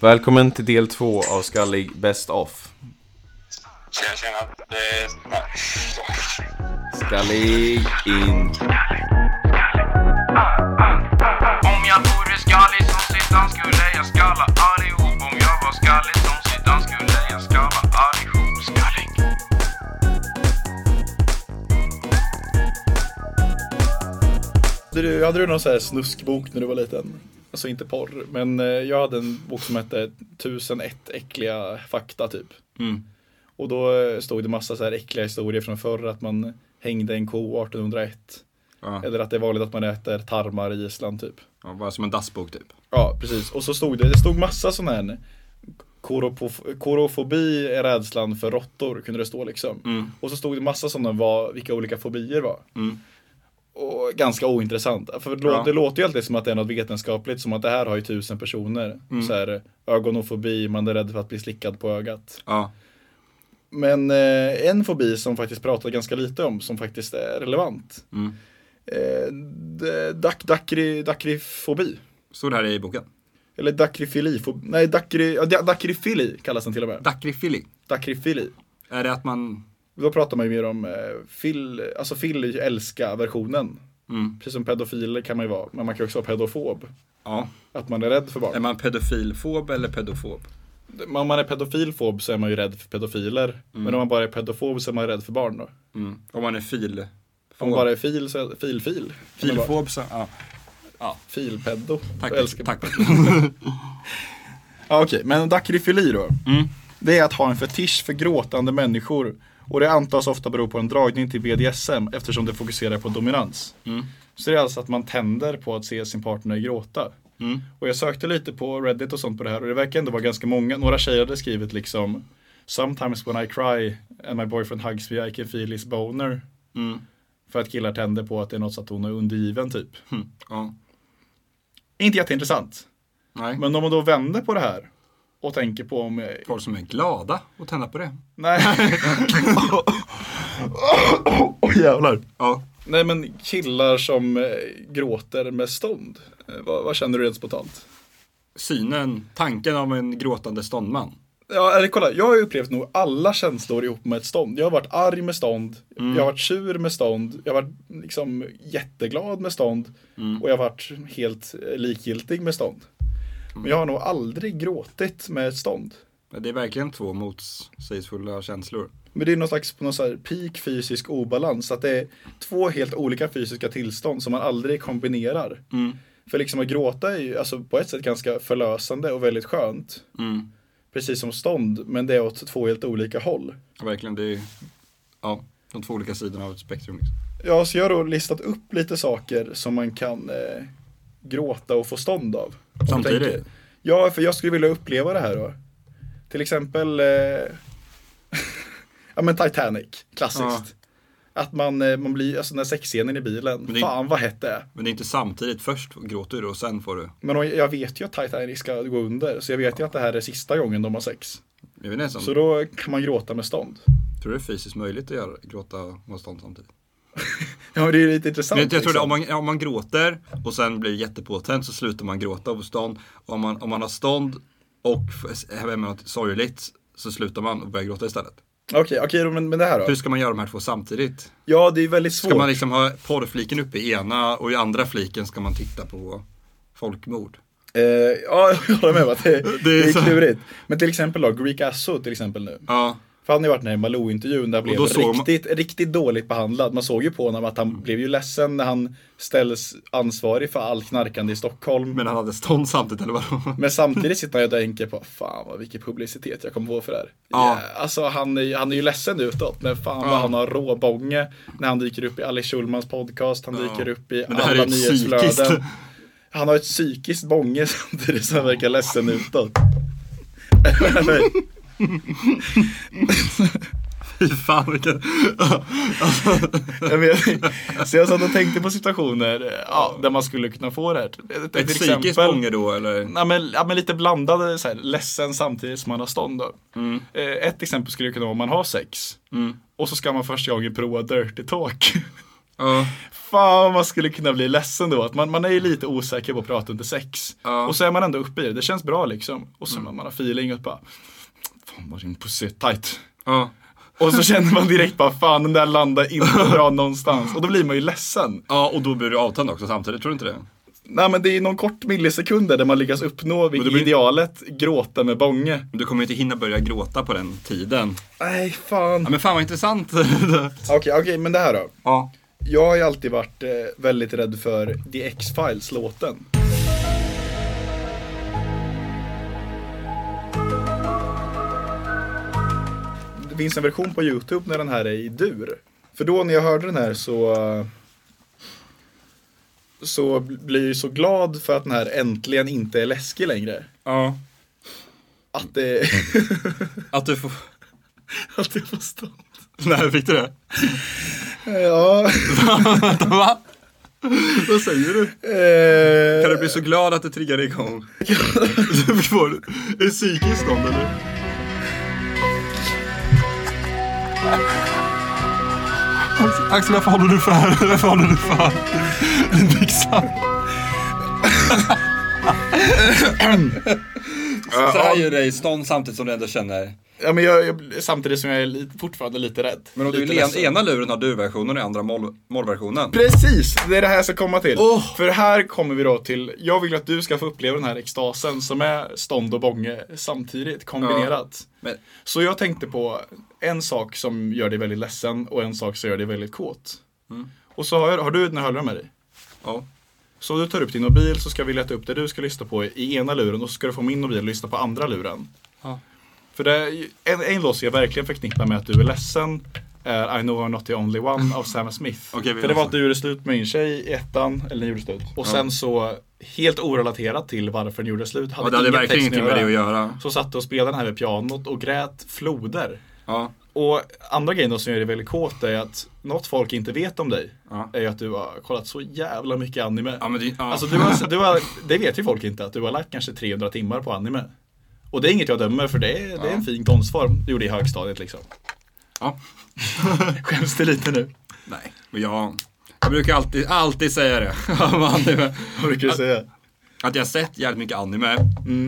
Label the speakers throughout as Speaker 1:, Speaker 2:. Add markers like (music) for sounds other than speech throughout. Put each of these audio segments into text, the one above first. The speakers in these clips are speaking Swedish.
Speaker 1: Välkommen till del två av Skallig Best Off.
Speaker 2: Tjena, tjena. Det är...
Speaker 1: Skallig in.
Speaker 3: Om jag vore skallig som Zidane skulle jag skalla allihop Om jag var skallig som Zidane skulle jag skalla allihop Skallig
Speaker 4: Hade du, hade du någon sån här snuskbok när du var liten? Alltså inte porr, men eh, jag hade en bok som hette 1001 äckliga fakta typ.
Speaker 5: Mm.
Speaker 4: Och då eh, stod det massa så här äckliga historier från förr, att man hängde en ko 1801.
Speaker 5: Ja.
Speaker 4: Eller att det är vanligt att man äter tarmar i Island typ.
Speaker 5: Ja, bara som en dassbok typ.
Speaker 4: Ja, precis. Och så stod det, det stod massa sån här koropof- Korofobi är rädslan för råttor, kunde det stå liksom.
Speaker 5: Mm,
Speaker 4: Och så stod det massa sådana vad, vilka olika fobier var. Och ganska ointressant. För det, lå-
Speaker 5: Ja.
Speaker 4: det låter ju alltid som att det är något vetenskapligt, som att det här har ju tusen personer.
Speaker 5: Mm.
Speaker 4: Så här, ögonofobi, man är rädd för att bli slickad på ögat.
Speaker 5: Ja.
Speaker 4: Men eh, en fobi som faktiskt pratar ganska lite om, som faktiskt är relevant.
Speaker 5: Mm.
Speaker 4: Eh, d- dak- dakri- dakrifobi.
Speaker 5: Står det här i boken.
Speaker 4: Eller dakrifili. fo- Nej, dakri, ja, da- dakrifili kallas den till och med.
Speaker 5: Dakrifili.
Speaker 4: Dakrifili.
Speaker 5: Är det att man...
Speaker 4: Då pratar man ju mer om eh, fil, alltså fil är ju älska-versionen.
Speaker 5: Mm.
Speaker 4: Precis som pedofiler kan man ju vara, men man kan ju också vara pedofob.
Speaker 5: Ja.
Speaker 4: Att man är rädd
Speaker 5: Är
Speaker 4: för barn.
Speaker 5: man pedofilfob eller pedofob?
Speaker 4: Om man är pedofilfob så är man ju rädd för pedofiler. Men om man bara är pedofob så är man rädd för barn då.
Speaker 5: Mm. Om man är fil...
Speaker 4: Om man bara är fil så är fil-fil.
Speaker 5: Filfob så... Ja.
Speaker 4: Filpedo.
Speaker 5: Tack.
Speaker 4: Jag älskar-
Speaker 5: Tack.
Speaker 4: (laughs) Ja, okej, men dakrifili då.
Speaker 5: Mm.
Speaker 4: Det är att ha en fetisch för gråtande människor. Och det antas ofta bero på en dragning till BDSM eftersom det fokuserar på dominans.
Speaker 5: Mm.
Speaker 4: Så det är alltså att man tänder på att se sin partner gråta.
Speaker 5: Mm.
Speaker 4: Och jag sökte lite på Reddit och sånt på det här och det verkar ändå vara ganska många. Några tjejer hade skrivit liksom Sometimes when I cry and my boyfriend hugs me I can feel his boner. För att killar tänder på att det är något så att hon är undergiven typ.
Speaker 5: Hmm, Ja.
Speaker 4: Inte jätteintressant.
Speaker 5: Nej.
Speaker 4: Men om man då vänder på det här och tänker på om eh,
Speaker 5: Folk som är glada och tända på det. (laughs)
Speaker 4: Nej. Åh jävlar.
Speaker 5: Ja.
Speaker 4: Nej men killar som eh, gråter med stånd. Eh, vad, vad känner du rent spontant?
Speaker 5: Synen, tanken av en gråtande ståndman.
Speaker 4: Ja, eller kolla, jag har ju upplevt nog alla känslor ihop med ett stånd. Jag har varit arg med stånd,
Speaker 5: Mm.
Speaker 4: jag har varit sur med stånd, jag har varit liksom jätteglad med stånd
Speaker 5: Mm.
Speaker 4: och jag har varit helt eh, likgiltig med stånd. Men Mm. jag har nog aldrig gråtit med ett stånd.
Speaker 5: Men Det är verkligen två motsägelsefulla känslor.
Speaker 4: Men det är någon slags någon så här peak fysisk obalans. Att det är två helt olika fysiska tillstånd som man aldrig kombinerar. För liksom att gråta är ju alltså på ett sätt ganska förlösande och väldigt skönt.
Speaker 5: Mm.
Speaker 4: Precis som stånd, men det är åt två helt olika håll.
Speaker 5: Verkligen, det är ja, de två olika sidorna av ett spektrum. Liksom.
Speaker 4: Ja, så jag har då listat upp lite saker som man kan eh, gråta och få stånd av. Om du
Speaker 5: Samtidigt?
Speaker 4: tänker- Ja, för jag skulle vilja uppleva det här då. Till exempel, eh, (laughs) ja men Titanic, klassiskt. Att man, eh, man blir, alltså den här sexscenen i bilen,
Speaker 5: Men det-
Speaker 4: fan vad hett det är.
Speaker 5: Men det är inte samtidigt. Först gråter du och sen får du.
Speaker 4: Men om- jag vet ju att Titanic ska gå under, så jag vet ju att det här är sista gången de har sex.
Speaker 5: Jag vet inte,
Speaker 4: Så
Speaker 5: så...
Speaker 4: då kan man gråta med stånd.
Speaker 5: Tror du det är fysiskt möjligt att göra, gråta med stånd samtidigt?
Speaker 4: Ja, men det är ju lite intressant.
Speaker 5: Men jag, jag tror det,
Speaker 4: liksom.
Speaker 5: om, man, om man gråter och sen blir jättepåtänd så slutar man gråta av stånd. Och om, man, om man har stånd och f- är med något sorgligt så slutar man och börjar gråta istället.
Speaker 4: Okej, okej, då, men, men det här då?
Speaker 5: Hur ska man göra de här två samtidigt?
Speaker 4: Ja, det är ju väldigt svårt.
Speaker 5: Ska man liksom ha porrfliken uppe i ena och i andra fliken ska man titta på folkmord?
Speaker 4: Eh, ja, jag håller med om
Speaker 5: (laughs)
Speaker 4: att det, det är,
Speaker 5: så-
Speaker 4: klurigt. Men till exempel då, Greek Asso till exempel nu.
Speaker 5: Ja,
Speaker 4: För han har ju varit med i Malou-intervjun där han blev
Speaker 5: då såg man- Mm.
Speaker 4: riktigt, riktigt dåligt behandlad. Man såg ju på honom att han blev ju ledsen när han ställs ansvarig för allt knarkande i Stockholm. Men,
Speaker 5: men han hade stånd samtidigt eller vadå?
Speaker 4: samtidigt sitter han ju där och tänker på, fan vad vilken publicitet jag kommer få för det här.
Speaker 5: Ja.
Speaker 4: Ja, alltså han är, han är ju ledsen utåt, men fan vad han har råbånge när han dyker upp i Alice Schulmans podcast, han dyker upp i
Speaker 5: Men det här är
Speaker 4: alla
Speaker 5: ju psykiskt.
Speaker 4: nyhetsflöden. Han har ett psykiskt bånge (laughs) samtidigt som han verkar ledsen utåt. Nej.
Speaker 5: (laughs) Fy fan vilken...
Speaker 4: (laughs) Jag vet, så jag satt och tänkte på situationer eh, ja, där man skulle kunna få det här. Jag tänkte
Speaker 5: Ett
Speaker 4: till
Speaker 5: psykiskt
Speaker 4: exempel-
Speaker 5: ånger då eller?
Speaker 4: Ja men, ja men lite blandade, så här, ledsen samtidigt som man har stånd. Då.
Speaker 5: Mm.
Speaker 4: Eh, Ett exempel skulle kunna vara om man har sex. Och så ska man första gången prova Dirty Talk.
Speaker 5: Ja,
Speaker 4: (laughs) Fan vad man skulle kunna bli ledsen då. Att man, man är ju lite osäker på att prata under sex.
Speaker 5: Ja. Mm.
Speaker 4: Och så är man ändå uppe i det. Det känns bra liksom. Och så man, man har feeling och bara. Fan vad din pussy är tight.
Speaker 5: ja.
Speaker 4: Och så känner man direkt bara fan den där landar inte
Speaker 5: (laughs)
Speaker 4: bra någonstans. Och då blir man ju ledsen.
Speaker 5: Ja, och då blir du avtänd också samtidigt, tror du inte det?
Speaker 4: Nej men det är någon kort millisekunder där man lyckas uppnå
Speaker 5: det blir-
Speaker 4: idealet gråta med bånge.
Speaker 5: Du kommer ju inte hinna börja gråta på den
Speaker 4: (laughs)
Speaker 5: tiden.
Speaker 4: Nej fan.
Speaker 5: Ja, men fan vad intressant.
Speaker 4: (laughs) Okej, okej men det här då.
Speaker 5: ja.
Speaker 4: Jag har ju alltid varit eh, väldigt rädd för The X-Files låten. Det finns en version på Youtube när den här är i dur. För då när jag hörde den här så eh, så blir jag ju så glad för att den här äntligen inte är läskig längre.
Speaker 5: ja.
Speaker 4: Att det
Speaker 5: Att du får...
Speaker 4: (laughs) att jag får stå.
Speaker 5: Nej, fick du det?
Speaker 4: Ja,
Speaker 5: (laughs) Va?
Speaker 4: (laughs)
Speaker 5: Eh.
Speaker 4: vad säger du?
Speaker 5: Kan du bli så glad att det triggar dig igång? Du (laughs) får... Är det psykiskt någon eller? Axel, (clears throat) varför håller du för? Varför håller du för? Din byxa. Så här gör dig stånd samtidigt som du ändå känner
Speaker 4: Ja, men jag, jag, samtidigt som jag är lite, fortfarande lite rädd.
Speaker 5: Men om du
Speaker 4: lite
Speaker 5: i
Speaker 4: ledsen.
Speaker 5: en, ena luren har du-versionen och i andra moll- mollversionen.
Speaker 4: Precis, det är det här jag ska komma till.
Speaker 5: Åh!
Speaker 4: För här kommer vi då till, jag vill att du ska få uppleva den här extasen som är stånd och bånge samtidigt kombinerat.
Speaker 5: Men,
Speaker 4: Så jag tänkte på en sak som gör dig väldigt ledsen och en sak som gör dig väldigt kåt.
Speaker 6: Mm.
Speaker 4: Och så har, jag, har du dina hörlurar med dig.
Speaker 5: ja.
Speaker 4: Så om du tar upp din mobil så ska vi leta upp det du ska lyssna på i ena luren och så ska du få min mobil att lyssna på andra luren.
Speaker 5: Ja.
Speaker 4: För det är, ju- en, en låt som jag verkligen förknippar med att du är ledsen är I know I'm not the only one av Sam Smith.
Speaker 5: Okej, vi
Speaker 4: För det var
Speaker 5: läser.
Speaker 4: att du gjorde slut med din tjej i ettan, eller ni gjorde slut. Och sen så, helt orelaterat till varför ni gjorde slut, hade,
Speaker 5: Och det hade
Speaker 4: ingen
Speaker 5: verkligen
Speaker 4: text
Speaker 5: ingenting med det att göra.
Speaker 4: Så satt du och spelade den här vid pianot och grät floder.
Speaker 5: Ja.
Speaker 4: Och andra grejen då som gör dig väldigt kåt är att något folk inte vet om dig
Speaker 5: Ja.
Speaker 4: är ju att du har kollat så jävla mycket anime.
Speaker 5: Ja, men det, ja.
Speaker 4: Alltså du har, du har, det vet ju folk inte att du har lagt kanske 300 timmar på anime. Och det är inget jag dömer för det är, det är en fin konstform du gjorde i högstadiet liksom.
Speaker 5: ja.
Speaker 4: (laughs) Skäms det lite nu?
Speaker 5: Nej. Men jag, jag brukar alltid, alltid säga det. (laughs) om anime.
Speaker 4: Vad brukar du säga?
Speaker 5: att jag har sett jävligt mycket anime. Mm.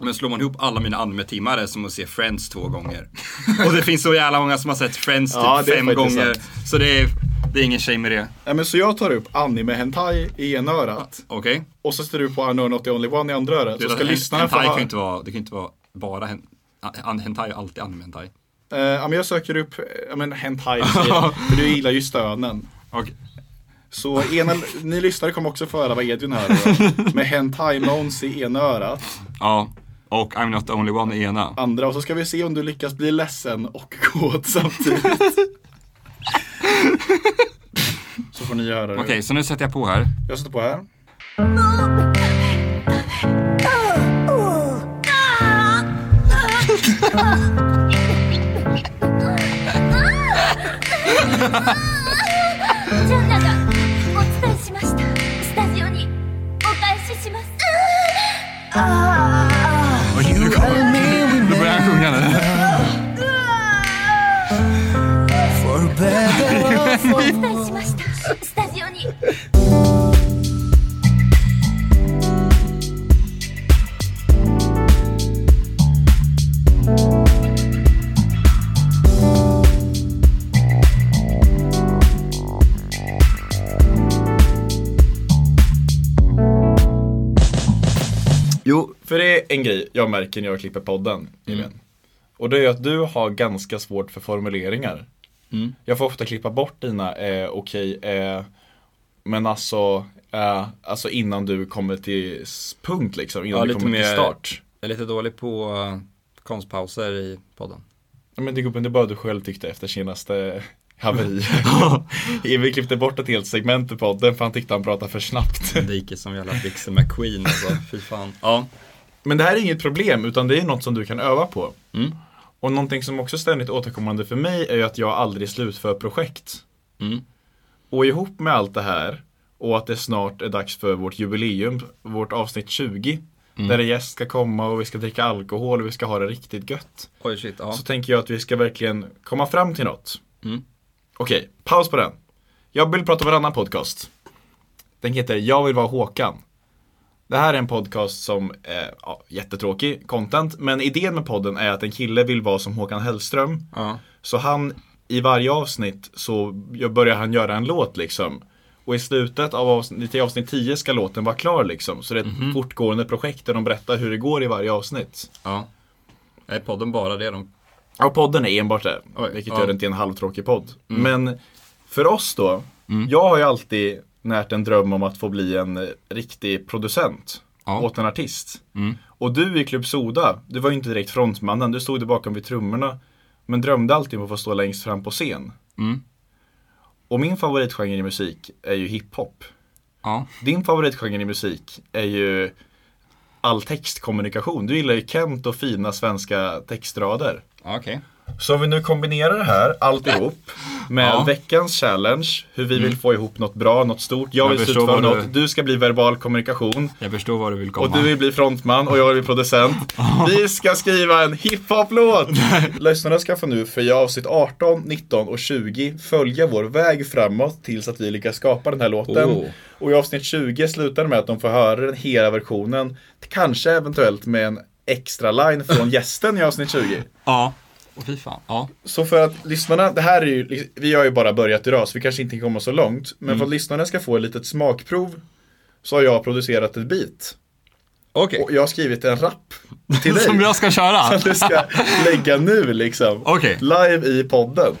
Speaker 5: Men slår man ihop alla mina anime-timmar är som att se Friends två gånger. (laughs) Och det finns så jävla många som har sett Friends typ
Speaker 4: Ja, det är
Speaker 5: fem
Speaker 4: faktiskt
Speaker 5: gånger. Så det är, det är ingen shame i det.
Speaker 4: Ja, men så jag tar upp anime hentai i ena örat
Speaker 5: Okej?
Speaker 4: och så sätter du på I know not the only one i andra örat. Så ska
Speaker 5: Hen-
Speaker 4: lyssnarna få
Speaker 5: hentai kan ju
Speaker 4: höra.
Speaker 5: inte vara, det kan ju inte vara bara hen, an- hentai, är alltid anime-hentai.
Speaker 4: Eh, Ja, men jag söker upp eh, ja, men (laughs) hentai eh, för du gillar ju stönen.
Speaker 5: Okej.
Speaker 4: Så ena, ni lyssnare kommer också få höra vad Edvin hör (laughs) då. med hentai mons i ena örat,
Speaker 5: Ja. Och I'm not the only one i ena.
Speaker 4: andra och så ska vi se om du lyckas bli ledsen och (laughs) kåt samtidigt. Så får ni höra det.
Speaker 5: Okej, så nu sätter jag på här.
Speaker 4: Jag sätter på här.
Speaker 7: ジャンナがお伝えしましたスタジオにお返ししますああ
Speaker 5: Oj, nu kommer- nu börjar han sjunga nu.
Speaker 7: お伝えしましたスタジオに
Speaker 1: Jo.
Speaker 4: För det är en grej jag märker när jag klipper podden, Emil. Och det är att du har ganska svårt för formuleringar. Jag får ofta klippa bort dina eh, okej, eh, men alltså, eh, alltså innan du kommer till s- punkt liksom, innan
Speaker 5: Ja,
Speaker 4: du
Speaker 5: lite
Speaker 4: kommer till
Speaker 5: mer-
Speaker 4: start.
Speaker 5: Jag är lite dålig på eh, konstpauser i podden.
Speaker 4: Ja, men det gubben, det bara du själv tyckte efter senaste
Speaker 5: (laughs)
Speaker 4: haveri. (laughs) Emil klippte bort ett helt segment i podden för han tyckte han pratade för snabbt.
Speaker 5: Det gick ju som jävla Dixie McQueen
Speaker 4: (laughs)
Speaker 5: alltså, fy fan. Ja.
Speaker 4: Men det här är inget problem utan det är något som du kan öva på.
Speaker 5: Mm.
Speaker 4: Och någonting som också ständigt återkommande för mig är ju att jag aldrig slutför projekt.
Speaker 5: Mm.
Speaker 4: Och ihop med allt det här och att det snart är dags för vårt jubileum, vårt avsnitt 20.
Speaker 5: Mm.
Speaker 4: Där en gäst ska komma och vi ska dricka alkohol och vi ska ha det riktigt gött.
Speaker 5: Oj shit, ja.
Speaker 4: Så tänker jag att vi ska verkligen komma fram till något.
Speaker 5: Mm.
Speaker 4: Okej, paus på den. Jag vill prata om en annan podcast. Den heter Jag vill vara Håkan. Det här är en podcast som är ja, jättetråkig content, men idén med podden är att en kille vill vara som Håkan Hellström.
Speaker 8: Ja.
Speaker 4: Så han, i varje avsnitt så börjar han göra en låt liksom. Och i slutet av avsnitt, i avsnitt 10 ska låten vara klar liksom. Så det är ett
Speaker 8: Mhm.
Speaker 4: fortgående projekt där de berättar hur det går i varje avsnitt.
Speaker 8: ja. Är podden bara det de...
Speaker 4: Ja, podden är enbart det. vilket
Speaker 8: ja. Mm.
Speaker 4: gör den till en halvtråkig podd. Men för oss då. Jag har ju alltid närt en dröm om att få bli en eh, riktig producent.
Speaker 8: Ja. Mm.
Speaker 4: Åt en artist. Och du i Club Soda, du var ju inte direkt frontmannen. Du stod ju bakom vid trummorna. Men drömde alltid om att få stå längst fram på scen.
Speaker 8: Mm.
Speaker 4: Och min favoritgenre i musik är ju hiphop.
Speaker 8: Ja.
Speaker 4: Din favoritgenre i musik är ju all textkommunikation. Du gillar ju Kent och fina svenska textrader.
Speaker 8: Ja, okej.
Speaker 4: Så om vi nu kombinerar det här alltihop med
Speaker 8: Ja.
Speaker 4: veckans challenge, hur vi vill få ihop något bra, något stort. Jag
Speaker 8: Jag
Speaker 4: vill
Speaker 8: förstår
Speaker 4: slutföra
Speaker 8: vad du-
Speaker 4: något, du ska bli verbal kommunikation
Speaker 8: Jag förstår var du vill komma.
Speaker 4: och du vill bli frontman och jag vill bli producent.
Speaker 8: (laughs)
Speaker 4: Vi ska skriva en hiphop-låt! Lyssnarna ska få nu för i avsnitt 18, 19 och 20 följa vår väg framåt tills att vi lyckas skapa den här låten.
Speaker 8: Oh.
Speaker 4: Och i avsnitt 20 slutar det med att de får höra den hela versionen, kanske eventuellt med en extra line
Speaker 8: (laughs)
Speaker 4: från gästen i avsnitt 20.
Speaker 8: Ja. Åh fy fan. Ja.
Speaker 4: Så för att lyssnarna, det här är ju, vi har ju bara börjat idag så vi kanske inte kan komma så långt. Men
Speaker 8: Mm.
Speaker 4: för att lyssnarna ska få ett litet smakprov så har jag producerat ett beat.
Speaker 8: Okej.
Speaker 4: Och jag har skrivit en rap
Speaker 8: (laughs)
Speaker 4: till dig.
Speaker 8: Som jag ska köra?
Speaker 4: Du ska lägga nu liksom.
Speaker 8: Okej.
Speaker 4: Live i podden.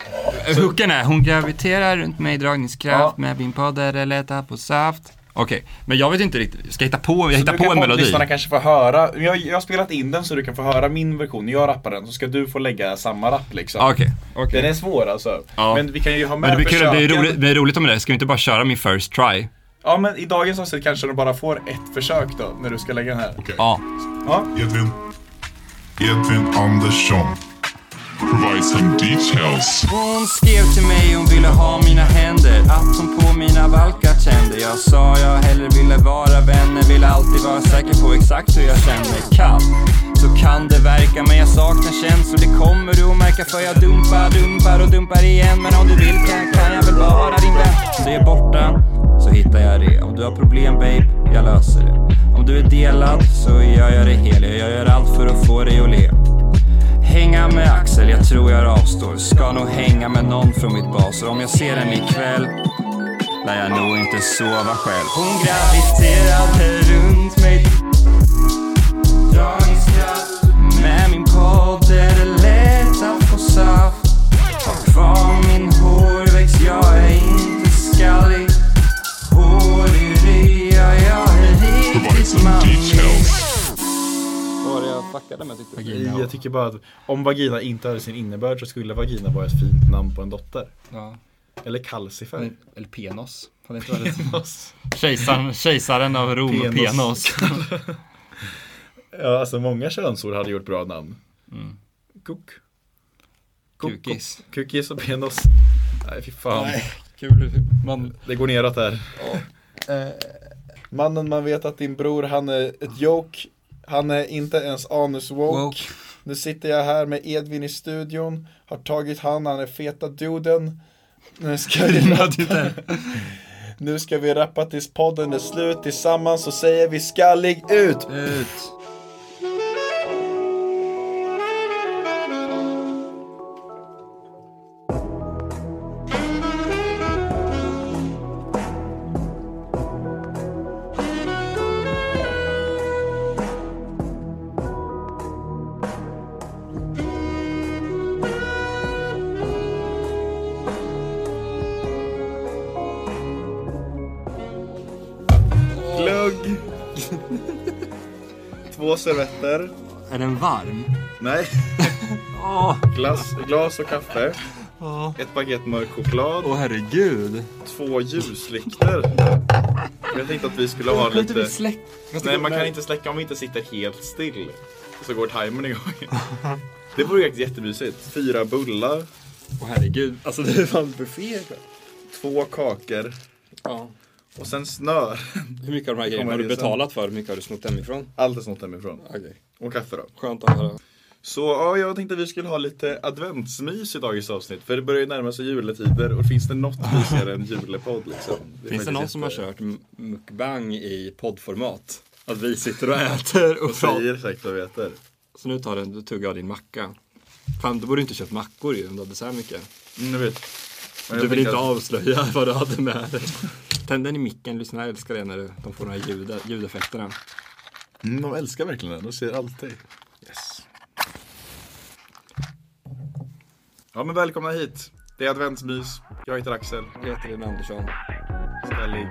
Speaker 8: Hooken är, Eh, hon graviterar runt mig i dragningskraft med min poddare letar på saft. Okej, men jag vet inte riktigt. Jag ska hitta på, jag hittar
Speaker 4: Du kan
Speaker 8: på en
Speaker 4: få-
Speaker 8: melodi.
Speaker 4: Lyssnarna kanske får höra. Jag, jag har spelat in den så du kan få höra min version. Jag rappar den så ska du få lägga samma rapp liksom.
Speaker 8: Ja, Ah, Okej.
Speaker 4: Den är svår alltså.
Speaker 8: Ja.
Speaker 4: Men vi kan ju ha med
Speaker 8: Men det blir kul, det är
Speaker 4: försöken.
Speaker 8: roligt, det är roligt om det. Ska vi inte bara köra min first try?
Speaker 4: Ja men i dagens avsnitt kanske du bara får ett försök då när du ska lägga den här.
Speaker 8: Ja.
Speaker 7: Edvin. Edvin Andersson. Provide some details.
Speaker 5: Hon skrev till mig hon ville ha mina händer Att hon på mina valkar kände Jag sa jag hellre ville vara vänner Ville alltid vara säker på exakt hur jag känner Kall, så kan det verka Men jag saknar känslor, det kommer du att märka För jag dumpar, dumpar och dumpar igen Men om du vill kan, kan jag väl vara din vän Om det är borta, så hittar jag det Om du har problem babe, jag löser det Om du är delad, så gör jag det hel Jag gör allt för att få dig att le Hänga med Axel, jag tror jag avstår. Ska nog hänga med någon från mitt bas. Och om jag ser henne ikväll lär jag nog inte sova själv. Hon graviterade runt mig. Dragningskraft. Med min podd är det lätt att få saft. Har kvar min hårväxt, jag är inte skallig. Hårig, ja, jag är
Speaker 7: Provide
Speaker 5: riktigt
Speaker 7: some
Speaker 5: manlig.
Speaker 7: details.
Speaker 4: Jag tycker bara att om vagina inte hade sin innebörd så skulle vagina vara ett fint namn på en dotter.
Speaker 8: Ja.
Speaker 4: Eller kalcifer.
Speaker 8: Eller penos. Hade inte varit
Speaker 4: Penos.
Speaker 8: Kejsaren, kejsaren av Rom,
Speaker 4: Penos.
Speaker 8: penos. penos.
Speaker 4: Ja, alltså många könsord hade gjort bra namn.
Speaker 8: Mm.
Speaker 4: Kuk. Kuk-
Speaker 8: Kukis.
Speaker 4: Kukis och penos. Nej, fy fan.
Speaker 8: Kul man...
Speaker 4: Det går neråt där. Eh, Mannen man vet att din bror, han är ett joke. Han är inte ens anus woke. Nu sitter jag här med Edvin i studion. Har tagit han, han är feta duden. Nu ska vi rappa. (laughs) Nu ska vi rappa tills podden är slut. Tillsammans så säger vi skallig ut.
Speaker 8: Ut.
Speaker 4: Glögg. Två servetter.
Speaker 8: Är den varm? (laughs)
Speaker 4: Nej. Glass, glas och kaffe. Ett baguette mörk choklad.
Speaker 8: Åh herregud.
Speaker 4: två ljuslyktor. Jag tänkte att vi skulle ha lite... Nej, man kan inte släcka om vi inte sitter helt still. Så går timern igång. (laughs) Det vore faktiskt jättemysigt. Fyra bullar,
Speaker 8: Åh herregud. Alltså det är fan buffé.
Speaker 4: två kakor
Speaker 8: Ja.
Speaker 4: och sen snör.
Speaker 8: Hur mycket av de här grejerna
Speaker 4: Kommer
Speaker 8: har du
Speaker 4: det sen?
Speaker 8: betalat för? Hur mycket har du snott hemifrån?
Speaker 4: Allt är snott hemifrån.
Speaker 8: Okej.
Speaker 4: Och kaffe då.
Speaker 8: Skönt att höra.
Speaker 4: Så ja, jag tänkte vi skulle ha lite adventsmys i dagens avsnitt. För det börjar ju närma sig juletider och finns det något mysigare än julepodd liksom? är
Speaker 9: Finns (laughs) det
Speaker 4: faktiskt
Speaker 9: någon som har
Speaker 4: jätte-
Speaker 9: kört m- mukbang i poddformat? Att vi sitter och äter och pratar.
Speaker 4: Säger exakt vad vi äter.
Speaker 9: Så nu tar den, du tuggar av din macka. Fan, du borde inte köpt mackor ju om du hade så här mycket.
Speaker 4: Mm, jag vet. Men jag
Speaker 9: Du vill
Speaker 4: tänker
Speaker 9: inte
Speaker 4: att-
Speaker 9: avslöja (laughs) vad du hade med dig. Tänd den i micken, lyssna. Jag älskar det när du, de får de här ljud, ljudeffekterna.
Speaker 4: Mm, de älskar verkligen den, de ser alltid. Yes. Ja men välkomna hit. Det är adventsmys. Jag heter Axel.
Speaker 9: Jag heter Linn Andersson.
Speaker 4: Ställ in.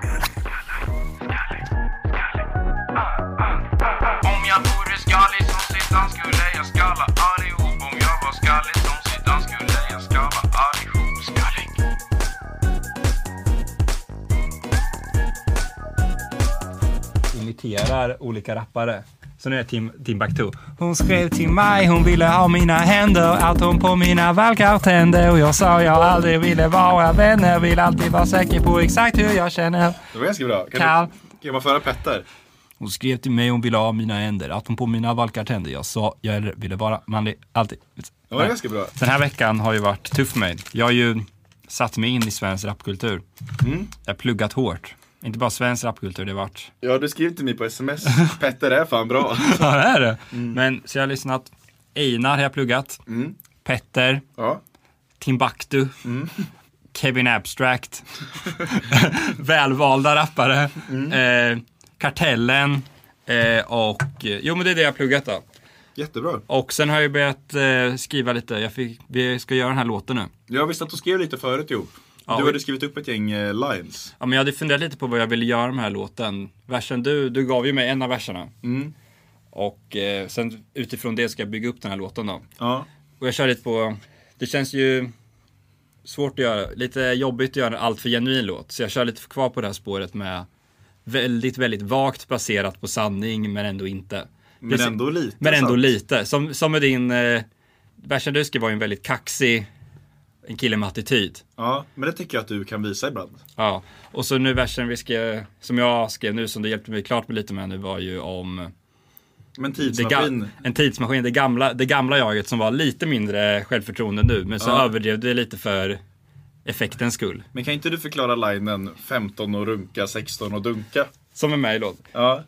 Speaker 6: Om jag vore skallig som Zidane skulle jag skalla allihop Om jag var skallig som Zidane skulle jag skalla allihop Skallig
Speaker 5: imiterar olika rappare. Så nu är Tim, Timbuktu. Hon skrev till mig, hon ville ha mina händer, att hon på mina valkar tände och jag sa jag aldrig ville vara vänner, vill alltid vara säker på exakt hur jag känner.
Speaker 4: Det var ganska bra. Kan,
Speaker 5: Kall.
Speaker 4: du, kan man föra Petter?
Speaker 5: Hon skrev till mig, hon ville ha mina händer, att hon på mina valkar tände. Jag sa jag hellre ville vara manlig, alltid.
Speaker 4: Det var ganska bra.
Speaker 5: Den här veckan har ju varit tuff för mig. Jag har ju satt mig in i svensk rapkultur.
Speaker 4: Mm.
Speaker 5: Jag har pluggat hårt. Inte bara svensk rapkultur, det har varit
Speaker 4: Ja du skrev till mig på sms. (laughs) Petter är fan bra.
Speaker 5: (laughs) Ja, det är det. Men så jag har lyssnat. Einar har jag pluggat. Petter.
Speaker 4: Ja.
Speaker 5: Timbuktu. Kevin Abstract. (laughs) Välvalda rappare. Eh, kartellen. Eh, och, eh, jo men det är det jag har pluggat då.
Speaker 4: Jättebra.
Speaker 5: Och sen har jag börjat eh, skriva lite. Jag fick, vi ska göra den här låten nu.
Speaker 4: Jag visste att du skrev lite förut ihop.
Speaker 5: Ja,
Speaker 4: du
Speaker 5: och-
Speaker 4: hade skrivit upp ett gäng eh, lines.
Speaker 5: Ja, men jag hade funderat lite på vad jag ville göra med den här låten. Versen du, du gav ju mig en av verserna. Och eh, sen utifrån det ska jag bygga upp den här låten då.
Speaker 4: Ja.
Speaker 5: Och jag kör lite på, det känns ju svårt att göra, lite jobbigt att göra en alltför genuin låt. Så jag kör lite kvar på det här spåret med väldigt, väldigt vagt baserat på sanning men ändå inte.
Speaker 4: Men
Speaker 5: Precis.
Speaker 4: ändå lite.
Speaker 5: Men ändå
Speaker 4: sant.
Speaker 5: lite. Som, som med din, eh, versen du skrev var ju en väldigt kaxig, en kille med attityd.
Speaker 4: Ja, men det tycker jag att du kan visa ibland.
Speaker 5: Ja, och så nu versen vi skrev, som jag skrev nu, som du hjälpte mig klart med lite med nu var ju om det
Speaker 4: Men
Speaker 5: ga-
Speaker 4: tidsmaskin.
Speaker 5: en tidsmaskin, det gamla, det gamla jaget som var lite mindre självförtroende nu, men så
Speaker 4: Ja.
Speaker 5: överdrev det lite för effektens skull.
Speaker 4: Men kan inte du förklara linen 15 och runka, 16 och dunka?
Speaker 5: Som är med i låten.
Speaker 4: Ja,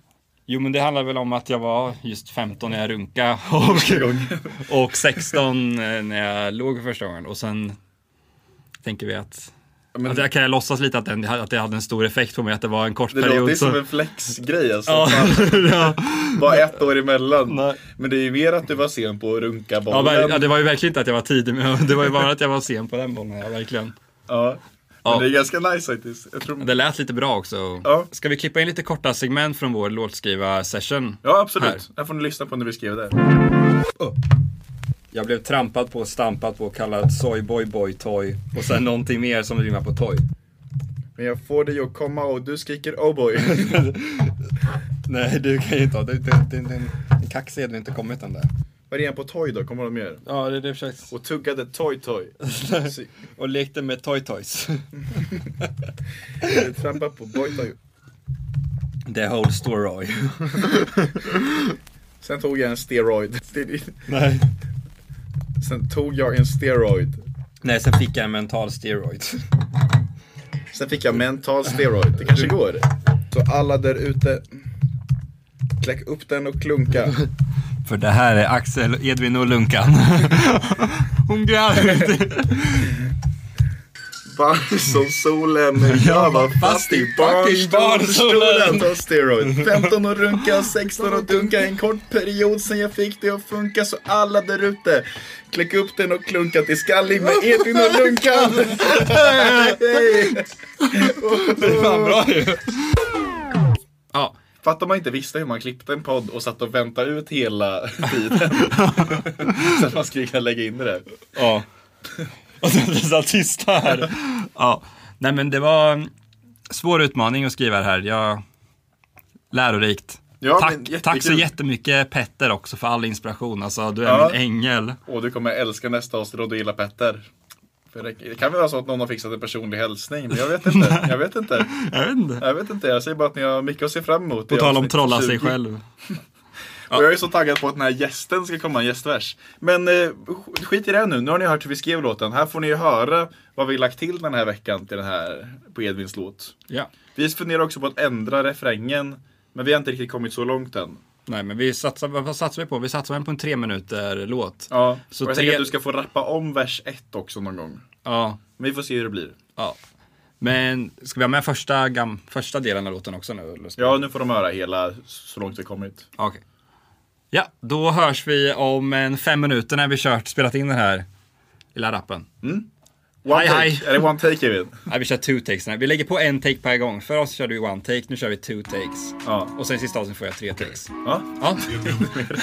Speaker 5: Jo, men det handlar väl om att jag var just 15 när jag runka och, (laughs) och 16 när jag låg första gången och sen tänker vi att
Speaker 4: men-
Speaker 5: att jag kan jag låtsas lite att, den, att det hade en stor effekt på mig, att det var en kort
Speaker 4: det låter ju
Speaker 5: period.
Speaker 4: som
Speaker 5: så-
Speaker 4: en flexgrej alltså.
Speaker 5: Ja,
Speaker 4: Fan,
Speaker 5: (laughs) ja.
Speaker 4: Bara ett år emellan.
Speaker 5: Nej.
Speaker 4: Men det är ju mer att du var sen på att runka
Speaker 5: Ja,
Speaker 4: bollen.
Speaker 5: ver- ja, det var ju verkligen inte att jag var tidig, men (laughs) det var ju bara att jag var sen på den bollen. Ja, verkligen.
Speaker 4: Ja.
Speaker 5: Ja.
Speaker 4: Men det är ganska nice faktiskt. Jag tror...
Speaker 5: Det lät lite bra också.
Speaker 4: Ja.
Speaker 5: Ska vi klippa in lite korta segment från vår låtskriva-session?
Speaker 4: Ja, absolut.
Speaker 5: Här.
Speaker 4: Här. får ni lyssna på när vi skrev det.
Speaker 5: Jag blev trampad på, stampad på, kallad soyboy boy toy och sen någonting mer som rimmar på toy.
Speaker 4: Men jag får dig att komma och du skriker
Speaker 5: (laughs)
Speaker 4: oh boy. (laughs)
Speaker 9: Nej, du kan ju inte ha. Din kaxig hade inte kommit än där.
Speaker 4: Vad är det på Toy då? Kommer de mer?
Speaker 9: Ja, det är det jag försökte.
Speaker 4: Och tuggade Toy Toy. Så-
Speaker 9: (laughs) Och lekte med toy
Speaker 4: (laughs)
Speaker 9: toys.
Speaker 4: Trampa på Boy Toy.
Speaker 9: The whole
Speaker 4: (laughs)
Speaker 9: story.
Speaker 4: Sen tog jag en steroid.
Speaker 9: Nej.
Speaker 4: Sen tog jag en steroid.
Speaker 9: Nej, sen fick jag en mental steroid.
Speaker 4: Sen fick jag mental steroid. Det kanske går. Så alla där ute, kläck upp den och klunka.
Speaker 5: För det här är Axel, Edvin och Lunkan.
Speaker 4: (laughs)
Speaker 5: Hon gräver
Speaker 4: Varm som solen, jag var fast i
Speaker 5: fucking barnstolen.
Speaker 4: barnstolen. Ta steroid. 15 och runka, 16 och dunka. En kort period sen jag fick det att funka. Så alla där ute, kläck upp den och klunka till skallig med Edvin och Lunkan. Hej!
Speaker 5: Ja,
Speaker 4: Fattar man inte visste hur man klippte en podd och satt och väntade ut hela tiden. så att man skulle kunna lägga in det där.
Speaker 5: Ja. (laughs) Och sen blir det så här tysta här. Ja. Nej men det var en svår utmaning att skriva det här. Jag... Lärorikt.
Speaker 4: Ja, men
Speaker 5: tack,
Speaker 4: jättekul.
Speaker 5: tack så jättemycket Petter också för all inspiration. Alltså du är
Speaker 4: Ja.
Speaker 5: min ängel.
Speaker 4: Och du kommer älska nästa avsnitt och du gillar Petter. För det- Det kan väl vara så att någon har fixat en personlig hälsning, men jag vet
Speaker 5: (laughs)
Speaker 4: inte. Jag vet inte.
Speaker 5: Jag vet inte.
Speaker 4: Jag vet inte, jag säger bara att ni har mycket att se fram emot.
Speaker 5: På tal om trolla sig själv.
Speaker 4: Och jag är så taggad på att den här gästen ska komma, en gästvers. Men eh, sk- skit i det nu, nu har ni hört hur vi skrev låten. Här får ni ju höra vad vi lagt till den här veckan till den här, på Edvins låt.
Speaker 5: Ja.
Speaker 4: Vi funderar också på att ändra refrängen, men vi har inte riktigt kommit så långt än.
Speaker 5: Nej, men vi satsar, vad satsar vi på? Vi satsar på en tre minuter låt.
Speaker 4: Ja,
Speaker 5: Så
Speaker 4: så och jag
Speaker 5: tre-
Speaker 4: tänker att du ska få rappa om vers 1 också någon gång.
Speaker 5: Ja.
Speaker 4: Men vi får se hur det blir.
Speaker 5: ja. Men ska vi ha med första, gam, första delen av låten också nu? eller ska-
Speaker 4: Ja, nu får de höra hela så långt vi kommit.
Speaker 5: Okej. Ja, då hörs vi om en fem minuter när vi kört, spelat in den här lilla rappen.
Speaker 4: Mm. One
Speaker 5: Hej,
Speaker 4: take.
Speaker 5: hej.
Speaker 4: Är det one take Evin?
Speaker 5: (laughs) Nej, vi kör two takes. Nej, vi lägger på en take per gång. För oss körde vi one take, nu kör vi two takes.
Speaker 4: Ja.
Speaker 5: Och sen sista avsnittet får jag tre takes.
Speaker 4: Ja.
Speaker 5: Ja,
Speaker 4: (laughs)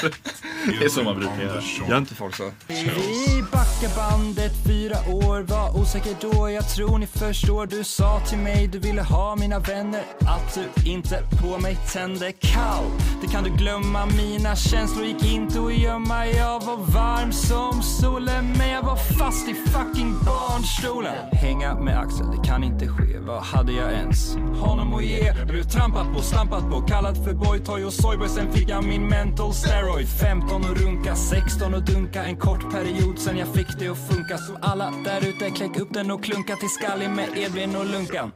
Speaker 4: Det är så man brukar göra.
Speaker 5: gör inte folk
Speaker 4: (laughs)
Speaker 5: så.
Speaker 8: Vi backar bandet fyra år, var osäker då, jag tror ni förstår. Du sa till mig du ville ha mina vänner, att du inte på mig tände kall. Det kan du glömma, mina känslor gick inte att gömma. Jag var varm som solen, men jag var fast i fucking barnstolen. Hänga med Axel, det kan inte ske. Vad hade jag ens honom att ge? Jag blev trampad på, stampat på, kallad för boytoy och soyboy. Sen fick jag min mental steroid. 15 och runka, 16 och dunka. En kort period sen jag fick det att funka. Så alla där ute, kläck upp den och klunka till skallig med Edvin och Lunkan.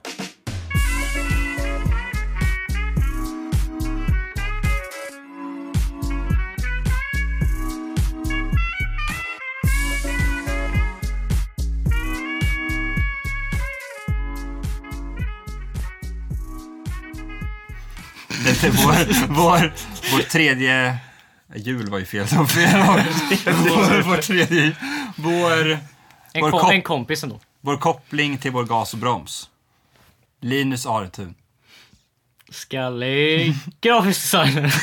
Speaker 5: Det är vår, vår, vår tredje... Jul var ju fel som fel. Vår, vår tredje... Vår,
Speaker 2: En,
Speaker 5: Vår
Speaker 2: kom,
Speaker 5: kop-
Speaker 2: en kompis ändå.
Speaker 5: vår koppling till vår gas och broms. Linus Aretun.
Speaker 2: Skallig grafisk designer.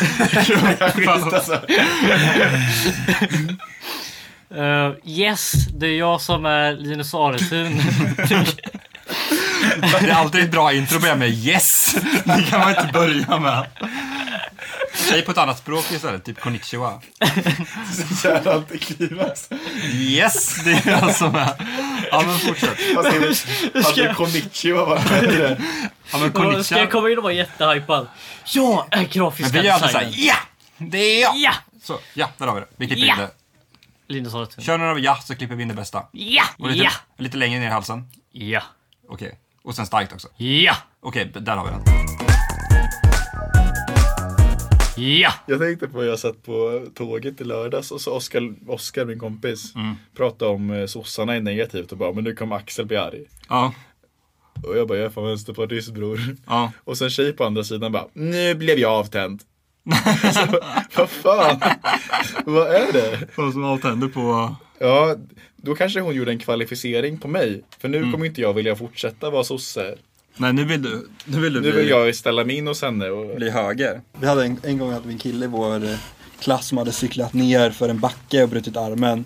Speaker 2: (laughs) Eh, yes, det är jag som är Linus Aretun.
Speaker 5: (laughs) Det är alltid ett bra intro att börja med (laughs) yes. Det kan man inte börja med. Säg på ett annat språk istället, typ konnichiwa.
Speaker 4: Jävla antiklimax.
Speaker 5: Yes, det är jag som är. Ja men fortsätt.
Speaker 4: Fast det är- Hade det konnichiwa varit bättre?
Speaker 5: Ja men
Speaker 2: Ska jag
Speaker 5: konnichiwa.
Speaker 2: komma in och vara jättehypad? Jag är
Speaker 5: Men
Speaker 2: grafisk
Speaker 5: vi alltså gör alltid
Speaker 2: designer.
Speaker 5: såhär ja! Det är jag!
Speaker 2: Ja!
Speaker 5: Så, ja, där har vi det. Vi klipper
Speaker 2: Ja.
Speaker 5: in det.
Speaker 2: Linus Aretun.
Speaker 5: Kör några av ja så klipper vi in det bästa.
Speaker 2: Ja!
Speaker 5: Och lite,
Speaker 2: Ja!
Speaker 5: lite längre ner i halsen.
Speaker 2: Ja!
Speaker 5: Okej. Och sen starkt också.
Speaker 2: Ja!
Speaker 5: Okej, där har vi den.
Speaker 2: Ja!
Speaker 4: Jag tänkte på, jag satt på tåget i lördags och så Oskar, Oskar min kompis,
Speaker 5: Mm.
Speaker 4: pratade om eh, sossarna är negativt och bara, men nu kommer Axel bli arg.
Speaker 5: Ja.
Speaker 4: Och jag bara, jag är fan vänsterpartist bror.
Speaker 5: Ja.
Speaker 4: Och sen tjej på andra sidan bara, nu blev jag avtänd.
Speaker 5: (laughs)
Speaker 4: så, vad fan? vad är det?
Speaker 5: Vad som allt händer på...
Speaker 4: Ja, då kanske hon gjorde en kvalificering på mig. För nu
Speaker 5: Mm.
Speaker 4: kommer inte jag vilja fortsätta vara sosse.
Speaker 5: Nej, nu vill du... Nu vill du
Speaker 4: Nu
Speaker 5: bli,
Speaker 4: vill jag ställa mig in hos henne. Och...
Speaker 5: bli höger.
Speaker 10: Vi hade en, en gång hade vi en kille i vår eh, klass som hade cyklat ner för en backe och brutit armen.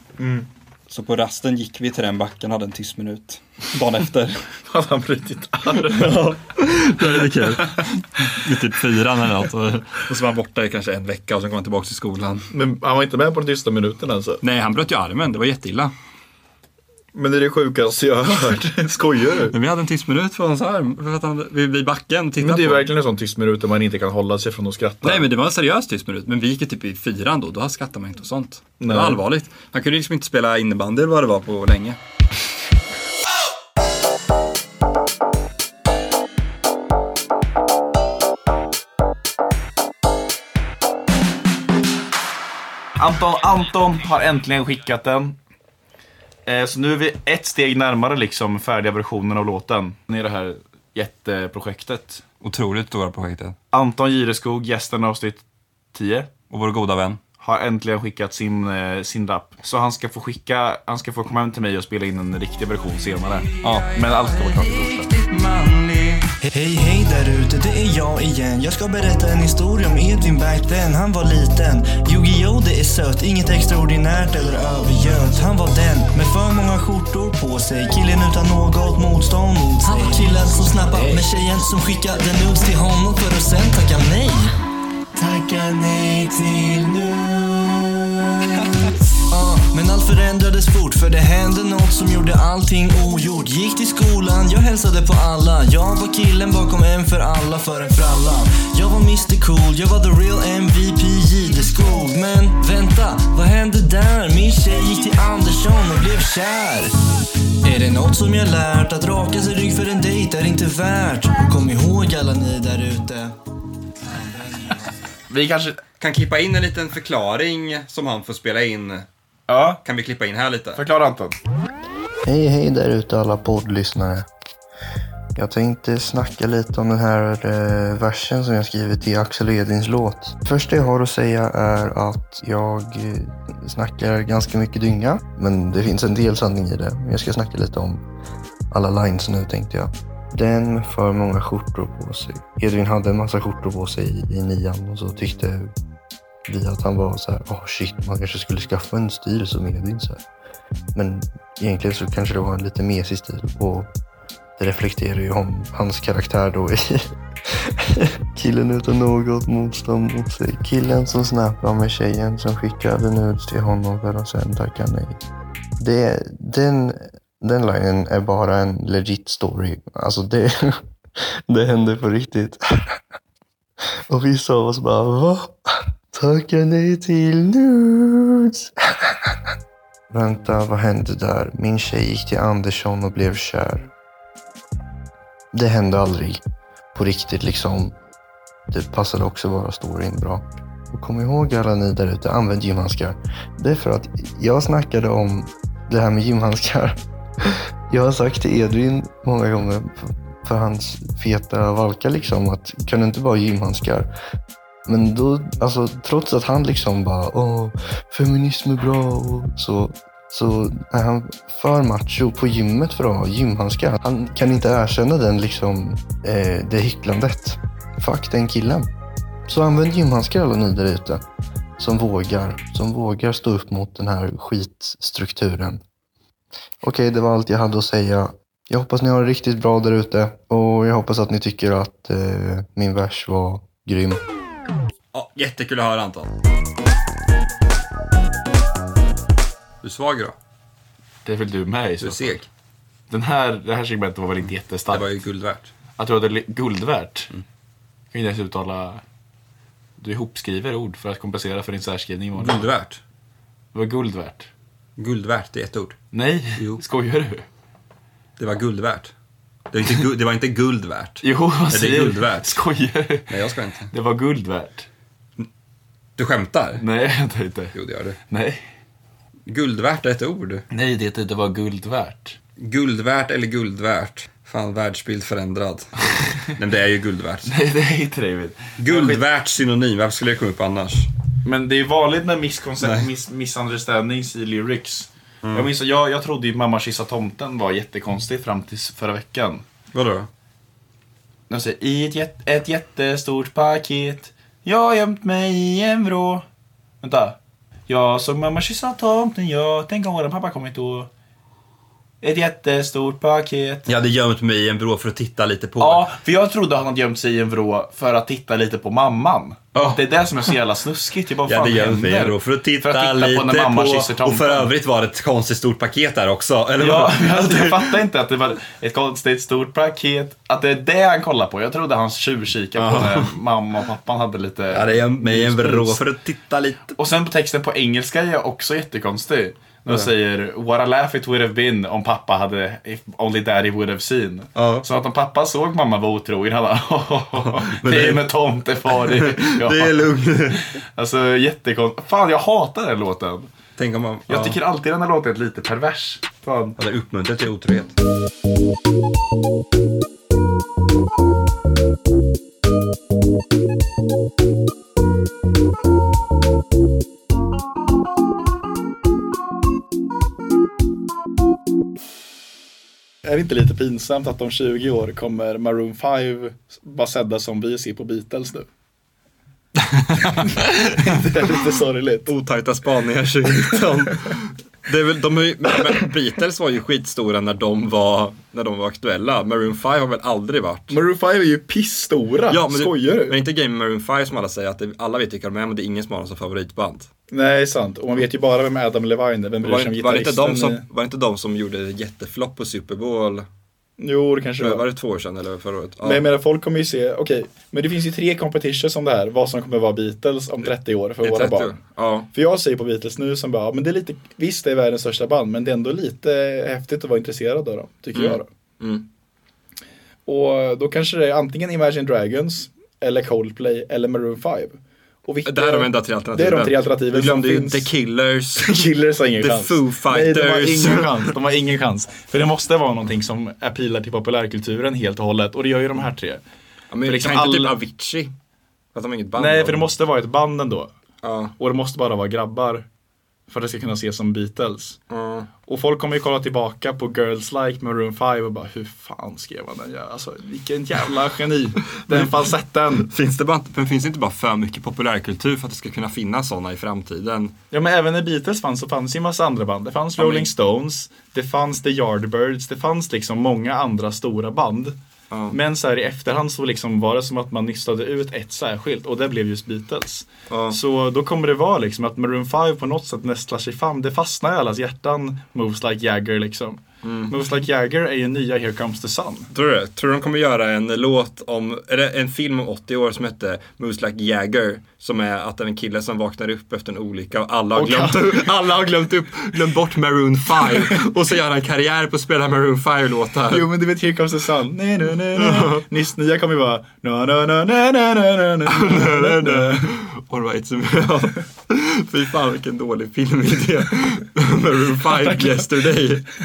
Speaker 10: Så på rasten gick vi till den backen och hade en tyst minut. Dagen efter.
Speaker 4: Hade han brutit armen?
Speaker 10: (laughs)
Speaker 5: Det är kul. Vid typ fyran eller något. Och, och så var han borta i kanske en vecka och sen kom han tillbaka till skolan.
Speaker 4: Men han var inte med på den tysta minuten alltså.
Speaker 5: Nej, han bröt ju armen. Det var jätteilla.
Speaker 4: Men det är det sjukaste jag har hört. Skojar du?
Speaker 5: Men vi hade en tyst minut för hans arm. För att han, vid, vid backen tittade
Speaker 4: Men det är
Speaker 5: på honom.
Speaker 4: verkligen en sån tyst minut där man inte kan hålla sig från att skratta.
Speaker 5: Nej men det var en seriös tyst minut. Men vi gick ju typ i fyran då. Då skrattade man inte och sånt. Det var
Speaker 4: Nej.
Speaker 5: allvarligt. Han kunde liksom inte spela innebandy eller vad det var på länge.
Speaker 4: Anton, Anton har äntligen skickat den. Eh, Så nu är vi ett steg närmare liksom färdiga versionen av låten. I det här jätteprojektet.
Speaker 5: Otroligt stora projektet.
Speaker 4: Anton Gireskog, gästen i avsnitt 10,
Speaker 5: Och vår goda vän.
Speaker 4: har äntligen skickat sin, eh, sin rap. Så han ska få skicka, han ska få komma hem till mig och spela in en riktig version senare. Ja. Men allt ska vara klart till torsdag.
Speaker 10: Hej hej där ute, det är jag igen. Jag ska berätta en historia om Edvin back then. Han var liten. Yu-Gi-Oh det är sött, inget extraordinärt eller övergönt. Han var den med för många skjortor på sig. Killen utan något motstånd mot sig. Han var killen som snappade med tjejen som skickade nudes till honom för att sen tacka nej.
Speaker 5: (laughs)
Speaker 10: Tacka nej till nu. Ah, Men allt för förändrades fort för det hände något som gjorde allting ogjort. Gick till skolan, jag hälsade på alla. Jag var killen bakom en för alla för en fralla. Jag var Mr Cool, jag var the real MVP Jideskog. Men vänta, vad hände där? Min tjej gick till Andersson och blev kär. Är det något som jag lärt? Att raka sig rygg för en dejt är inte värt. Och kom ihåg alla ni där ute.
Speaker 5: Vi kanske kan klippa in en liten förklaring som han får spela in.
Speaker 4: Ja.
Speaker 5: Kan vi klippa in här lite?
Speaker 4: Förklara Anton.
Speaker 11: Hej hej där ute alla poddlyssnare. Jag tänkte snacka lite om den här eh, versen som jag skrivit till Axel Edins låt. Första jag har att säga är att jag eh, snackar ganska mycket dynga. Men det finns en del sanning i det. Men Jag ska snacka lite om alla lines nu tänkte jag. Den med för många skjortor på sig. Edvin hade en massa skjortor på sig i, i nian och så tyckte vi att han var så här, åh shit, man kanske skulle skaffa en stil som Edvin. Så här. Men egentligen så kanske det var en lite mesig stil och det reflekterar ju om hans karaktär då i (laughs) Killen utan något motstånd mot sig. Killen som snappar med tjejen som skickade nudes till honom för att sen tacka nej. Det, den, den linen är bara en legit story. Alltså det, (laughs) det hände på riktigt. (laughs) Och vissa av oss bara va? Tacka nej till nudes? (laughs) Vänta, vad hände där? Min tjej gick till Andersson och blev kär. Det hände aldrig på riktigt liksom. Det passade också bara storyn bra. Och kom ihåg alla ni där ute, använd gymhandskar. Det är för att jag snackade om det här med gymhandskar. (laughs) Jag har sagt till Edvin många gånger för- för hans feta valka liksom att kan du inte bara ha gymhandskar? Men då, alltså trots att han liksom bara åh, feminism är bra och så, så är han för macho på gymmet för att ha gymhandskar. Han kan inte erkänna den liksom, eh, det hycklandet. Fuck den killen. Så använd gymhandskar alla ni där ute. Som vågar, som vågar stå upp mot den här skitstrukturen. Okej, det var allt jag hade att säga. Jag hoppas ni har det riktigt bra där ute och jag hoppas att ni tycker att eh, min vers var grym.
Speaker 5: Ja, jättekul att höra Anton. Du är svag då?
Speaker 12: Det är väl du med i så Du är
Speaker 5: seg.
Speaker 12: Den här, det här segmentet var väl inte jättestarkt? Det var
Speaker 5: ju guld värt. Mm.
Speaker 12: Jag tror att det är li- guld värt. Jag kan ju inte ens uttala... Du ihopskriver ord för att kompensera för din särskrivning imorgon.
Speaker 5: Guld värt.
Speaker 12: Det var guld värt.
Speaker 5: Guld värt, det är ett ord.
Speaker 12: Nej, (laughs) skojar du?
Speaker 5: Det var guld värt. Det var inte, gu- det var inte guld värt.
Speaker 12: Jo, vad
Speaker 5: Nej, Det
Speaker 12: säger
Speaker 5: är
Speaker 12: du?
Speaker 5: guld värt.
Speaker 12: Skojar du?
Speaker 5: Nej, jag ska inte.
Speaker 12: Det var guld värt.
Speaker 5: Du skämtar?
Speaker 12: Nej, (laughs) jag skämtar inte.
Speaker 5: Jo, det gör du.
Speaker 12: Nej.
Speaker 5: Guld värt är ett ord.
Speaker 12: Nej, det, det var guld värt.
Speaker 5: Guld värt eller guld värt? Fan, världsbild förändrad. Nej, men det är ju guld värt.
Speaker 12: (laughs) Nej, det är inte det.
Speaker 5: Guld värt synonym, varför skulle det komma upp annars?
Speaker 4: Men det är vanligt när miskoncept, miss, misunderstandings i lyrics.
Speaker 5: Mm.
Speaker 4: Jag minns att jag, jag trodde ju Mamma kissa tomten var jättekonstigt fram till förra veckan.
Speaker 5: Vadå?
Speaker 4: De säger i ett, jätt, ett jättestort paket. Jag har gömt mig i en vrå. Vänta. Jag såg mamma kyssa tomten, jag tänk om våran pappa kommit då. Ett jättestort paket.
Speaker 5: Jag hade gömt mig i en vrå för att titta lite på.
Speaker 4: Ja, för jag trodde han hade gömt sig i en vrå för att titta lite på mamman. Det är det som är så jävla snuskigt. Jag bara,
Speaker 5: Jag
Speaker 4: fan
Speaker 5: hade gömt
Speaker 4: händer?
Speaker 5: mig i en vrå för att titta,
Speaker 4: För att titta på
Speaker 5: lite på.
Speaker 4: när mamma kysser
Speaker 5: och för
Speaker 4: tomten.
Speaker 5: övrigt var det ett konstigt stort paket där också. Eller
Speaker 4: Ja,
Speaker 5: vadå?
Speaker 4: alltså, jag fattar inte att det var ett konstigt stort paket. Att det är det han kollar på. Jag trodde han tjuvkikade på
Speaker 5: Ja.
Speaker 4: när mamma och pappan hade lite...
Speaker 5: Jag hade gömt mig i en vrå för att titta lite.
Speaker 4: Och sen på texten på engelska är också jättekonstig. De
Speaker 5: Ja.
Speaker 4: säger “What a laugh it would have been om pappa hade, if only daddy would have seen”. Så att om pappa såg mamma vara otrogen, han bara (laughs) "Åh,
Speaker 5: Men
Speaker 4: “Det
Speaker 5: det-
Speaker 4: är med tomtefar”.
Speaker 5: (laughs) Det är lugnt.
Speaker 4: Alltså jättekonstigt. Fan, jag hatar den här låten.
Speaker 5: Tänk om man,
Speaker 4: jag
Speaker 5: ja.
Speaker 4: tycker alltid den här låten är lite pervers. Fan.
Speaker 5: Ja, det uppmuntrar till otrohet.
Speaker 13: Är det inte lite pinsamt att om 20 år kommer Maroon 5 vara sedda som vi ser på Beatles
Speaker 4: (laughs)
Speaker 13: nu? det är lite sorgligt.
Speaker 5: Otajta spaningar 2019. det är väl, de är ju, men Beatles var ju skitstora när de var, när de var aktuella. Maroon 5 har väl aldrig varit.
Speaker 4: Maroon 5 är ju pissstora.
Speaker 5: Ja, men
Speaker 4: Skojar
Speaker 5: det,
Speaker 4: du?
Speaker 5: Men det är inte grejen med Maroon 5 som alla säger att det, alla vet vilka de är men det är ingen som har dem som favoritband.
Speaker 4: Nej, sant. Och man vet ju bara vem Adam Levine är. Vem bryr sig om
Speaker 5: Var, var, det inte
Speaker 4: gitarristen? Eh,
Speaker 5: de som,
Speaker 4: i-
Speaker 5: var det inte de som gjorde jätteflopp på Super Bowl?
Speaker 4: Jo, det kanske det
Speaker 5: var.
Speaker 4: var.
Speaker 5: Var det två år sedan eller förra året? Ja.
Speaker 4: Men jag menar, folk kommer ju se, okej, men det finns ju tre competitions om det här, vad som kommer vara Beatles om 30 år för
Speaker 5: Det är
Speaker 4: våra
Speaker 5: 30 år.
Speaker 4: barn.
Speaker 5: Ja.
Speaker 4: För jag säger på Beatles nu som bara, ja, men det är lite, visst det är världens största band, men det är ändå lite häftigt att vara intresserad av dem, tycker
Speaker 5: Mm.
Speaker 4: jag då. Och då kanske det är antingen Imagine Dragons, eller Coldplay, eller Maroon 5. Och vilka-
Speaker 5: Det här är de enda tre alternativen.
Speaker 4: Det är de tre alternativen
Speaker 5: Du glömde
Speaker 4: som
Speaker 5: ju (laughs)
Speaker 4: finns.
Speaker 5: The Killers.
Speaker 4: Killers har ingen
Speaker 5: The
Speaker 4: chans.
Speaker 5: Foo Fighters.
Speaker 4: Nej, de har
Speaker 5: (laughs)
Speaker 4: ingen chans. De har ingen chans. För det måste vara någonting som appealar till populärkulturen helt och hållet. Och det gör ju de här tre.
Speaker 5: Ja, men
Speaker 4: För liksom
Speaker 5: kan inte typ Avicii? Fast de har inget band.
Speaker 4: Nej,
Speaker 5: då.
Speaker 4: för det måste vara ett band ändå.
Speaker 5: Ja.
Speaker 4: Och det måste bara vara grabbar. För att det ska kunna ses som Beatles.
Speaker 5: Ja.
Speaker 4: Och folk kommer ju kolla tillbaka på Girls Like med Room 5 och bara hur fan skrev han den? Ja, Alltså vilken jävla geni. Den falsetten.
Speaker 5: (laughs) Finns det, bara, men finns det inte bara för mycket populärkultur för att det ska kunna finnas sådana i framtiden?
Speaker 4: Ja men även när Beatles fanns så fanns ju en massa andra band. Det fanns
Speaker 5: Ja, men-
Speaker 4: Rolling Stones, det fanns The Yardbirds, det fanns liksom många andra stora band. Men så här i efterhand så liksom var det som att man nystade ut ett särskilt och det blev just Beatles. Så då kommer det vara liksom att Maroon 5 på något sätt nästlar sig fram. Det fastnar i allas hjärtan, Moves Like Jagger liksom.
Speaker 5: Mhm. Mm.
Speaker 4: Moves Like Jagger är ju nya Here Comes the Sun.
Speaker 5: Tror du det? Tror du de kommer göra en låt om, eller en film om 80 år som hette Moose Like Jagger? Som är att det är en kille som vaknar upp efter en olycka och alla har,
Speaker 4: Och (laughs)
Speaker 5: glömt, (laughs)
Speaker 4: han-
Speaker 5: upp, alla har glömt, upp, glömt bort Maroon 5. Och så gör han karriär på att spela Maroon 5-låtar.
Speaker 4: Jo men du vet Here comes the sun. Nej, nej, nej, nej. Nyss nya kommer ju vara na na na na na na na na
Speaker 5: (laughs)
Speaker 4: na na
Speaker 5: Alright, så (laughs) ja. Fy fan vilken dålig filmidé. (laughs) Maroon 5 yesterday.
Speaker 4: (laughs)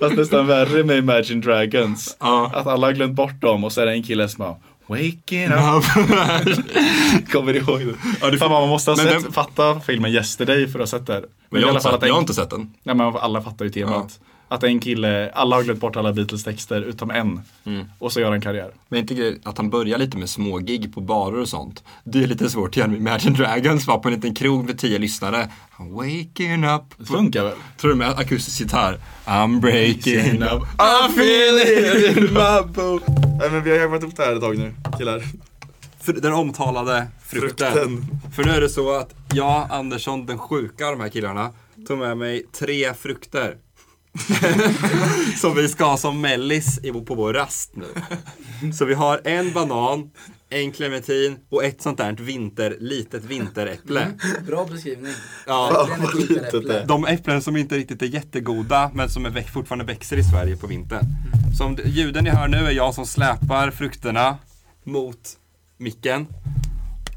Speaker 4: Fast nästan värre med Imagine Dragons. Att alla har glömt bort dem och så är det en kille som bara Waking
Speaker 5: (laughs)
Speaker 4: up. (laughs) Kommer du ihåg det? Fan man måste ha
Speaker 5: Men
Speaker 4: sett,
Speaker 5: den-
Speaker 4: fatta filmen Yesterday för att ha sett det. här.
Speaker 5: Men jag har
Speaker 4: i alla
Speaker 5: inte
Speaker 4: fall
Speaker 5: sett-
Speaker 4: att en-
Speaker 5: jag har inte sett den.
Speaker 4: Nej men alla fattar ju temat. Att en kille, alla har glömt bort alla Beatles texter utom en. Mm. Och så gör han karriär.
Speaker 5: Men inte grejen att han börjar lite med små gig på barer och sånt. Det är lite svårt att göra med Imagine Dragons va, på en liten krog med tio lyssnare. I'm waking up. Det
Speaker 4: funkar väl?
Speaker 5: Tror du med akustisk gitarr? I'm
Speaker 4: (laughs)
Speaker 5: breaking up.
Speaker 4: I feel it (laughs) in my
Speaker 5: boat.
Speaker 4: Nej men vi har jävlat upp det här ett tag nu, killar.
Speaker 5: Fr- Den omtalade frukten.
Speaker 4: Frukten.
Speaker 5: För nu är det så att jag, Andersson, den sjuka av de här killarna, tog med mig tre frukter. (laughs) som vi ska ha som mellis i- på vår rast nu. Så vi har en banan, en clementin och ett sånt där vinter, litet vinteräpple.
Speaker 14: Mm. Bra beskrivning.
Speaker 5: Ja,
Speaker 14: Verkligen ett vinteräpple.
Speaker 5: de äpplen som inte riktigt är jättegoda men som är väx- fortfarande växer i Sverige på vintern. Så om det- ljuden ni hör nu är jag som släpar frukterna mot micken.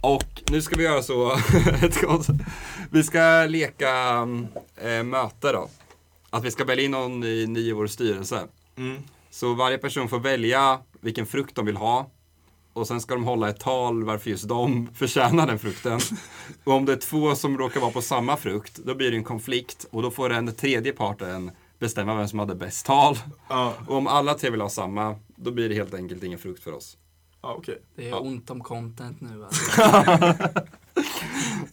Speaker 5: Och nu ska vi göra så, (laughs) ett kort- vi ska leka mm, eh, möte då. Att vi ska välja in någon i, ny i vår styrelse.
Speaker 15: Mm.
Speaker 5: Så varje person får välja vilken frukt de vill ha. Och sen ska de hålla ett tal varför just de förtjänar den frukten. Och om det är två som råkar vara på samma frukt, då blir det en konflikt. Och då får den tredje parten bestämma vem som hade bäst tal. Och om alla tre vill ha samma, då blir det helt enkelt ingen frukt för oss.
Speaker 4: Ja, okej.
Speaker 14: Det är ont om
Speaker 16: (laughs)
Speaker 14: content nu alltså.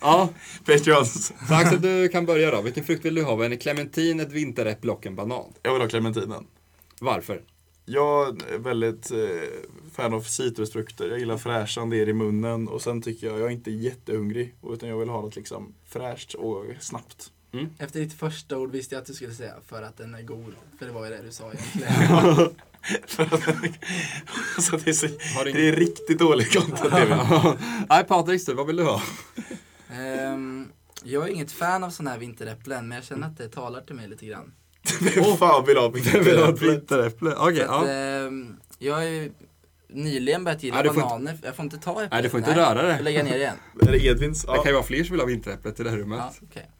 Speaker 5: ja. Patreons. Så Axel, du kan börja då. Vilken frukt vill du ha? En clementin, ett vinteräpple och en banan.
Speaker 16: Jag vill ha clementinen.
Speaker 5: Varför?
Speaker 16: Jag är väldigt eh, fan av citrusfrukter. Jag gillar fräschan det är i munnen och sen tycker jag, jag är inte jättehungrig utan jag vill ha något liksom fräscht och snabbt.
Speaker 14: Efter ditt första ord visste jag att du skulle säga för att den är god. För det var ju det du sa
Speaker 16: (laughs)
Speaker 14: egentligen.
Speaker 16: alltså, det, är (laughs) så, det är riktigt
Speaker 14: (laughs)
Speaker 16: dålig content det
Speaker 5: vi- (laughs) Nej, Patrik, vad vill du ha?
Speaker 14: Ehm, jag är inget fan av sådana här vinteräpplen men jag känner att det talar till mig lite grann.
Speaker 16: (laughs) Vem fan
Speaker 5: (laughs)
Speaker 16: vill ha vinteräpplet?
Speaker 5: Vinteräpple, okej.
Speaker 14: För att,
Speaker 5: ja.
Speaker 14: ehm, jag har ju nyligen börjat gilla
Speaker 5: Nej, du får inte-
Speaker 14: bananer. Jag får inte ta äpplen.
Speaker 5: Nej, du får inte röra det.
Speaker 14: Jag lägger ner det igen.
Speaker 16: (laughs) Är det Edvins?
Speaker 5: Det kan ju vara fler som vill ha vinteräpplet i det här rummet.
Speaker 14: Ja, okej.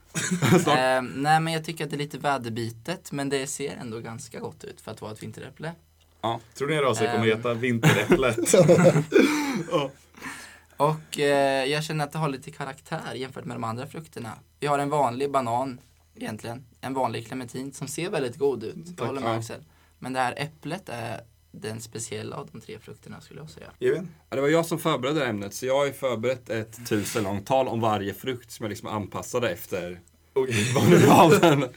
Speaker 5: (laughs)
Speaker 14: Ehm, nej men jag tycker att det är lite väderbitet men det ser ändå ganska gott ut för att vara ett vinteräpple.
Speaker 5: 啊
Speaker 16: Tror ni rasen kommer
Speaker 14: Ehm.
Speaker 16: heta vinteräpplet?
Speaker 14: (laughs) Ja. Och eh, jag känner att det har lite karaktär jämfört med de andra frukterna. Vi har en vanlig banan egentligen, en vanlig clementin som ser väldigt god ut. Jag
Speaker 16: Tack.
Speaker 14: håller med
Speaker 16: Ja.
Speaker 14: Axel. Men det här äpplet är den speciella av de tre frukterna skulle
Speaker 16: (laughs)
Speaker 14: jag säga.
Speaker 5: Ja, det var jag som förberedde det här ämnet, så jag har ju förberett ett tusen långt tal om varje frukt som jag liksom anpassade efter vad nu var den.
Speaker 4: (laughs)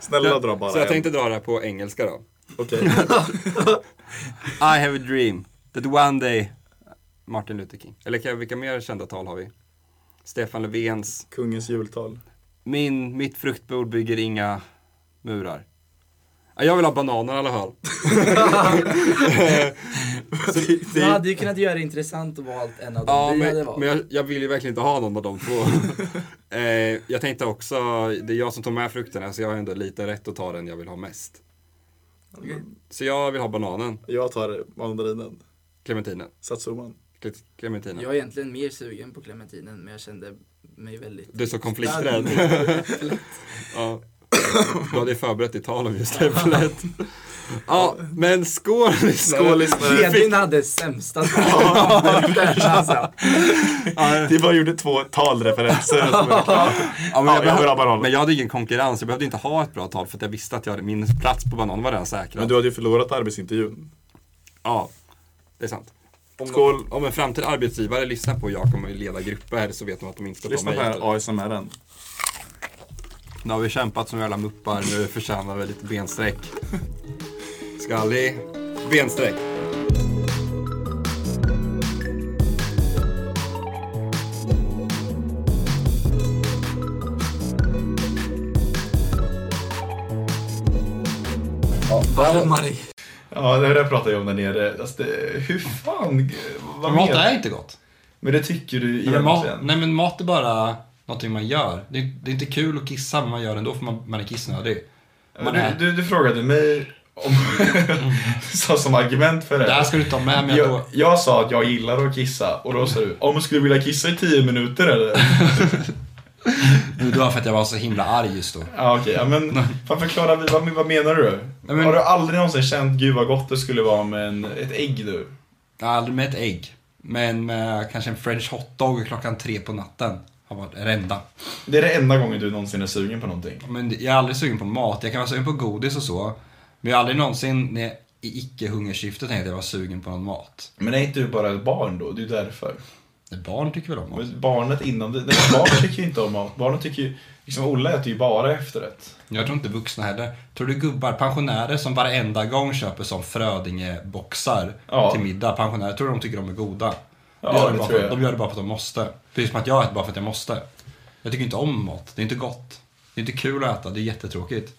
Speaker 4: Snälla
Speaker 5: Ja,
Speaker 4: dra bara
Speaker 5: Så jag
Speaker 4: en.
Speaker 5: tänkte dra det här på engelska då.
Speaker 4: Okej.
Speaker 5: (laughs) I have a dream that one day Martin Luther King. Eller kan- vilka mer kända tal har vi? Stefan Löfvens.
Speaker 4: Kungens jultal.
Speaker 5: Min, mitt fruktbord bygger inga murar. Ja, Jag vill ha bananer i alla
Speaker 4: (laughs)
Speaker 5: fall. (laughs) (laughs) Så det-
Speaker 14: Du hade ju kunnat göra det intressant att valt en av dem
Speaker 5: Ja,
Speaker 14: vi hade
Speaker 5: men,
Speaker 14: valt.
Speaker 5: men jag, jag vill ju verkligen inte ha någon av de
Speaker 14: (laughs)
Speaker 5: två. eh, jag tänkte också, det är jag som tar med frukterna så jag har ändå lite rätt att ta den jag vill ha mest. Så jag vill ha bananen.
Speaker 4: Jag tar mandarinen.
Speaker 5: Clementinen.
Speaker 4: Satsuman.
Speaker 5: Clementinen.
Speaker 14: Jag är egentligen mer sugen på clementinen men jag kände mig väldigt...
Speaker 5: Du är så konflikträdd.
Speaker 14: (laughs)
Speaker 5: (laughs)
Speaker 14: Lätt.
Speaker 5: ja. Du hade ju förberett ditt tal om just
Speaker 14: (laughs)
Speaker 5: äpplet. Ja, men skål lyssnare.
Speaker 14: Edvin hade sämsta talet. alltså.
Speaker 5: (laughs)
Speaker 4: Vi bara gjorde två talreferenser. som är klara.
Speaker 5: Ja, men,
Speaker 4: Ja,
Speaker 5: jag
Speaker 4: jag vill
Speaker 5: behöv,
Speaker 4: ha banan.
Speaker 5: men jag hade ingen konkurrens, jag behövde inte ha ett bra tal för att jag visste att jag hade, min plats på banan var redan säkrad.
Speaker 4: Men du hade ju förlorat arbetsintervjun.
Speaker 5: Ja, det är sant. Om,
Speaker 4: Skål.
Speaker 5: om en framtida arbetsgivare lyssnar på jag kommer leda grupper så vet de att de inte ska
Speaker 4: Lyssna på
Speaker 5: ta mig.
Speaker 4: den här ASMRen.
Speaker 5: Nu har vi kämpat som jävla muppar, nu förtjänar vi lite bensträck. Skallig, bensträck.
Speaker 4: Ja, det här pratar jag om där nere. Alltså, det, hur fan? Vad
Speaker 5: mat
Speaker 4: menar-
Speaker 5: är inte gott.
Speaker 4: Men det tycker du
Speaker 5: Nej men, mat,
Speaker 4: egentligen.
Speaker 5: nej men mat är bara någonting man gör. Det är, det är inte kul att kissa men man gör det ändå för man, man är kissnödig. Man
Speaker 4: du,
Speaker 5: är,
Speaker 4: du, du frågade mig om, (laughs) som, som argument för det.
Speaker 5: Det här ska du ta med, men jag
Speaker 4: jag, jag sa att jag gillar att kissa och då sa du, om skulle du vilja kissa i tio minuter eller?
Speaker 5: (laughs) du, det var för att jag var så himla arg just då.
Speaker 4: Ja okej, ja, men
Speaker 5: (laughs)
Speaker 4: fan förklara, vad, vad menar du? Har du aldrig någonsin känt, gud vad gott det skulle vara med en, ett ägg nu?
Speaker 5: Aldrig med ett ägg. Men med kanske en french hotdog klockan tre på natten. Har varit det enda.
Speaker 4: Det är det enda gången du någonsin är sugen på någonting.
Speaker 5: Men jag är aldrig sugen på mat. Jag kan vara sugen på godis och så. Men jag har aldrig någonsin när jag, i icke-hungersyfte tänkt att jag var sugen på någon mat.
Speaker 4: Men är inte du bara ett barn då? Det är ju därför.
Speaker 5: Barn tycker väl om mat?
Speaker 4: Men barnet inom dig, nej, barn tycker ju inte om mat. Barnet tycker ju, liksom Olle äter ju bara efterrätt.
Speaker 5: Jag tror inte vuxna heller. Tror du gubbar, pensionärer som varenda gång köper som Frödinge-boxar
Speaker 4: Ja.
Speaker 5: till middag, pensionärer, tror du de tycker de är goda?
Speaker 4: Ja,
Speaker 5: de, gör
Speaker 4: det
Speaker 5: bara
Speaker 4: tror
Speaker 5: för,
Speaker 4: jag.
Speaker 5: de gör det bara för att de måste. Precis som att jag äter bara för att jag måste. Jag tycker inte om mat, det är inte gott. Det är inte kul att äta, det är jättetråkigt.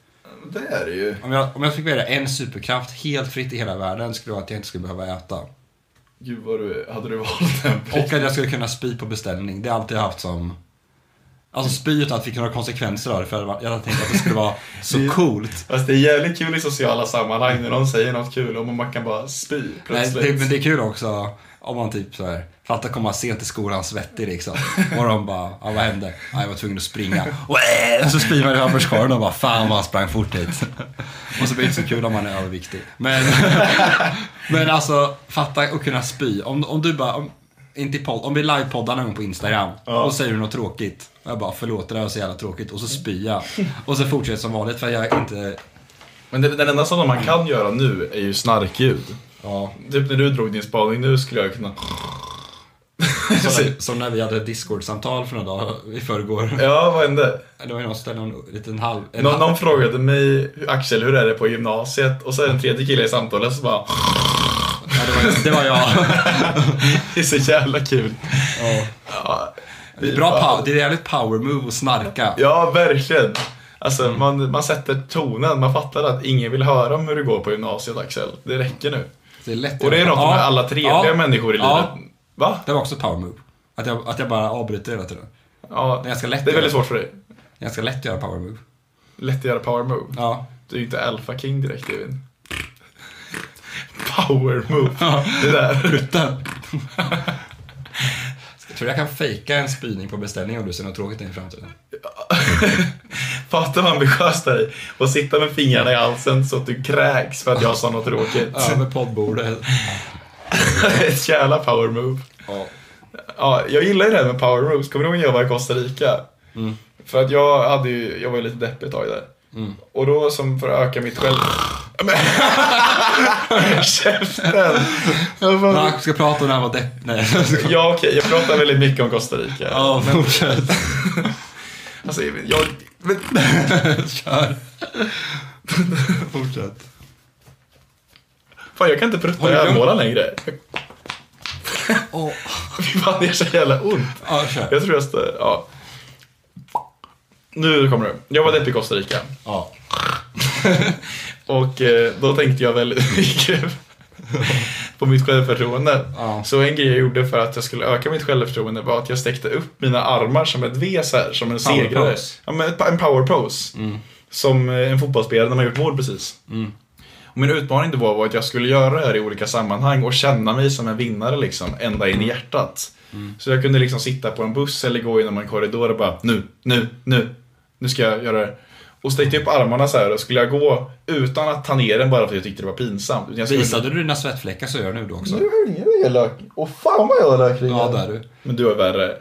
Speaker 4: Det är det ju.
Speaker 5: Om jag, om jag fick välja en superkraft helt fritt i hela världen skulle det vara att jag inte skulle behöva äta.
Speaker 4: Gud vad du, hade du valt den
Speaker 5: Och att jag skulle kunna spy på beställning. Det har jag alltid haft som... Alltså spy utan att det fick några konsekvenser av det. För jag hade- jag hade tänkt att det skulle vara så coolt.
Speaker 4: Fast det är jävligt kul i sociala sammanhang när någon säger något kul och man kan bara spy
Speaker 5: Nej,
Speaker 4: plötsligt.
Speaker 5: det, men det är kul också om man typ så här, fatta komma sent till skolan svettig liksom. Och de bara, ja, vad hände? Ja, jag var tvungen att springa. Och äh, så springer man i papperskorgen och bara, fan vad han sprang fort hit. Och så blir det inte så kul om man är överviktig. Men, (laughs) men alltså, fatta och kunna spy. Om, om du bara, om, inte i podd, om vi livepoddar någon gång på Instagram och säger du något tråkigt. Och jag bara, förlåt det där var så jävla tråkigt. Och så spyr jag. Och så fortsätter som vanligt för jag inte...
Speaker 4: Men det, den enda sådana man kan göra nu är ju snarkljud.
Speaker 5: Ja.
Speaker 4: Typ när du drog din spaning nu skulle jag kunna... (laughs)
Speaker 5: Som när, som när vi hade ett Discord-samtal för några dagar i förrgår.
Speaker 4: Ja, vad hände?
Speaker 5: Det var ju någon som ställde någon liten halv... en
Speaker 4: Nå,
Speaker 5: halv-
Speaker 4: någon frågade mig, Axel hur är det på gymnasiet? Och så är det en tredje kille i samtalet som bara...
Speaker 5: Ja, det, var, det var jag.
Speaker 4: (laughs) det är så jävla kul. Ja.
Speaker 5: Det är, bra pow, det är jävligt power move att snarka. Mm.
Speaker 4: Ja, verkligen. Alltså man, man sätter tonen, man fattar att ingen vill höra om hur det går på gymnasiet Axel. Det räcker nu.
Speaker 5: Det är lätt
Speaker 4: Och det är något
Speaker 5: Ja,
Speaker 4: med alla trevliga
Speaker 5: ja,
Speaker 4: människor i
Speaker 5: ja.
Speaker 4: livet. Va?
Speaker 5: Det var också power move. Att jag, att jag bara avbryter hela tiden.
Speaker 4: Ja,
Speaker 5: det är ganska lätt.
Speaker 4: det är
Speaker 5: att
Speaker 4: väldigt
Speaker 5: göra-
Speaker 4: svårt för dig.
Speaker 5: det är ganska lätt att göra power move.
Speaker 4: Lätt att göra power move.
Speaker 5: Ja.
Speaker 4: Du är ju inte alpha king
Speaker 5: (laughs)
Speaker 4: direkt Evin. Power move.
Speaker 5: (laughs)
Speaker 4: Det där.
Speaker 5: Utan. Jag tror jag kan fejka en spyning på beställning om du ser något tråkigt in i
Speaker 4: (laughs)
Speaker 5: framtiden.
Speaker 4: Fatta vad ambitiöst det är Och sitta med fingrarna i halsen så att du kräks för att jag sa något tråkigt.
Speaker 5: Över poddbordet.
Speaker 4: (laughs) Ett jävla power move.
Speaker 5: Ja.
Speaker 4: Ja, jag gillar ju det här med power moves. Kommer du ihåg när jag var i Costa Rica?
Speaker 5: Mm.
Speaker 4: För att jag hade ju, jag var ju lite deppig ett tag där.
Speaker 5: Mm.
Speaker 4: Och då som för att öka mitt själv... (laughs) Käften!
Speaker 5: Han ska prata om när han var depp. Nej.
Speaker 4: ja, okej. Jag pratar väldigt mycket om Costa Rica.
Speaker 5: Ja, fortsätt.
Speaker 4: (laughs) Alltså, jag... Men...
Speaker 5: (laughs) Kör. Fortsätt.
Speaker 4: Fan, jag kan inte prutta i
Speaker 5: (laughs)
Speaker 4: armhålan längre. (laughs) Fy fan, det gör så jävla ont.
Speaker 5: Ja, kör.
Speaker 4: Jag tror jag ska... Ja. Nu kommer det. Jag var deppig i Costa Rica.
Speaker 5: Ja.
Speaker 4: Och eh, då tänkte jag väldigt mycket på mitt självförtroende. Så en grej jag gjorde för att jag skulle öka mitt självförtroende var att jag sträckte upp mina armar som ett V så här, som en
Speaker 5: Power
Speaker 4: segrare.
Speaker 5: pose.
Speaker 4: Ja, men en power pose. Som eh, en fotbollsspelare när man gjort mål precis.
Speaker 5: Mm.
Speaker 4: Och min utmaning då var att jag skulle göra det här i olika sammanhang och känna mig som en vinnare liksom, ända in i hjärtat.
Speaker 6: Mm.
Speaker 4: Så jag kunde liksom sitta på en buss eller gå genom en korridor och bara nu, nu, nu, nu ska jag göra det. Och sträckte upp armarna så här och skulle jag gå utan att ta ner den bara för att jag tyckte det var pinsamt. Utan jag skulle-
Speaker 5: Visade du dina svettfläckar så gör jag nu då också.
Speaker 4: Nu är jag elak. Åh fan vad jag är elak
Speaker 5: Ja, där du.
Speaker 4: Men du är värre.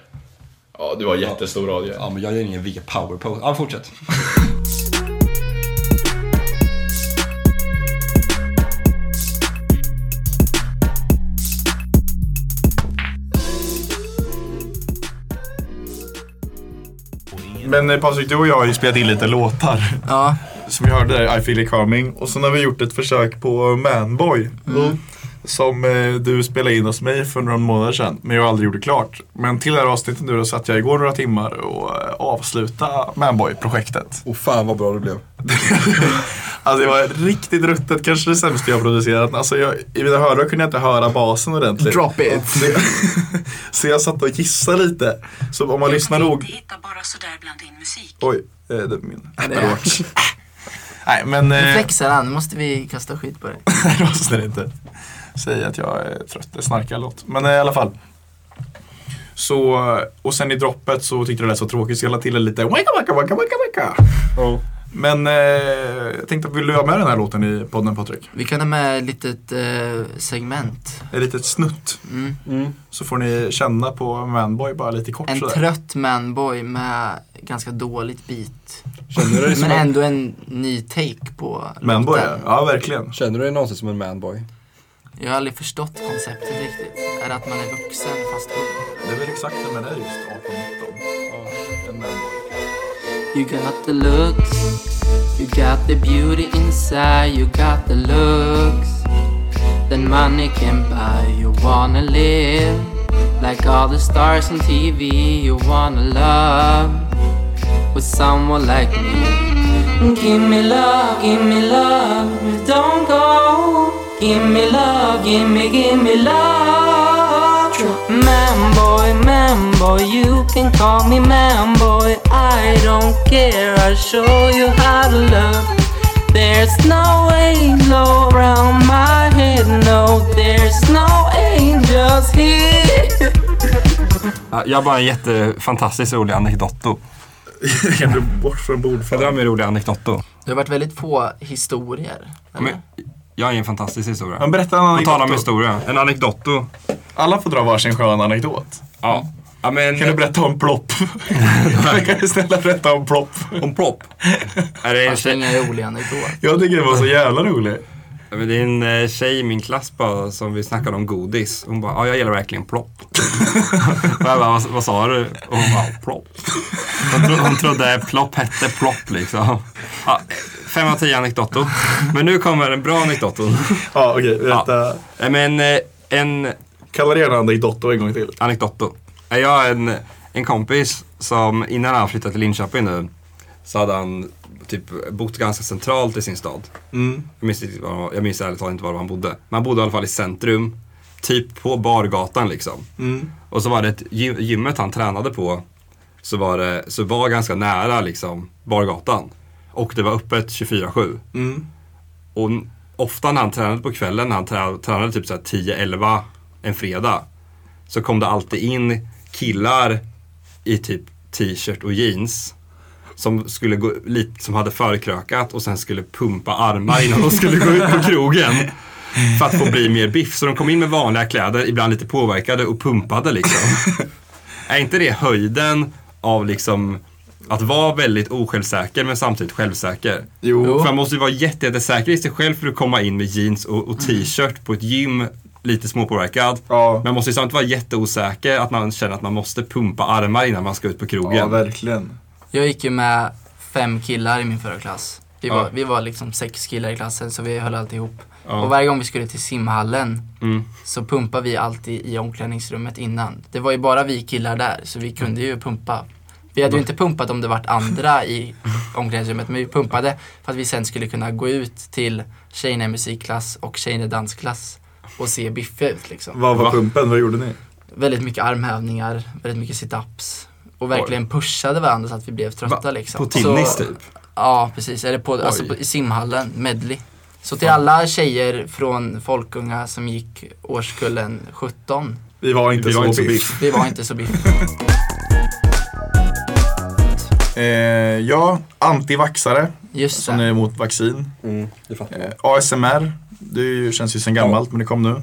Speaker 4: Ja, du har jättestor radie.
Speaker 5: Ja, men jag gör ingen V-power pose. Ja, fortsätt.
Speaker 4: Men eh, Patrik, du och jag har ju spelat in lite låtar.
Speaker 14: Ja.
Speaker 4: Som vi hörde där, I feel it coming. Och sen har vi gjort ett försök på Manboy. Som eh, du spelade in hos mig för några månader sedan, men jag aldrig gjorde klart. Men till det här avsnittet nu då satt jag igår några timmar och eh, avslutade Manboy-projektet.
Speaker 5: Och fan vad bra det blev.
Speaker 4: Alltså det var riktigt ruttet, kanske det sämsta jag har producerat. Alltså jag, I mina hörlurar kunde jag inte höra basen ordentligt.
Speaker 14: Drop it!
Speaker 4: Så jag, (laughs) så jag satt och gissade lite. Så om man lyssnar nog...
Speaker 17: Hitta bara sådär bland din musik.
Speaker 4: Oj, eh, det är min
Speaker 14: det
Speaker 4: Apple
Speaker 14: är-
Speaker 4: Watch. Nej, men...
Speaker 14: Nu
Speaker 4: eh,
Speaker 14: flexar han, nu måste vi kasta skit på dig.
Speaker 4: Nej, (laughs) det måste det inte. Säg att jag är trött, det snarkar låt. Men eh, i alla fall. Så, och sen i droppet så tyckte jag det lät så tråkigt så jag la till det lite waka waka waka waka waka.
Speaker 14: Oh.
Speaker 4: Men eh, jag tänkte, vill du ha med den här låten i podden Patrik?
Speaker 14: Vi kan ha med ett litet eh, segment.
Speaker 4: Ett litet snutt.
Speaker 5: Mm.
Speaker 4: Så får ni känna på Manboy bara lite kort
Speaker 14: En
Speaker 4: sådär.
Speaker 14: trött manboy med ganska dåligt beat.
Speaker 4: Känner du dig som
Speaker 14: Men
Speaker 4: en-
Speaker 14: ändå en ny take på
Speaker 4: Manboy,
Speaker 14: låten.
Speaker 4: ja verkligen.
Speaker 5: Känner du dig någonsin som en manboy?
Speaker 14: Jag har aldrig förstått konceptet riktigt. Är det att man är vuxen fast ung?
Speaker 4: Det är väl exakt det med dig just, 18-19.
Speaker 17: You got the looks, you got the beauty inside, you got the looks that money can buy. You wanna live like all the stars on TV, you wanna love with someone like me. Give me love, give me love, don't go. Give me love, give me, give me love. Man boy, man boy, you can call me man boy. I don't care, I'll show you how to love. There's no halo around my head, no, there's no angels here.
Speaker 5: Ja, Jag har bara en jättefantastiskt rolig
Speaker 4: (laughs)
Speaker 5: anekdotto.
Speaker 4: kan du bort från bordet?
Speaker 5: Jag drar min roliga anekdotto.
Speaker 14: Det har varit väldigt få historier.
Speaker 5: Ja, men Jag är en fantastisk historia.
Speaker 4: Men berätta en
Speaker 5: På tal om
Speaker 4: anekdotto.
Speaker 5: historia. En anekdotto.
Speaker 4: Alla får dra varsin skön anekdot.
Speaker 5: Ja. ja men...
Speaker 4: Kan du berätta om (laughs) plopp? kan du snälla berätta om plopp?
Speaker 5: Om plopp? Är det en
Speaker 14: Vars
Speaker 5: tjej?
Speaker 14: ingen rolig anekdot.
Speaker 4: Jag tycker det var så jävla roligt.
Speaker 5: Ja, men det är en eh, tjej i min klass bara, som vi snackade om godis. Hon bara, ja jag gillar verkligen plopp. och jag bara, vad, vad sa du? Och hon bara, plopp. Hon, tro, hon trodde plopp hette plopp liksom. Ja, fem av tio anekdotor. Men nu kommer en bra anekdotor.
Speaker 4: Ja, okej. berätta.
Speaker 5: Ja. Men eh, en...
Speaker 4: Kalla det gärna anekdotor en gång till.
Speaker 5: Anekdotor. Eh, Jag har en, en kompis som innan han flyttade till Linköping nu så hade han typ bott ganska centralt i sin stad.
Speaker 4: Mm.
Speaker 5: Jag minns, inte var, jag minns ärligt talat inte var han bodde. Men han bodde i alla fall i centrum. Typ på Bargatan liksom.
Speaker 4: Mm.
Speaker 5: Och så var det ett gy- gymmet han tränade på. Så var, det, så var ganska nära liksom Bargatan. Och det var öppet 24-7.
Speaker 4: Mm.
Speaker 5: Och n- ofta när han tränade på kvällen, när han trä- tränade typ så här 10-11 en fredag. Så kom det alltid in killar i typ t-shirt och jeans. Som, skulle gå, lite, som hade förkrökat och sen skulle pumpa armar innan de skulle gå ut på krogen. För att få bli mer biff. Så de kom in med vanliga kläder, ibland lite påverkade och pumpade liksom. Är inte det höjden av liksom Att vara väldigt osjälvsäker men samtidigt självsäker.
Speaker 18: Jo.
Speaker 5: För man måste ju vara jätte- jättesäker i sig själv för att komma in med jeans och, och t-shirt på ett gym, lite småpåverkad. Men man måste ju samtidigt vara jätteosäker, att man känner att man måste pumpa armar innan man ska ut på krogen.
Speaker 14: Ja,
Speaker 19: verkligen.
Speaker 14: Jag gick ju med fem killar i min förra klass. Vi
Speaker 5: Ja.
Speaker 14: var, vi var liksom sex killar i klassen så vi höll alltid ihop.
Speaker 5: Ja.
Speaker 14: Och varje gång vi skulle till simhallen
Speaker 5: Mm.
Speaker 14: så pumpade vi alltid i omklädningsrummet innan. Det var ju bara vi killar där så vi kunde ju pumpa. Vi hade ju inte pumpat om det vart andra i omklädningsrummet men vi pumpade för att vi sen skulle kunna gå ut till tjejerna i musikklass och tjejerna i dansklass och se biffiga ut liksom.
Speaker 20: Vad var
Speaker 14: Va?
Speaker 20: pumpen? Vad gjorde ni?
Speaker 14: Väldigt mycket armhävningar, väldigt mycket sit-ups. Och verkligen pushade varandra så att vi blev trötta liksom.
Speaker 5: På tinnis,
Speaker 14: Så-
Speaker 5: typ?
Speaker 14: Ja, precis. Eller på, alltså,
Speaker 5: Oj.
Speaker 14: på, i simhallen, medley. Så till alla tjejer från Folkunga som gick årskullen 17.
Speaker 20: Vi var inte Vi så var inte så biff. biff.
Speaker 14: Vi var inte så biff.
Speaker 20: Eh, ja, antivaxare.
Speaker 14: Just
Speaker 20: som är emot vaccin.
Speaker 5: Mm,
Speaker 20: eh, ASMR. Det är ju, känns ju sedan gammalt men det kom nu.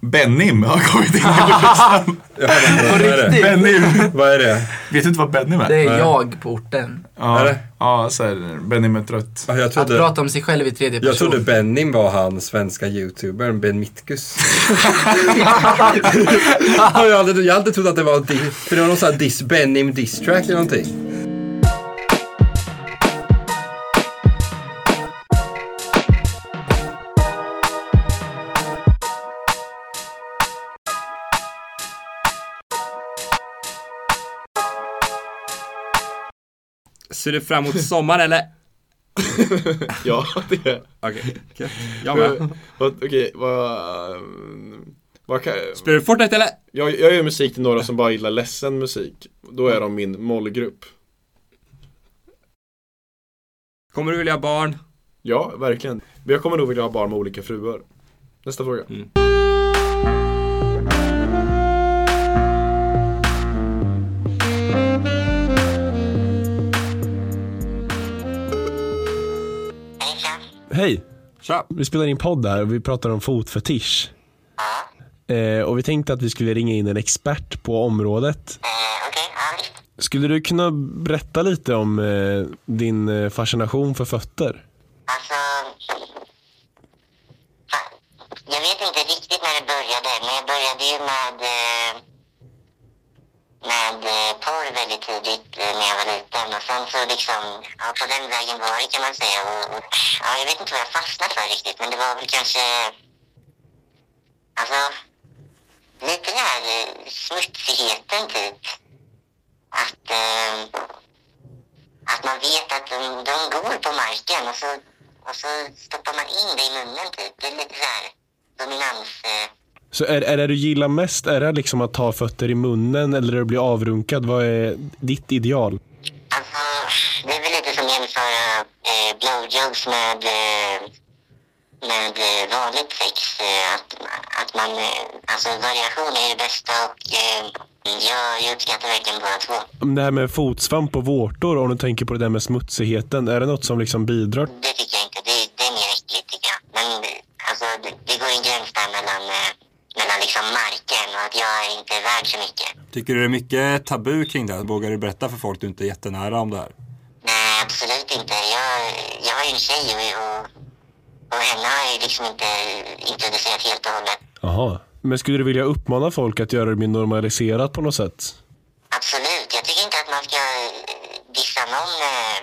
Speaker 20: Benim har
Speaker 14: (laughs)
Speaker 20: kommit in i ordlistan.
Speaker 14: På riktigt?
Speaker 20: Benim.
Speaker 5: Vad är det?
Speaker 20: Vet du inte vad Benim är?
Speaker 14: Det är jag på orten.
Speaker 20: Ja,
Speaker 5: Är det?
Speaker 20: ja så här, Benim är trött.
Speaker 5: jag
Speaker 14: Att prata om sig själv i tredje person.
Speaker 5: Jag trodde Bennim var han svenska youtubern Ben Mitkus. Ja, jag, hade, jag hade trott att det var di- för det var någon sån här diss, Bennim distrack eller någonting. Ser du fram emot sommaren (laughs) eller?
Speaker 21: ja, det gör
Speaker 5: Okej, okay. jag med.
Speaker 22: Vad- Okej, vad... vad kan...
Speaker 5: Spelar du Fortnite eller?
Speaker 22: Jag, jag gör musik till några som bara gillar ledsen musik. Då är de min målgrupp.
Speaker 5: Kommer du vilja ha barn?
Speaker 22: Ja, verkligen. Men jag kommer nog vilja ha barn med olika fruar. Nästa fråga.
Speaker 5: Mm.
Speaker 4: Hej! Tja! Vi spelar in podd här och vi pratar om fotfetisch. Eh, och vi tänkte att vi skulle ringa in en expert på området.
Speaker 23: Eh,
Speaker 4: Skulle du kunna berätta lite om eh, din eh, fascination för fötter?
Speaker 23: Jag vet inte riktigt när det började, men jag började ju med, eh, med eh, porr väldigt tidigt eh, när jag var liten. Och sen så liksom, ja, på den vägen var det kan man säga. Och, och, ja, jag vet inte vad jag fastnade för riktigt, men det var väl kanske, alltså, lite den här eh, smutsigheten typ. Att, eh, att man vet att de, de går på marken och så, och så stoppar man in det i munnen typ. Det är lite så här dominans... Eh,
Speaker 4: Så är, är det du gillar mest, är det liksom att ta fötter i munnen eller att bli avrunkad? Vad är ditt ideal?
Speaker 23: Det är väl lite som att jämföra eh, blowjobs med, eh, med eh, vanligt sex. Eh, att, att man, eh, alltså variation är det bästa och eh, jag, jag uppskattar verkligen båda två.
Speaker 4: Om det här med fotsvamp och vårtor, om du tänker på det där med smutsigheten, är det något som liksom bidrar?
Speaker 23: Det tycker jag inte. Det, det är mer äckligt tycker jag. Men eh, alltså, det, det går en gräns där mellan, eh, mellan liksom marken och att jag är inte värd så mycket.
Speaker 5: Tycker du det är mycket tabu kring det här? Vågar du berätta för folk du inte är jättenära om det här?
Speaker 23: Nej, absolut inte. Jag, jag har ju en tjej och, och, och henne har jag ju liksom inte introducerat helt och hållet.
Speaker 4: Jaha. Men skulle du vilja uppmana folk att göra det mer normaliserat på något sätt?
Speaker 23: Absolut. Jag tycker inte att man ska eh, dissa någon, eh,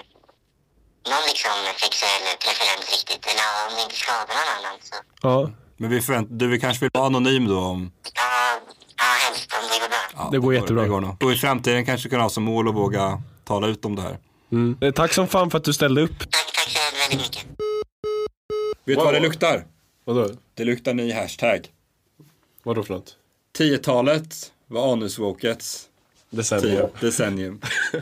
Speaker 23: någon liksom sexuell preferens riktigt. Eller ja, om det inte skadar någon annan. Så,
Speaker 4: Ja.
Speaker 5: Men vi förvänt- du vill kanske vill vara anonym då? Om... Ja, helst om det går bra. det går jättebra. Det går nog. och i framtiden kanske kunna ha som mål att våga tala ut om det här.
Speaker 4: Mm. Eh, Tack som fan för att du ställde upp.
Speaker 5: Vet du vad det luktar?
Speaker 4: Vadå?
Speaker 5: Det luktar ny hashtag.
Speaker 4: Vadå för något?
Speaker 5: 10-talet var anuswokets
Speaker 4: Decennium.
Speaker 5: tid-
Speaker 4: (laughs)
Speaker 5: decennium.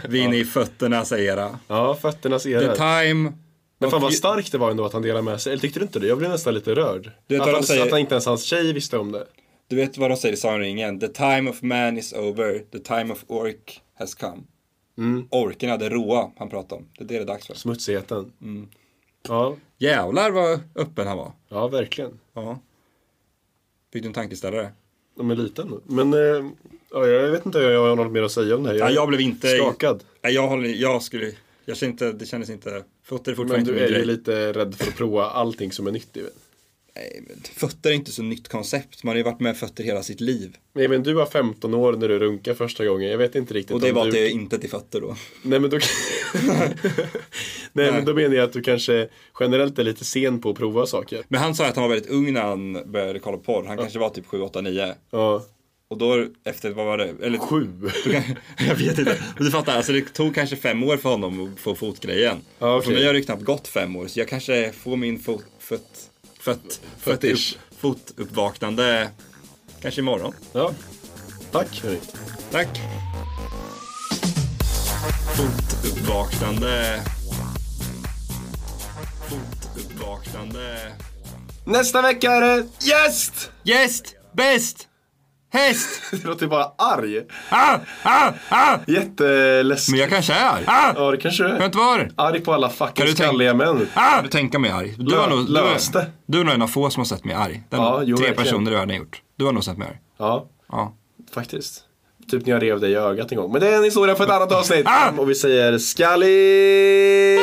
Speaker 5: Vi är inne i fötternas era.
Speaker 22: Ja, fötternas era.
Speaker 5: The time...
Speaker 22: Men fan vad starkt det var ändå att han delade med sig. Eller tyckte du inte det? Jag blev nästan lite rörd.
Speaker 5: Du vet
Speaker 22: att,
Speaker 5: vad
Speaker 22: han,
Speaker 5: de säger?
Speaker 22: att han inte ens hans tjej visste om det.
Speaker 5: Du vet vad de säger i Sagan om ringen? The time of man is over, the time of ork has come.
Speaker 4: mm,
Speaker 5: Orkerna, det råa han pratar om. Det är det det är dags för.
Speaker 22: Smutsigheten.
Speaker 5: Mm.
Speaker 22: Ja.
Speaker 5: Jävlar vad öppen han var.
Speaker 22: Ja, verkligen.
Speaker 5: Ja. Fick du en tankeställare?
Speaker 22: De är liten. Men eh,
Speaker 4: Ja, jag vet inte om jag har något mer att säga om det här.
Speaker 5: Jag, jag blev inte...
Speaker 4: skakad.
Speaker 5: Nej, jag, håller, jag skulle... Jag kände inte, det kändes inte... Fötter är
Speaker 4: Men
Speaker 5: fortfarande
Speaker 4: du
Speaker 5: inte min
Speaker 4: är ju
Speaker 5: grej.
Speaker 4: lite rädd för att prova allting som är nytt. i det.
Speaker 5: Nej, men fötter är inte så nytt koncept. Man har ju varit med fötter hela sitt liv.
Speaker 4: Nej men du var 15 år när du runkade första gången. Jag vet inte riktigt
Speaker 5: Och det
Speaker 4: om
Speaker 5: var
Speaker 4: du...
Speaker 5: att det inte är till fötter då. (laughs)
Speaker 4: Nej men då... Nej, men då menar jag att du kanske generellt är lite sen på att prova saker.
Speaker 5: Men han sa att han var väldigt ung när han började kolla på porr. Han kanske var typ 7, 8, 9.
Speaker 4: Ja.
Speaker 5: Och då efter, vad var det? Eller,
Speaker 4: 7?
Speaker 5: (laughs) jag vet inte. Men du fattar, alltså det tog kanske fem år för honom att få fotgrejen.
Speaker 4: Ja, okej.
Speaker 5: För mig har det knappt gått fem år, så jag kanske får min fot, fot, fot,
Speaker 4: Fetisch.
Speaker 5: fotupp- fotuppvaknande kanske imorgon.
Speaker 4: Ja. Tack hörni.
Speaker 5: Tack. Fotuppvaknande. Fotuppvaknande.
Speaker 24: Nästa vecka är det gäst!
Speaker 5: Gäst! Bäst! Häst!
Speaker 24: (laughs) det låter bara arg.
Speaker 5: Ah, ah, ah.
Speaker 24: Jätteläskigt.
Speaker 5: Men jag kanske är.
Speaker 24: Ah! Ja, det kanske du är.
Speaker 5: Vet du vad?
Speaker 24: Arg på alla fucking
Speaker 5: Kan du tänk-
Speaker 24: skalliga män.
Speaker 5: Ah! Kan du tänka mig arg? Du,
Speaker 24: Lö-
Speaker 5: har nog, du,
Speaker 24: lös
Speaker 5: är,
Speaker 24: det.
Speaker 5: du är nog en av få som har sett mig arg. Den
Speaker 24: Ja, jo,
Speaker 5: tre
Speaker 24: verkligen.
Speaker 5: personer i världen har gjort. Du har nog sett mig arg.
Speaker 4: Ja.
Speaker 5: ja.
Speaker 4: Faktiskt. Typ när jag rev dig i ögat en gång. Men det är en historia för ett annat avsnitt.
Speaker 5: Ah!
Speaker 4: Och vi säger skallig!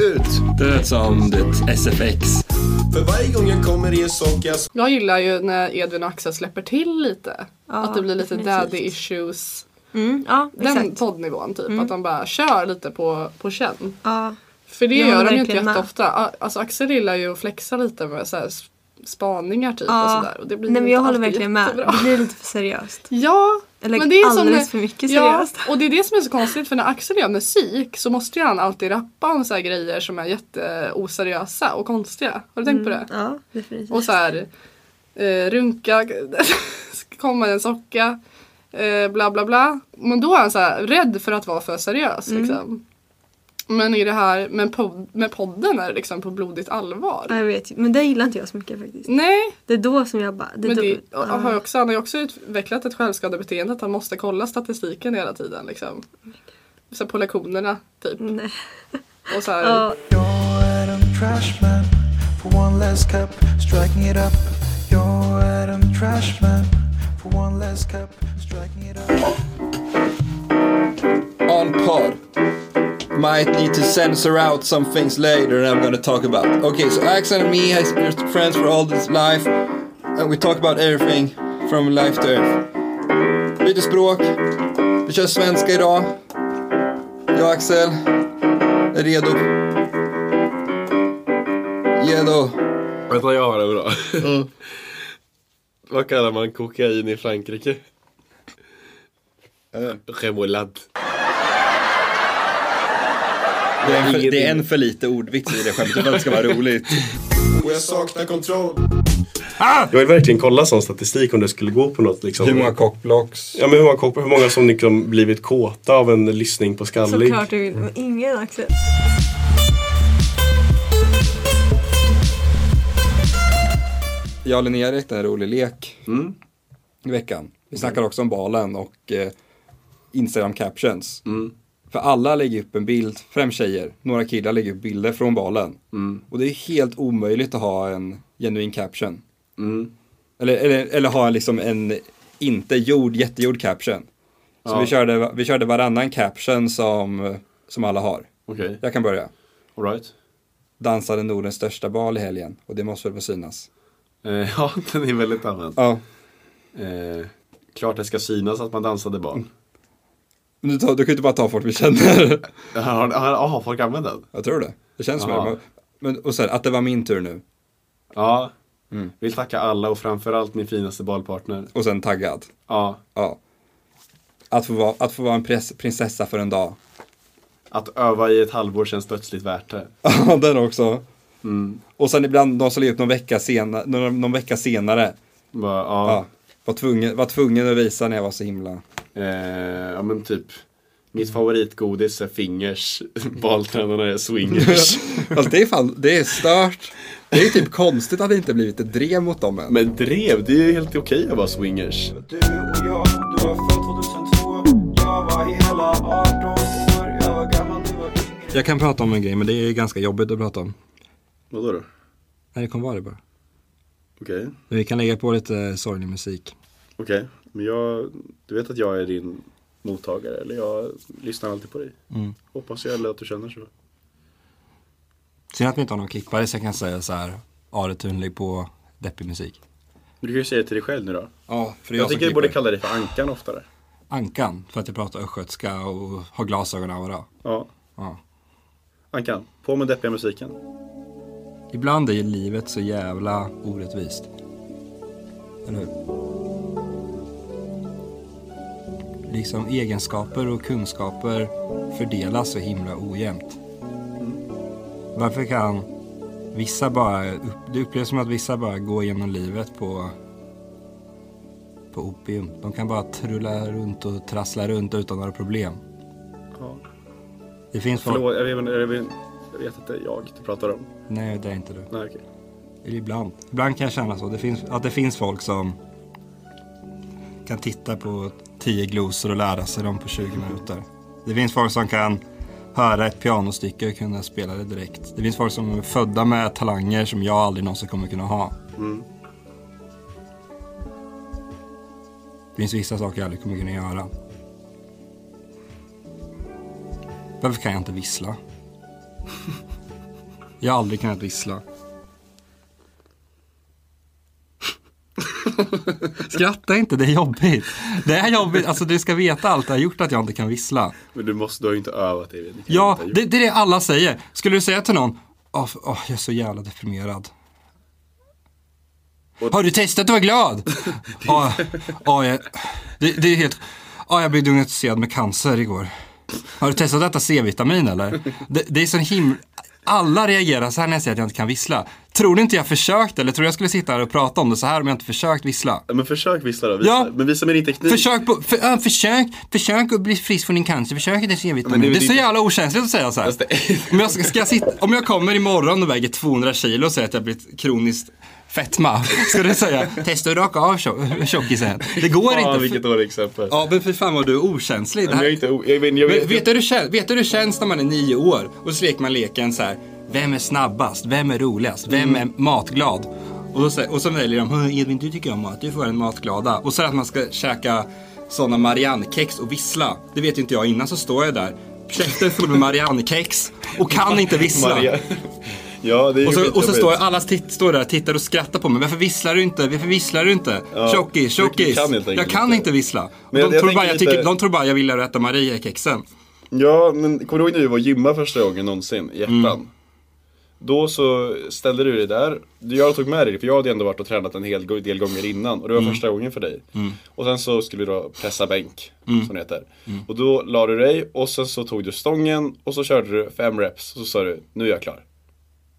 Speaker 5: Ut! Död som det SFX.
Speaker 4: För varje gång jag kommer i en sock jag
Speaker 25: Jag gillar ju när Edvin och Axel släpper till lite. att det blir lite
Speaker 17: definitivt.
Speaker 25: daddy issues.
Speaker 17: Mm, ja,
Speaker 25: Den
Speaker 17: exakt.
Speaker 25: poddnivån typ.
Speaker 17: Mm.
Speaker 25: Att de bara kör lite på, på känn.
Speaker 17: Ja.
Speaker 25: För det
Speaker 17: Jag
Speaker 25: gör
Speaker 17: håller
Speaker 25: de ju inte
Speaker 17: verkligen med.
Speaker 25: jätteofta. A- Alltså Axel gillar ju att flexa lite med så här s- spaningar typ och
Speaker 17: Ja.
Speaker 25: sådär. Och det blir
Speaker 17: Ah, Nej men
Speaker 25: inte
Speaker 17: jag håller
Speaker 25: alltid
Speaker 17: verkligen med.
Speaker 25: jättebra.
Speaker 17: Det blir lite för seriöst.
Speaker 25: Ja,
Speaker 17: Eller
Speaker 25: men det är som
Speaker 17: alldeles
Speaker 25: när-
Speaker 17: för mycket seriöst.
Speaker 25: Ja, och det är det som är så konstigt för när Axel gör musik så måste ju han alltid rappa om så här grejer som är jätteoseriösa och konstiga. Har du tänkt på det?
Speaker 17: Mm, Ja, definitivt.
Speaker 25: Och så här eh, runka, (laughs) ska komma en socka, eh, bla bla bla. Men då är han så här rädd för att vara för seriös
Speaker 17: Mm.
Speaker 25: liksom. Men i det här med, pod- med podden är det liksom på blodigt allvar.
Speaker 17: Ja, jag vet. Men det gillar inte jag så mycket faktiskt.
Speaker 25: Nej.
Speaker 17: Det är då som jag bara... Det är
Speaker 25: Men
Speaker 17: då,
Speaker 25: det,
Speaker 17: ja.
Speaker 25: han har ju också, han har ju också utvecklat ett självskadebeteende att han måste kolla statistiken hela tiden. Liksom. Så här på lektionerna typ. Och så här,
Speaker 8: You're Adam Trashman for one less cup, striking it up. You're Adam Trashman for one less cup, striking it up.
Speaker 5: On pod. Might need to censor out some things later that I'm gonna talk about. Okay, so Axel and me has been friends for all this life. And we talk about everything from life to earth. Byter språk. Vi kör svenska idag. Jag och Axel är redo. Redo.
Speaker 4: Vänta, jag har en bra.
Speaker 24: Mm.
Speaker 4: Vad kallar man kokain i Frankrike?
Speaker 5: Eh.
Speaker 4: Remoulade.
Speaker 5: Det är, en för, det är en för lite ordvits i det skämtet för att det ska vara roligt.
Speaker 4: Och jag saknar kontroll. Jag vill verkligen kolla sån statistik om det skulle gå på något. Liksom.
Speaker 5: Hur många cockblocks?
Speaker 4: Ja, men hur många, kock- hur många som liksom blivit kåta av en lyssning på Skallig.
Speaker 17: Såklart du vill. Men ingen Axel.
Speaker 5: Jag och Linnea lekte en rolig lek i veckan. Vi snackade också om balen och eh, Instagram captions. För alla lägger upp en bild, främst tjejer, några killar lägger upp bilder från balen.
Speaker 4: Mm. (laughs)
Speaker 5: Och det är helt omöjligt att ha en genuin caption.
Speaker 4: Mm.
Speaker 5: Eller, eller, eller ha liksom en inte gjord, jättegjord caption. Så
Speaker 4: Ja.
Speaker 5: vi, körde, vi körde varannan caption som, som alla har.
Speaker 4: Okej.
Speaker 5: Jag kan börja.
Speaker 4: All right.
Speaker 5: Dansade Nordens största bal i helgen och det måste väl få synas.
Speaker 4: Eh, (laughs) Ja, den är väldigt använd.
Speaker 5: Ja.
Speaker 4: Eh, klart det ska synas att man dansade barn.
Speaker 5: Mm. Men du, tar, du kan ju inte bara ta folk vi
Speaker 4: (laughs)
Speaker 5: känner.
Speaker 4: Har, har, har folk använt den?
Speaker 5: Jag tror det. Det känns som
Speaker 4: Ja.
Speaker 5: det. Men, och sen att det var min tur nu. Mm.
Speaker 4: Ja. Vill tacka alla och framförallt min finaste balpartner.
Speaker 5: Och sen taggad.
Speaker 4: Ja.
Speaker 5: ja. Att, få vara, att få vara en press, prinsessa för en dag.
Speaker 4: Att öva i ett halvår känns plötsligt värt det.
Speaker 5: (laughs) Ja, den också.
Speaker 4: Mm.
Speaker 5: Och sen ibland de som lägger upp någon vecka, sena, någon, någon vecka senare.
Speaker 4: ja.
Speaker 5: Var, tvungen, var tvungen att visa när jag var så himla...
Speaker 4: Eh, ja men typ. Mitt favoritgodis är fingers. (laughs) Baltränarna är swingers.
Speaker 5: (laughs) Fast det är fan, det är stört. Det är typ konstigt att det inte blivit ett drev mot dem än.
Speaker 4: Men drev, det är ju helt okej att vara swingers.
Speaker 5: Mm.
Speaker 8: Du var född 2002, jag var hela 18 år, jag var gammal, du var yngre.
Speaker 5: Jag kan prata om en grej, men det är ju ganska jobbigt att prata om.
Speaker 4: Vadå då?
Speaker 5: Nej, det kommer vara det bara.
Speaker 4: Okej.
Speaker 5: Men vi kan lägga på lite eh, sorglig musik.
Speaker 4: Okej, men jag, du vet att jag är din mottagare eller jag lyssnar alltid på dig.
Speaker 5: Mm.
Speaker 4: Hoppas jag eller att du känner så.
Speaker 5: Synd att vi inte har någon klippare så jag kan säga så här, Are Thun, lägg på deppig musik.
Speaker 4: Men du kan ju säga det till dig själv nu då.
Speaker 5: Ja, för det är
Speaker 4: jag
Speaker 5: jag som
Speaker 4: tycker du borde
Speaker 5: klipper.
Speaker 4: kalla dig för Ankan oftare.
Speaker 5: Ankan, för att jag pratar östgötska och har glasögon överallt.
Speaker 4: Ja.
Speaker 5: Ja.
Speaker 4: Ankan, på med deppiga musiken.
Speaker 5: Ibland är ju livet så jävla orättvist. Eller hur? Liksom egenskaper och kunskaper fördelas så himla ojämnt. Varför kan vissa bara, upp- det upplevs som att vissa bara går genom livet på, på opium. De kan bara trulla runt och trassla runt utan några problem.
Speaker 4: Ja.
Speaker 5: Det finns folk...
Speaker 4: Förlåt, jag vet, jag, vet, jag vet att det är jag du pratar om.
Speaker 5: Nej, det är inte du.
Speaker 4: Nej, okej.
Speaker 5: Eller ibland. Ibland kan jag känna så. Det finns, att det finns folk som kan titta på tio glosor och lära sig dem på 20 minuter. Det finns folk som kan höra ett pianostycke och kunna spela det direkt. Det finns folk som är födda med talanger som jag aldrig någonsin kommer kunna ha.
Speaker 4: Mm.
Speaker 5: Det finns vissa saker jag aldrig kommer kunna göra. Varför kan jag inte vissla? Jag har aldrig kunnat vissla. Skratta inte, det är jobbigt. Det är jobbigt, alltså du ska veta allt det har gjort att jag inte kan vissla.
Speaker 4: Men du, måste, du har ju inte övat dig. Ni kan ju
Speaker 5: Ja,
Speaker 4: inte ha gjort
Speaker 5: det, det är det alla säger. Skulle du säga till någon, åh, f- åh, jag är så jävla deprimerad. Har du testat att vara
Speaker 4: (laughs)
Speaker 5: glad? Ja, ja, jag, det, det är helt... Ja, jag blev diagnostiserad med cancer igår. Har du testat att äta C-vitamin eller? Det, det är sån himla... Alla reagerar så här när jag säger att jag inte kan vissla. Tror du inte jag försökte eller tror du jag skulle sitta här och prata om det så här om jag inte försökt vissla?
Speaker 4: Men försök vissla då. Visa.
Speaker 5: Ja.
Speaker 4: Men visa med din teknik.
Speaker 5: Försök, på, för, ja, försök, försök att bli frisk från din cancer, försök att äta
Speaker 4: Men
Speaker 5: C-vitamin.
Speaker 4: det
Speaker 5: Det,
Speaker 4: är väl
Speaker 5: är så
Speaker 4: inte-
Speaker 5: jävla okänsligt att säga så här.
Speaker 4: (laughs)
Speaker 5: Om jag, ska, ska jag, sitta, om jag kommer imorgon och väger 200 kilo och säger att jag blivit kroniskt fetma, ska du säga testa att raka av tjo- tjockisen. Det går
Speaker 4: Fan,
Speaker 5: inte.
Speaker 4: vilket dåligt exempel.
Speaker 5: Ja men för fan vad du är okänslig. Det
Speaker 4: Men
Speaker 5: här-
Speaker 4: jag är inte, o- jag, men jag
Speaker 5: men
Speaker 4: vet,
Speaker 5: vet, du hur det känns, vet du hur det känns när man är nio år och så leker man leken så här. Vem är snabbast? Vem är roligast?
Speaker 4: Mm.
Speaker 5: Vem är matglad? Och, då, sä- och så väljer de, "Hej, Edvin du tycker om mat, du får en matglada. Och så är det att man ska käka sådana Mariannekex och vissla. Det vet ju inte jag innan så står jag där, käften full med Mariannekex och kan inte vissla.
Speaker 4: Maria- Ja, det är ju
Speaker 5: Och så, och så
Speaker 4: skitjobbigt.
Speaker 5: står alla titt, står där och tittar och skrattar på mig. Varför visslar du inte? Varför visslar du inte?
Speaker 4: Ja,
Speaker 5: Tjockis,
Speaker 4: du- du
Speaker 5: tjockis.
Speaker 4: kan helt enkelt
Speaker 5: jag kan inte vissla.
Speaker 4: Men jag-
Speaker 5: de,
Speaker 4: jag
Speaker 5: tror bara
Speaker 4: tänker
Speaker 5: jag tycker,
Speaker 4: lite-
Speaker 5: de tror bara jag vill äta Mariekexen.
Speaker 4: Ja, men kommer du ihåg när vi var och gymmade första gången någonsin i ettan?
Speaker 5: Mm.
Speaker 4: Då så ställde du dig där. Jag tog med dig, för jag hade ändå varit och tränat en hel go- del gånger innan och det var
Speaker 5: Mm.
Speaker 4: första gången för dig.
Speaker 5: Mm.
Speaker 4: Och sen så skulle du då pressa bänk,
Speaker 5: Mm.
Speaker 4: som det heter.
Speaker 5: Mm.
Speaker 4: Och då la du dig och sen så tog du stången och så körde du fem reps och så sa du, nu är jag klar.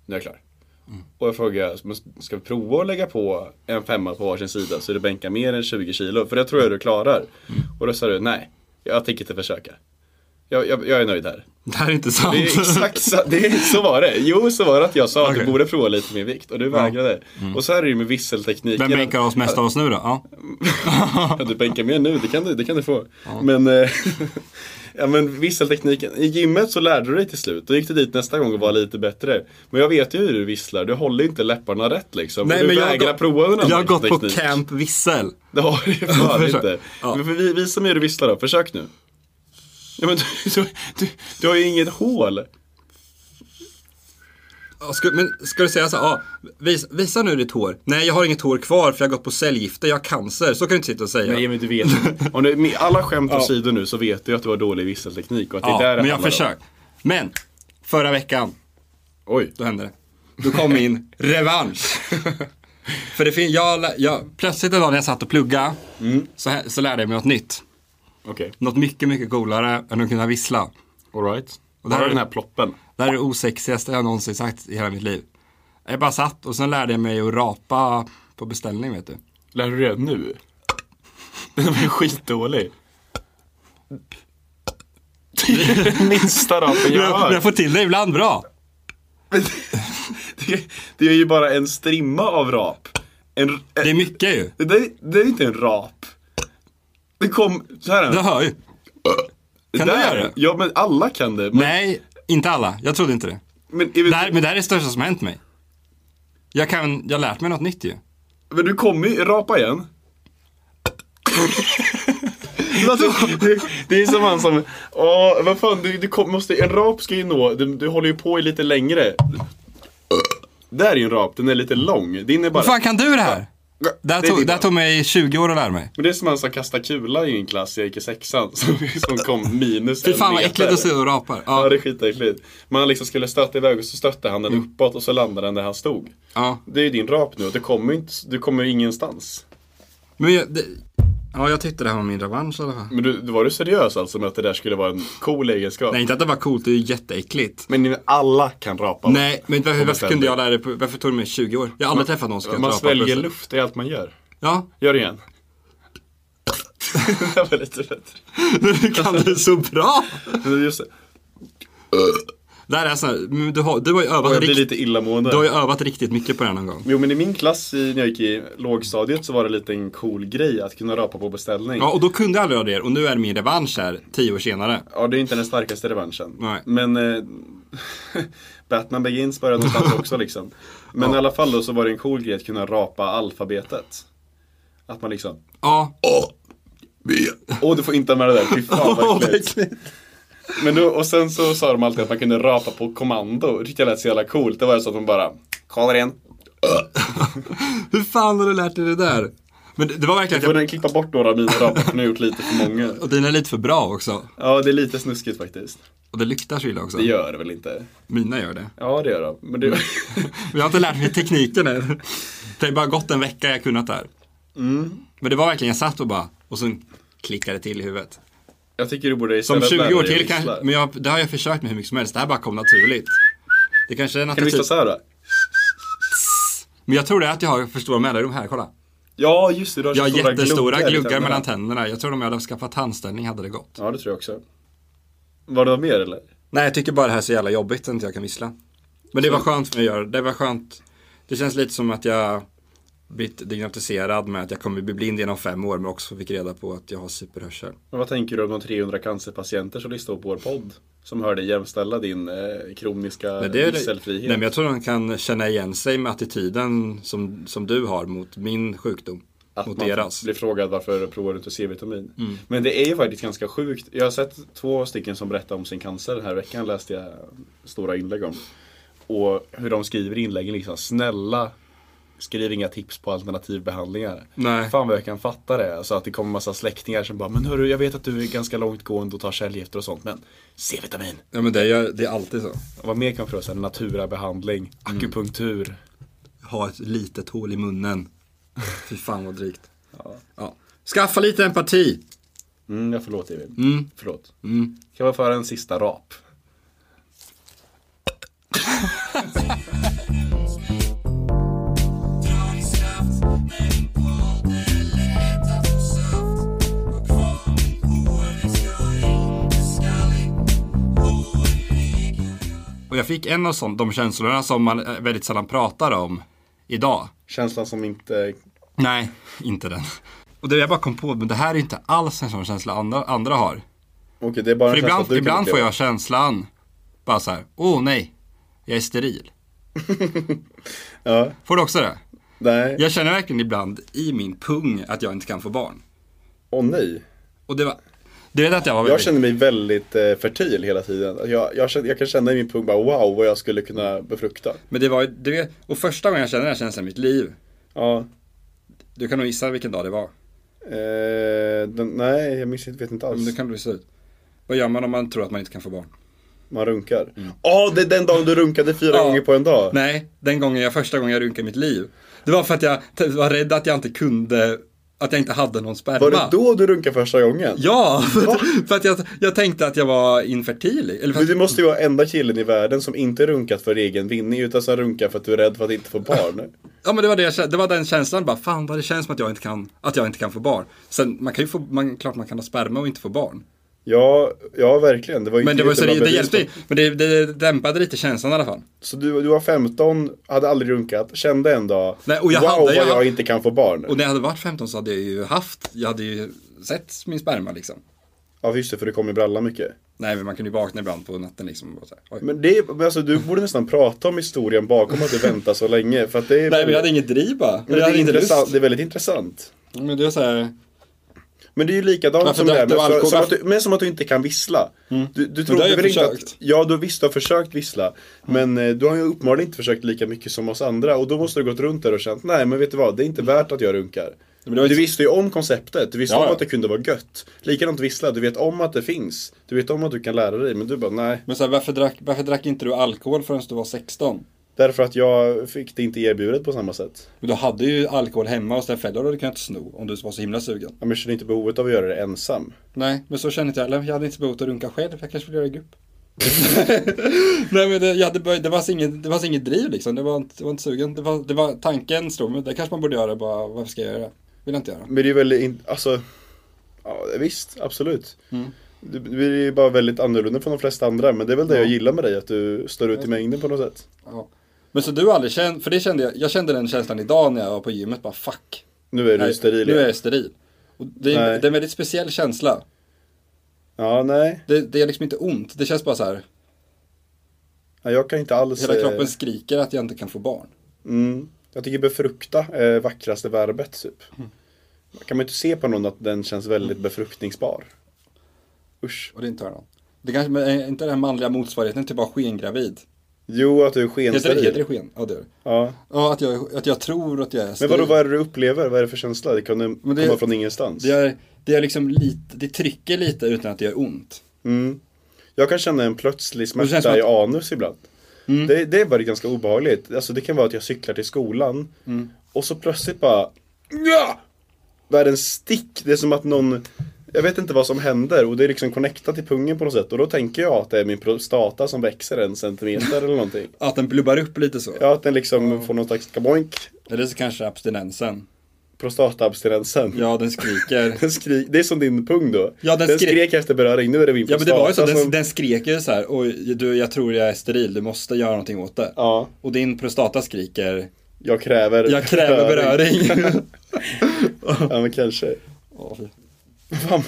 Speaker 4: Nu är jag klar.
Speaker 5: Mm.
Speaker 4: Och jag frågade, "Men ska vi prova att lägga på en femma på varsin sida så du bänkar mer än 20 kilo? För det tror jag du klarar.
Speaker 5: Mm.
Speaker 4: Och då sa du, nej, jag tänker inte försöka. Jag, jag, jag är nöjd här.
Speaker 5: Det här är inte sant.
Speaker 4: Det är exakt så, det är, så var det. Jo, så var det att jag sa att du borde prova lite mer vikt och du vägrade.
Speaker 5: Mm.
Speaker 4: Och så här är det ju med visseltekniken.
Speaker 5: Vem bänkar oss mest av oss nu då? Ja.
Speaker 4: Ja, du bänkar mer nu, det kan du, det kan du få. Men, eh, (laughs) ja, men visseltekniken, i gymmet så lärde du dig till slut. Då gick du dit nästa gång och var lite bättre. Men jag vet ju hur du visslar, du håller inte läpparna rätt liksom.
Speaker 5: Nej,
Speaker 4: du
Speaker 5: men jag har
Speaker 4: vägrar
Speaker 5: gått-
Speaker 4: prova en annan
Speaker 5: jag har gått på
Speaker 4: teknik.
Speaker 5: camp vissel.
Speaker 4: Det har du
Speaker 5: (laughs)
Speaker 4: ju fan
Speaker 5: Försök.
Speaker 4: inte. Men för vi, visa mig hur du visslar då, försök nu. Ja, men (laughs) du, du, du, du har ju inget hål.
Speaker 5: Ja, Ska, men ska du säga så här, ja, vis, visa nu ditt hår. Nej, jag har inget hår kvar för jag har gått på cellgifter, jag har cancer. Så kan du inte sitta och säga.
Speaker 4: Nej, men du vet.
Speaker 5: (laughs)
Speaker 4: Om du, med alla skämt
Speaker 5: Ja.
Speaker 4: åsido nu så vet du ju att det var dålig visselteknik och att det
Speaker 5: Ja,
Speaker 4: är där det
Speaker 5: men jag
Speaker 4: handlar om.
Speaker 5: försökte. Men, förra veckan.
Speaker 4: Oj.
Speaker 5: Då hände det. Då kom
Speaker 4: (laughs)
Speaker 5: min revansch. För det fin- jag, lä- jag, plötsligt en dag när jag satt och plugga så, här, så lärde jag mig något nytt.
Speaker 4: Mm. Okej.
Speaker 5: Något mycket, mycket coolare än att kunna vissla.
Speaker 4: All right.
Speaker 5: Och det här
Speaker 4: Var
Speaker 5: är
Speaker 4: det den här ploppen?
Speaker 5: Det här är det osexigaste jag någonsin sagt i hela mitt liv. Jag bara satt och sen lärde jag mig att rapa på beställning vet du.
Speaker 4: Lärde du dig det nu? Den var ju skitdålig. Minsta rapen jag
Speaker 5: Men
Speaker 4: hör.
Speaker 5: jag får till det ibland bra.
Speaker 4: Det är ju bara en strimma av rap. En, det
Speaker 5: är mycket ju.
Speaker 4: Det, där- det är inte en rap. Det kom, så här.
Speaker 5: Du hör ju. Kan du göra det?
Speaker 4: Ja men alla kan det. Men
Speaker 5: Eh, Nej, Inte alla, jag trodde inte det.
Speaker 4: Men,
Speaker 5: det, här, men det här är det största som har hänt mig. Jag, kan, jag har lärt mig något nytt ju.
Speaker 4: Men du kommer ju
Speaker 5: (laughs)
Speaker 4: rapa igen. det, det är som han som, åh, vad fan, du, du kom, måste, en rap ska ju nå, du, du håller ju på i lite längre. Där är ju en rap, den är lite lång. Din är bara...
Speaker 5: Hur fan kan du det här? Det här
Speaker 4: Det är
Speaker 5: tog,
Speaker 4: din
Speaker 5: det här
Speaker 4: rap.
Speaker 5: tog mig 20 år att lära mig.
Speaker 4: Men det är som han som kastade kula i en klass, jag gick i sexan, (laughs) som, som kom minus
Speaker 5: Fy fan vad äckligt att se
Speaker 4: och
Speaker 5: och rapar.
Speaker 4: Ja. det är skitäckligt. Man liksom skulle stöta iväg och så stötte han den
Speaker 5: Mm.
Speaker 4: uppåt och så landade den där han stod. Det är ju din rap nu och du kommer ju inte, du kommer ju ingenstans.
Speaker 5: Men jag, det, ja, jag tyckte det här var min revansch i alla fall.
Speaker 4: Men du, du- var du seriös alltså med att det där skulle vara en cool egenskap?
Speaker 5: Nej, inte att det var coolt, det är ju jätteäckligt.
Speaker 4: Men alla kan rapa.
Speaker 5: Nej, men varför,
Speaker 4: Och
Speaker 5: varför
Speaker 4: bestämmer.
Speaker 5: kunde jag lära det? på- Varför tog det mig 20 år? Jag har aldrig träffat någon som kan
Speaker 4: Man
Speaker 5: rapa
Speaker 4: sväljer
Speaker 5: plötsligt.
Speaker 4: luft, det är allt man gör.
Speaker 5: Ja.
Speaker 4: Gör det igen. det var lite bättre.
Speaker 5: Du kan det så bra!
Speaker 4: Men just det.
Speaker 5: Det här är sån här, men du har, du har ju övat
Speaker 4: Och jag blir
Speaker 5: rikt-
Speaker 4: lite illamående.
Speaker 5: Du har ju övat riktigt mycket på det här någon gång.
Speaker 4: Jo men i min klass i, när jag gick i lågstadiet så var det lite en cool grej att kunna rapa på beställning.
Speaker 5: Ja, och då kunde jag aldrig göra det och nu är det min revansch här, 10 år senare.
Speaker 4: Ja, det är inte den starkaste revanschen.
Speaker 5: Nej.
Speaker 4: Men eh, (laughs) Batman Begins började någonstans också liksom. Men i alla fall då så var det en cool grej att kunna rapa alfabetet. Att man liksom
Speaker 5: Ja.
Speaker 4: Åh, du får inte ha med det där. Fy fan
Speaker 5: (laughs)
Speaker 4: vad äckligt. Men då, och sen så sa de alltid att man kunde rapa på kommando. Det tyckte jag lät så jävla coolt. Det var ju så att de bara, kollar igen.
Speaker 5: (laughs) Hur fan har du lärt dig det där? Men det, det var verkligen...
Speaker 4: Du får jag... klippa bort några av mina rapar för nu har jag gjort lite för många.
Speaker 5: (laughs) Och dina är lite för bra också.
Speaker 4: Ja, det är lite snuskigt faktiskt.
Speaker 5: Och det luktar så illa också.
Speaker 4: Det gör det väl inte?
Speaker 5: Mina gör det.
Speaker 4: Ja, det gör de. Men det...
Speaker 5: Men jag har inte lärt mig tekniken
Speaker 4: (laughs)
Speaker 5: än. Det har bara gått en vecka jag kunnat det här.
Speaker 4: Mm.
Speaker 5: Men det var verkligen, jag satt och bara, och sen klickade det till i huvudet.
Speaker 4: Jag tycker du borde
Speaker 5: Som
Speaker 4: istället
Speaker 5: 20
Speaker 4: lära
Speaker 5: år
Speaker 4: dig
Speaker 5: till
Speaker 4: att vissla.
Speaker 5: kanske, men jag, det har jag försökt med hur mycket som helst. Det här bara kom naturligt. Det kanske är en
Speaker 4: Kan du vissla så här då?
Speaker 5: Men jag tror det är att jag har för stora mellanrum här, kolla.
Speaker 4: Ja, just det. Du har så
Speaker 5: jag har
Speaker 4: stora
Speaker 5: jättestora
Speaker 4: gluggar i
Speaker 5: gluggar,
Speaker 4: tänderna.
Speaker 5: mellan tänderna. Jag tror om jag hade skaffat tandställning hade det gått.
Speaker 4: Ja, det tror jag också. Var det något mer eller?
Speaker 5: Nej, jag tycker bara det här är så jävla jobbigt att inte jag kan vissla. Men det var skönt för mig att göra det. Det var skönt. Det känns lite som att jag blivit diagnostiserad med att jag kommer bli blind inom fem år men också fick reda på att jag har superhörsel.
Speaker 4: Men vad tänker du om de 300 cancerpatienter som lyssnar på vår podd? Som hör dig jämställa din eh, kroniska
Speaker 5: Men det är-
Speaker 4: visselfrihet.
Speaker 5: Nej, men jag tror de kan känna igen sig med attityden som, som du har mot min sjukdom.
Speaker 4: Att
Speaker 5: mot
Speaker 4: man
Speaker 5: deras.
Speaker 4: blir frågad varför provar du inte C-vitamin?
Speaker 5: Mm.
Speaker 4: Men det är ju faktiskt ganska sjukt. Jag har sett två stycken som berättar om sin cancer den här veckan, läste jag stora inlägg om. Och hur de skriver i inläggen liksom, snälla skriv inga tips på alternativbehandlingar.
Speaker 5: Nej.
Speaker 4: Fan vad jag kan fatta det. Alltså att det kommer massa släktingar som bara, men hörru jag vet att du är ganska långtgående och tar cellgifter och sånt, men C-vitamin.
Speaker 5: Ja men det är, det är alltid så.
Speaker 4: Vad mer kan man fråga sig? Naturabehandling, akupunktur.
Speaker 5: Mm. Ha ett litet hål i (laughs) munnen. Fy fan vad drygt. Ja. Skaffa lite empati.
Speaker 4: Mm, jag förlåter Emil.
Speaker 5: Mm.
Speaker 4: Förlåt.
Speaker 5: Mm.
Speaker 4: Kan man föra en sista rap?
Speaker 5: Och jag fick en av sån, de känslorna som man eh, väldigt sällan pratar om idag.
Speaker 4: Känslan som inte...
Speaker 5: Nej, inte den. Och det jag bara kom på, men det här är ju inte alls en sån känsla andra, andra har.
Speaker 4: Okej, det är bara en
Speaker 5: För
Speaker 4: känsla
Speaker 5: ibland,
Speaker 4: att du kan
Speaker 5: ibland får
Speaker 4: uppleva.
Speaker 5: jag känslan, bara så här, åh oh, nej, jag är
Speaker 4: (laughs)
Speaker 5: steril. Får du också det?
Speaker 4: Nej.
Speaker 5: Jag känner verkligen ibland i min pung att jag inte kan få barn.
Speaker 4: Åh nej.
Speaker 5: Och det var, du vet att jag var
Speaker 4: Jag känner mig väldigt eh, fertil hela tiden. Jag, jag, känner, jag kan känna i min pung bara wow vad jag skulle kunna befrukta.
Speaker 5: Men det var ju, du vet, och första gången jag kände den här känslan i mitt liv.
Speaker 4: Ja.
Speaker 5: Du kan nog gissa vilken dag det var.
Speaker 4: Eh, den, nej, jag minns inte, vet inte alls.
Speaker 5: Men det kan du gissa ut. Vad gör man om man tror att man inte kan få barn? Mm.
Speaker 4: Man runkar. Åh, det är den dagen du runkade fyra gånger på en dag.
Speaker 5: Nej, den gången jag första gången jag runkade i mitt liv. Det var för att jag t- var rädd att jag inte kunde, att jag inte hade någon sperma.
Speaker 4: Var det då du runkade första gången?
Speaker 5: Ja, för att, för att jag, jag tänkte att jag var infertil. Eller för
Speaker 4: Du måste ju vara enda killen i världen som inte runkat för egen vinning utan som runkar för att du är rädd för att inte
Speaker 5: (laughs)
Speaker 4: få barn.
Speaker 5: Ja men det var, det, jag kände- det var den känslan bara, fan vad det känns som att jag inte kan, att jag inte kan få barn. Sen man kan ju få, man, klart man kan ha sperma och inte få barn.
Speaker 4: Ja, ja verkligen. Det var ju
Speaker 5: Men
Speaker 4: inte
Speaker 5: det, var, så det,
Speaker 4: jättebra
Speaker 5: det
Speaker 4: bevis
Speaker 5: hjälpte
Speaker 4: på-
Speaker 5: ju. men det, det dämpade lite känslan i alla fall.
Speaker 4: Så du, du var 15, hade aldrig runkat, kände en dag
Speaker 5: Nej, och jag
Speaker 4: wow
Speaker 5: hade-
Speaker 4: vad
Speaker 5: jag-
Speaker 4: jag inte kan få barn.
Speaker 5: Och när jag hade varit 15 så hade jag ju haft, jag hade ju sett min sperma liksom.
Speaker 4: Ja just det, för du kom i bralla mycket.
Speaker 5: Nej men man kunde ju vakna ibland på natten liksom. och bara så här, oj.
Speaker 4: Men det är, men alltså, du borde nästan prata om historien bakom att du väntar så länge. För att det är,
Speaker 5: Nej men jag hade inget driv bara.
Speaker 4: Men
Speaker 5: jag
Speaker 4: det,
Speaker 5: hade
Speaker 4: är
Speaker 5: inte lust.
Speaker 4: intressant, det är väldigt intressant.
Speaker 5: Men det är så här...
Speaker 4: Men det är ju likadant
Speaker 5: Varför
Speaker 4: som det här
Speaker 5: drack du
Speaker 4: med, så,
Speaker 5: alkohol? Mm.
Speaker 4: som att du, men som att du inte kan vissla. Du, du
Speaker 5: Men
Speaker 4: tror
Speaker 5: det har jag
Speaker 4: väl inte
Speaker 5: försökt.
Speaker 4: att, ja du visst du har försökt vissla. Men eh, du har ju uppenbarligen inte försökt lika mycket som oss andra. Och då måste du ha gått runt där och känt, nej men vet du vad, det är inte värt att jag runkar.
Speaker 5: det var ju-
Speaker 4: Du visste ju om konceptet, du visste
Speaker 5: Ja,
Speaker 4: om
Speaker 5: ja.
Speaker 4: att det kunde vara gött. Likadant vissla, du vet om att det finns. Du vet om att du kan lära dig, men du bara nej.
Speaker 5: Men så här, varför, drack, varför drack inte du alkohol förrän du var 16?
Speaker 4: Därför att jag fick det inte erbjudet på samma sätt.
Speaker 5: Men du hade ju alkohol hemma hos din föräldrar och du kan inte sno om du var så himla sugen.
Speaker 4: Ja, men jag känner inte behovet av att göra det ensam.
Speaker 5: Nej, men så känner inte jag heller. Jag hade inte behövt att runka själv. Jag kanske vill göra det i (laughs) grupp. Nej men det, jag hade börjat, det, fanns inget, det fanns inget driv liksom. Det var inte, det var inte sugen. Det var, det var, tanken slog mig. Det kanske man borde göra bara. Varför ska jag göra det? Vill jag inte göra.
Speaker 4: Men det är ju väldigt, in- alltså, ja, visst, absolut.
Speaker 5: Mm.
Speaker 4: Du du är ju bara väldigt annorlunda från de flesta andra, men det är väl det jag gillar med dig, att du står ut i mängden på något sätt.
Speaker 5: Ja. Men så du har aldrig känt, för det kände jag, jag kände den känslan idag när jag var på gymmet, bara fuck.
Speaker 4: Nu är du
Speaker 5: Nej,
Speaker 4: steril
Speaker 5: Nu
Speaker 4: igen.
Speaker 5: är jag steril. Och det, är,
Speaker 4: Nej.
Speaker 5: det är en väldigt speciell känsla.
Speaker 4: Ja, nej.
Speaker 5: Det, det är liksom inte ont, det känns bara så här.
Speaker 4: Ja, jag kan inte alls...
Speaker 5: Hela
Speaker 4: eh,
Speaker 5: kroppen skriker att jag inte kan få barn.
Speaker 4: Mm, jag tycker befrukta är vackraste verbet, typ.
Speaker 5: Mm.
Speaker 4: Kan man inte se på någon att den känns väldigt befruktningsbar? Usch.
Speaker 5: Och det inte hör någon. Det kanske, men är inte den manliga motsvarigheten till bara skengravid?
Speaker 4: Jo, att du är
Speaker 5: Heter det,
Speaker 4: skensteril.
Speaker 5: heter det sken? Ja, det gör det.
Speaker 4: Ja.
Speaker 5: Ja, att jag, att jag tror att jag är
Speaker 4: Men
Speaker 5: steril.
Speaker 4: vadå, vad är det du upplever? Vad är det för känsla? Det kan
Speaker 5: Men det-
Speaker 4: komma från ingenstans.
Speaker 5: Det är, det är liksom lite, det trycker lite utan att det gör ont.
Speaker 4: Mm. Jag kan känna en plötslig
Speaker 5: det känns
Speaker 4: smärta
Speaker 5: som
Speaker 4: i
Speaker 5: att- Mm.
Speaker 4: anus ibland. Det, det är bara ganska obehagligt. Alltså det kan vara att jag cyklar till skolan
Speaker 5: Mm.
Speaker 4: och så plötsligt bara ja! Världens stick. Det är som att någon jag vet inte vad som händer och det är liksom connectat till pungen på något sätt och då tänker jag att det är min prostata som växer en centimeter eller någonting.
Speaker 5: Att den blubbar upp lite så?
Speaker 4: Ja, att den liksom får någon slags kaboink.
Speaker 5: Eller så kanske abstinensen.
Speaker 4: Prostataabstinensen.
Speaker 5: Ja, den skriker.
Speaker 4: den skri- det är som din pung då.
Speaker 5: Ja, den
Speaker 4: den
Speaker 5: skrek-
Speaker 4: skrek, efter beröring. Nu är (laughs) det min
Speaker 5: Ja men det
Speaker 4: prostata
Speaker 5: var ju så, den,
Speaker 4: som...
Speaker 5: den skrek ju så här, oj du jag tror jag är steril, du måste göra någonting åt det.
Speaker 4: Ja.
Speaker 5: Och din prostata skriker,
Speaker 4: Jag kräver
Speaker 5: jag kräver beröring.
Speaker 4: (laughs) ja men kanske. Fan,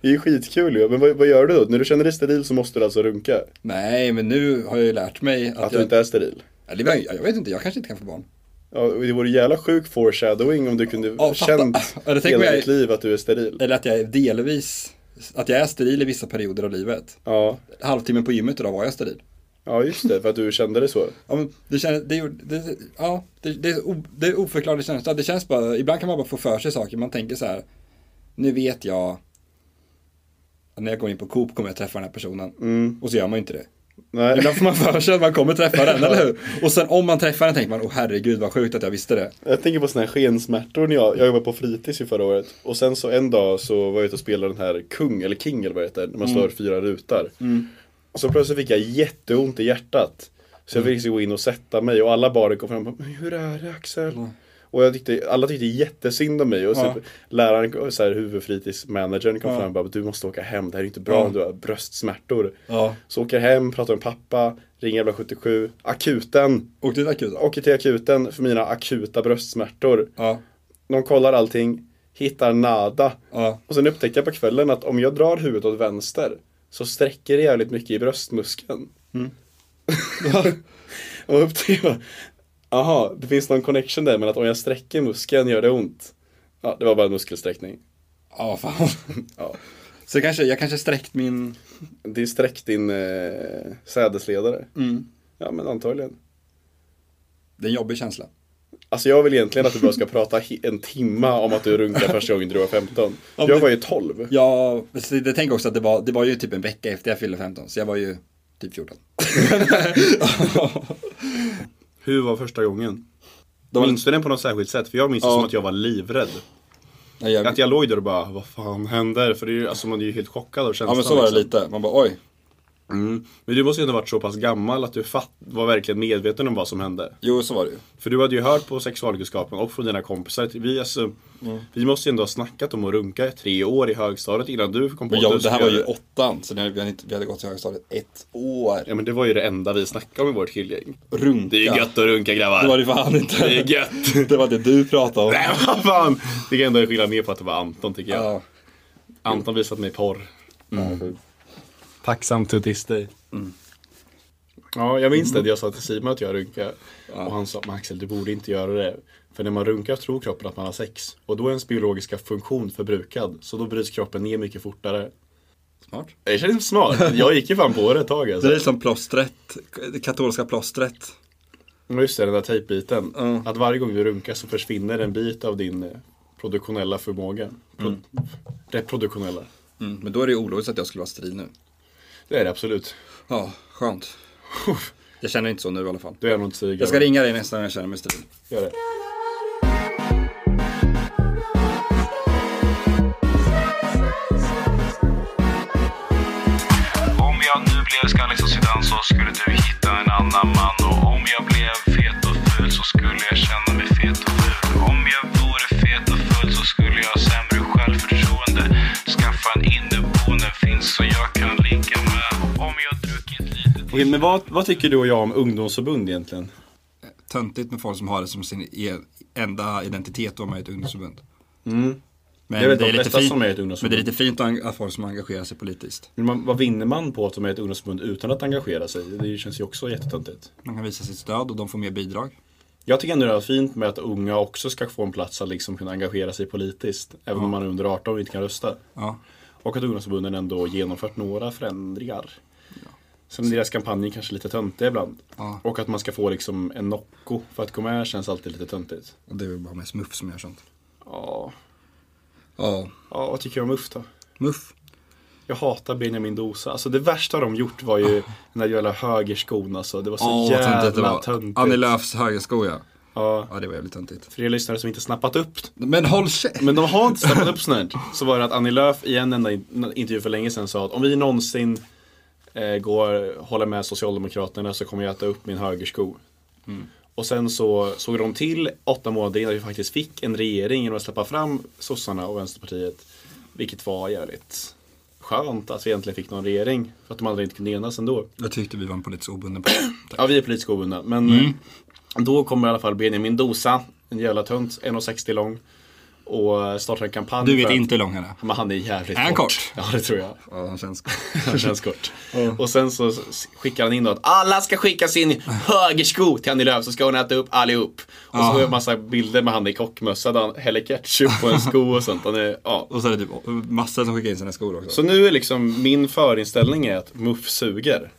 Speaker 4: det är ju skitkul ju. Men vad, vad gör du då? När du känner dig steril så måste du alltså runka?
Speaker 5: Nej men nu har jag ju lärt mig att,
Speaker 4: Att du inte är steril?
Speaker 5: Eller jag, jag vet inte, jag kanske inte kan få barn.
Speaker 4: Ja, och det vore jävla sjuk foreshadowing om du kunde
Speaker 5: Ja, fatta.
Speaker 4: känt
Speaker 5: Ja, det tänker
Speaker 4: hela
Speaker 5: jag-
Speaker 4: ditt liv att du är steril.
Speaker 5: Eller att jag är delvis, att jag är steril i vissa perioder av livet.
Speaker 4: Ja.
Speaker 5: Halvtimmen på gymmet idag var jag steril.
Speaker 4: Ja just det, för att du kände det så.
Speaker 5: Ja, men det känns, det, gjorde- det, ja, det, det, är o- det är oförklarlig känsla. Det känns bara, ibland kan man bara få för sig saker. Man tänker så här, nu vet jag att när jag går in på Coop kommer jag träffa den här personen. Och så gör man ju inte det.
Speaker 4: Mm. Nej.
Speaker 5: Ibland får man för sig att man kommer träffa
Speaker 4: (laughs)
Speaker 5: den, eller hur? Och sen om man träffar den tänker man, åh herregud vad sjukt att jag visste det.
Speaker 4: Jag tänker på sådana här skensmärtor när jag, jag jobbade på fritids ju förra året. Och sen så en dag så var jag ute och spelade den här kung, eller king eller vad det heter, när man
Speaker 5: Mm.
Speaker 4: slår fyra rutor. Och så plötsligt fick jag jätteont i hjärtat. Så jag
Speaker 5: Mm.
Speaker 4: fick liksom gå in och sätta mig och alla bara kom fram och bara, "Men hur är det Axel? Och jag tyckte, alla tyckte jättesynd om mig och så
Speaker 5: Ja.
Speaker 4: läraren, så här, huvudfritidsmanagern kom
Speaker 5: Ja.
Speaker 4: fram och bara du måste åka hem, det här är inte bra
Speaker 5: Ja.
Speaker 4: om du har bröstsmärtor.
Speaker 5: Ja.
Speaker 4: Så åker jag hem, pratar med pappa, ringer jävla 77, akuten.
Speaker 5: Åkte till akuten?
Speaker 4: Åker till akuten för mina akuta bröstsmärtor.
Speaker 5: Ja.
Speaker 4: De kollar allting, hittar nada.
Speaker 5: Ja.
Speaker 4: Och sen upptäckte jag på kvällen att om jag drar huvudet åt vänster så sträcker det jävligt mycket i bröstmuskeln.
Speaker 5: Mm.
Speaker 4: och upptäckte jag, aha, det finns någon connection där men att om jag sträcker muskeln gör det ont. Ja, det var bara en muskelsträckning.
Speaker 5: Ja, fan.
Speaker 4: (laughs) Ja.
Speaker 5: Så kanske, jag kanske sträckt min...
Speaker 4: Det är sträckt din eh, sädesledare.
Speaker 5: Mm.
Speaker 4: Ja, men antagligen.
Speaker 5: Det är en jobbig känsla.
Speaker 4: Alltså jag vill egentligen att du bara ska prata he- en timma om att du runkade första gången du var 15.
Speaker 5: Ja, men-
Speaker 4: jag var ju 12.
Speaker 5: Ja, så det tänker jag också att det var, det var ju typ en vecka efter jag fyllde 15, så jag var ju typ 14.
Speaker 4: Hur var första gången? Minns du den på något särskilt sätt? För jag minns det
Speaker 5: Ja.
Speaker 4: som att jag var livrädd. Att jag låg där och bara, vad fan händer? För det är ju, alltså, man är ju helt chockad av känslan.
Speaker 5: Ja men så var det
Speaker 4: liksom.
Speaker 5: lite, man bara oj.
Speaker 4: Mm. Men du måste ju ändå varit så pass gammal att du fatt, var verkligen medveten om vad som hände.
Speaker 5: Jo, så var det ju.
Speaker 4: För du hade ju hört på sexualkunskapen och från dina kompisar. att Vi, alltså,
Speaker 5: Mm.
Speaker 4: vi måste ju ändå ha snackat om att runka i tre år i högstadiet innan du kom på
Speaker 5: Men
Speaker 4: att du
Speaker 5: jag, det här
Speaker 4: skulle
Speaker 5: var ju
Speaker 4: göra
Speaker 5: åttan, så det hade, vi, hade inte, vi hade gått i högstadiet ett år.
Speaker 4: Ja men det var ju det enda vi snackade om i vårt killgäng.
Speaker 5: Runka.
Speaker 4: Det är ju gött att runka grabbar.
Speaker 5: Det var det fan inte.
Speaker 4: Det är
Speaker 5: (laughs)
Speaker 4: gött.
Speaker 5: Det var det du pratade om.
Speaker 4: Nej vad fan. Det kan ändå skilja ner på att det var Anton tycker jag. Anton visat mig porr.
Speaker 5: Mm.
Speaker 26: Tacksam to this day.
Speaker 4: Ja, jag minns det. Jag sa till Simon att jag runkar. Och han sa, men Axel du borde inte göra det. För när man runkar tror kroppen att man har sex. Och då är ens biologiska funktion förbrukad. Så då bryts kroppen ner mycket fortare.
Speaker 5: Smart.
Speaker 4: Jag känner mig smart. Jag gick ju fan på det ett tag alltså.
Speaker 5: Det är som plåstret, det katolska plåstret.
Speaker 4: Ja, Just det, den där tejpbiten. Att varje gång du runkar så försvinner en bit av din eh, produktionella förmåga. Pro-
Speaker 5: Mm.
Speaker 4: Reproduktionella.
Speaker 5: Mm, men då är det ju ologiskt att jag skulle vara steril nu.
Speaker 4: Det är det absolut.
Speaker 5: Ja, skönt. Jag känner inte så nu i alla fall.
Speaker 4: Du är nog inte steril.
Speaker 5: Jag ska ringa dig nästa gång jag känner mig steril.
Speaker 4: Gör det.
Speaker 6: Om jag nu blev skallig som Zidane så skulle du hitta en annan man. Och om jag blev fet och ful så skulle jag känna mig fet och ful. Om jag vore fet och ful så skulle jag ha sämre självförtroende. Skaffa en inneboende finns så jag kan ligga med. Och om jag
Speaker 4: Okej, Eh, men vad, vad tycker du och jag om ungdomsförbund egentligen?
Speaker 5: Töntigt med folk som har det som sin e- enda identitet att vara med i ett ungdomsförbund.
Speaker 4: Mm.
Speaker 5: Men
Speaker 4: Det är väl
Speaker 5: det
Speaker 4: de
Speaker 5: är lite
Speaker 4: flesta
Speaker 5: fint-
Speaker 4: som är i ett
Speaker 5: men
Speaker 4: ungdomsförbund.
Speaker 5: det är lite fint att en- att folk som engagerar sig politiskt.
Speaker 4: Men man, vad vinner man på att de är ett ungdomsförbund utan att engagera sig? Det känns ju också jättetöntigt.
Speaker 5: Man kan visa sitt stöd och de får mer bidrag.
Speaker 4: Jag tycker ändå det är fint med att unga också ska få en plats att liksom kunna engagera sig politiskt. Även om man är under 18 och inte kan rösta.
Speaker 5: Ja.
Speaker 4: Och att ungdomsförbunden ändå genomfört några förändringar. Sen deras kampanjer kanske är lite töntiga ibland.
Speaker 5: Ja.
Speaker 4: Och att man ska få liksom en Nocco för att gå med känns alltid lite töntigt.
Speaker 5: Och det är väl bara med smuff som gör sånt.
Speaker 4: Ja.
Speaker 5: Ja.
Speaker 4: Ja, vad tycker jag om Muff då?
Speaker 5: Muff?
Speaker 4: Jag hatar Benjamin Dosa. Alltså det värsta de gjort var ju den där jävla högerskon alltså. Det var så
Speaker 5: Ah. Åh, vad
Speaker 4: jävla
Speaker 5: töntigt det var.
Speaker 4: töntigt.
Speaker 5: Annie Lööfs högersko ja.
Speaker 4: Ja.
Speaker 5: det var jävligt töntigt.
Speaker 4: För er lyssnare som inte snappat upp.
Speaker 5: Men håll käft!
Speaker 4: Men de har inte snappat upp snart. Så var det att Annie Lööf i en enda in- intervju för länge sedan sa att om vi någonsin eh, går, håller med Socialdemokraterna så kommer jag äta upp min högersko.
Speaker 5: Mm.
Speaker 4: Och sen så såg de till åtta månader innan vi faktiskt fick en regering genom att släppa fram sossarna och Vänsterpartiet. Vilket var jävligt skönt att vi äntligen fick någon regering. För att de andra inte kunde enas ändå.
Speaker 5: Jag tyckte vi var en politisk
Speaker 4: (clears throat)
Speaker 5: obunden Mm. på
Speaker 4: Ja, vi är politiskt obundna. Men eh, då kommer i alla fall Benjamin Dosa, en jävla tönt, 1,60 lång. Och eh, startar en kampanj.
Speaker 5: Du vet
Speaker 4: för att-
Speaker 5: inte hur lång han är.
Speaker 4: Men han är jävligt
Speaker 5: Är han kort?
Speaker 4: Ja, det tror jag.
Speaker 5: Ja, han känns kort.
Speaker 4: han
Speaker 5: (laughs)
Speaker 4: känns kort.
Speaker 5: Mm.
Speaker 4: Och sen så s- skickar han in då att alla ska skicka sin högersko till Annie Lööf så ska hon äta upp allihop. Och så
Speaker 5: Ja.
Speaker 4: har jag en massa bilder med han i kockmössa där han häller
Speaker 5: (laughs)
Speaker 4: ketchup på en sko och sånt. Han är, ja.
Speaker 5: Och så är det typ massor som skickar in sina skor också.
Speaker 4: Så nu är liksom min förinställning är att muff suger.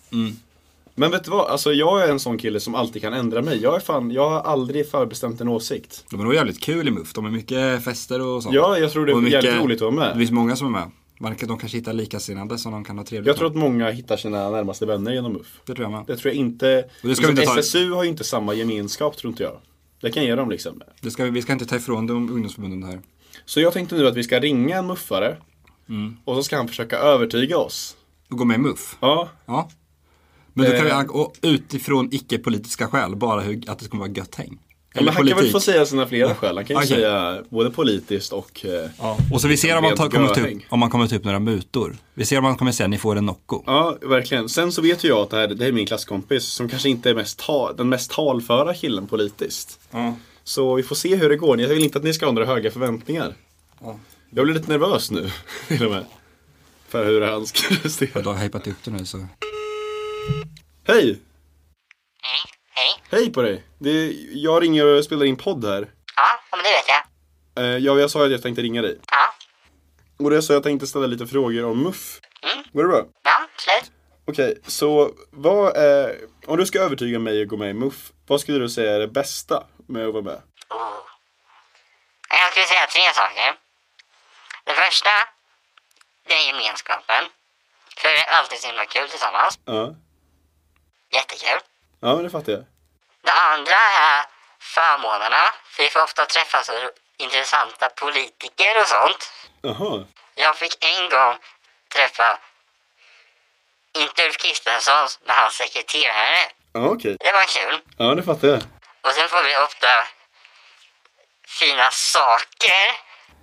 Speaker 4: Men vet du vad, alltså jag är en sån kille som alltid kan ändra mig. Jag är fan, jag har aldrig förbestämt en åsikt.
Speaker 5: De är nog jävligt kul i MUF. De är mycket fester och sånt.
Speaker 4: Ja, jag tror det är
Speaker 5: Och
Speaker 4: jävligt roligt att vara med.
Speaker 5: Det finns många som är med. Man kan- De kanske hittar likasinnade som de kan ha trevligt
Speaker 4: Jag tror att många hittar sina närmaste vänner genom muff.
Speaker 5: Det tror jag med.
Speaker 4: Det tror jag inte. Alltså,
Speaker 5: Och det ska vi inte ta-
Speaker 4: SSU har ju inte samma gemenskap tror inte jag. Det kan ge dem liksom.
Speaker 5: Det ska, vi- vi ska inte ta ifrån dem ungdomsförbunden här.
Speaker 4: Så jag tänkte nu att vi ska ringa en muffare och så ska han försöka övertyga oss.
Speaker 5: Mm. Och gå med i MUF?
Speaker 4: Ja.
Speaker 5: Ja. Men då kan
Speaker 4: Eh.
Speaker 5: vi, och utifrån icke-politiska skäl, bara hur, att det kommer vara gött häng.
Speaker 4: Ja, men han kan väl
Speaker 5: politik.
Speaker 4: få säga sina flera skäl. Han kan ju
Speaker 5: Okej.
Speaker 4: säga både politiskt och... eh,
Speaker 5: Och så vi ser om man,
Speaker 4: rent
Speaker 5: tar, kommer
Speaker 4: görhäng.
Speaker 5: typ, om man kommer ta upp några mutor. Vi ser om man kommer säga ni får en Nocco.
Speaker 4: Ja, verkligen. Sen så vet ju jag att det här, det här är min klasskompis som kanske inte är mest ta, den mest talföra killen politiskt. Så vi får se hur det går. Jag vill inte att ni ska ha några höga förväntningar.
Speaker 5: Ja.
Speaker 4: Jag blir lite nervös nu, (laughs) till och med. För hur han ska prestera. Jag
Speaker 5: har hejpat upp det nu så.
Speaker 4: Hej! hej. Hej på dig. Det är, jag ringer och spelar in podd här.
Speaker 27: Ja, men det vet jag.
Speaker 4: Eh, ja, jag sa ju att jag tänkte ringa dig.
Speaker 27: Ja.
Speaker 4: Och det sa jag tänkte ställa lite frågor om MUF. Går det bra?
Speaker 27: Mm. Ja, slut.
Speaker 4: Okej, så vad är, om du ska övertyga mig att gå med i MUF, vad skulle du säga är det bästa med att vara med?
Speaker 27: Oh. Jag skulle säga tre saker. Det första, det är gemenskapen. För det är alltid så himla kul tillsammans.
Speaker 4: Ja,
Speaker 27: Jättekul.
Speaker 4: ja men det fattar jag.
Speaker 27: Det andra är förmånerna. För vi får ofta träffa så intressanta politiker och sånt.
Speaker 4: Jaha,
Speaker 27: Jag fick en gång träffa, inte Ulf Kristersson, men hans sekreterare.
Speaker 4: ja okej.
Speaker 27: Det var kul.
Speaker 4: Ja, det fattar jag.
Speaker 27: Och sen får vi ofta fina saker.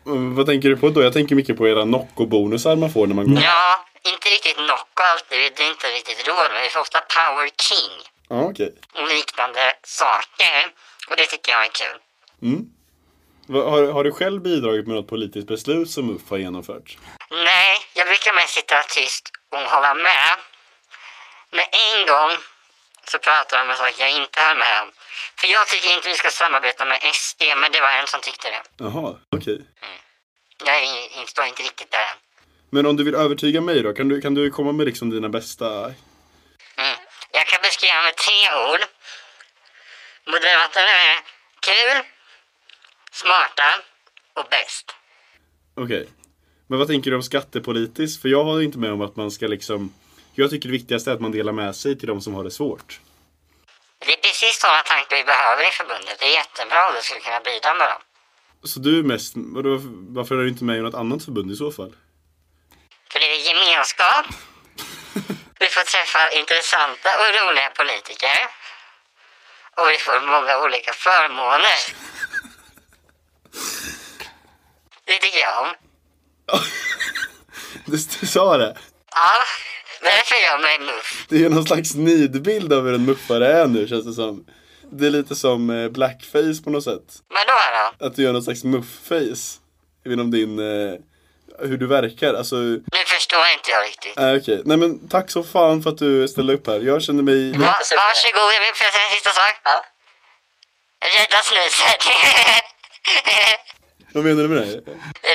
Speaker 4: Mm, Vad tänker du på då? Jag tänker mycket på era Nocco-bonusar man får när man går.
Speaker 27: Ja, inte riktigt Nocco alltid. Det är inte riktigt råd men vi får ofta Power King
Speaker 4: Ja, okej.
Speaker 27: och liknande saker. Och det tycker jag är kul.
Speaker 4: Mm. Vad- Har, har du själv bidragit med något politiskt beslut som MUF har genomfört?
Speaker 27: Nej, jag brukar man sitta tyst och hålla med. Men en gång så pratade han om en sak jag inte höll med om. För jag tycker inte vi ska samarbeta med SD, men det var en som tyckte det.
Speaker 8: Jaha, okej.
Speaker 27: Jag är in- står inte riktigt där än.
Speaker 8: Men om du vill övertyga mig då, kan du, kan du komma med liksom dina bästa...
Speaker 27: Mm. Jag kan beskriva med tre ord. Moderaterna är kul, smarta och bäst.
Speaker 8: Okej. Men vad tänker du om skattepolitiskt? För jag håller inte med om att man ska liksom... Jag tycker det viktigaste är att man delar med sig till de som har det svårt.
Speaker 27: Det är precis sådana tankar vi behöver i förbundet. Det är jättebra om du skulle kunna bidra med dem.
Speaker 8: Så du är mest... Vadå, varför är du inte med i något annat förbund i så fall? (laughs)
Speaker 27: För det är gemenskap. Vi får träffa intressanta och roliga politiker. Och vi får många olika förmåner. Det tycker jag om.
Speaker 8: Du, du sa det!
Speaker 27: Ja, därför gör jag mig muff.
Speaker 8: Det är ju någon slags nidbild av hur en muffare är nu känns det som. Det är lite som eh, blackface på något sätt.
Speaker 27: Vadå då?
Speaker 8: Att du gör någon slags muffface. Genom din... Eh, hur du verkar. Alltså...
Speaker 27: Nu förstår inte jag riktigt.
Speaker 8: Nej Ah, okej. Nej men tack så fan för att du ställde upp här. Jag känner mig...
Speaker 27: Va- Varsågod, jag vill får jag säga en sista sak? (laughs) Rädda snuset. (laughs)
Speaker 8: Vad menar du med det?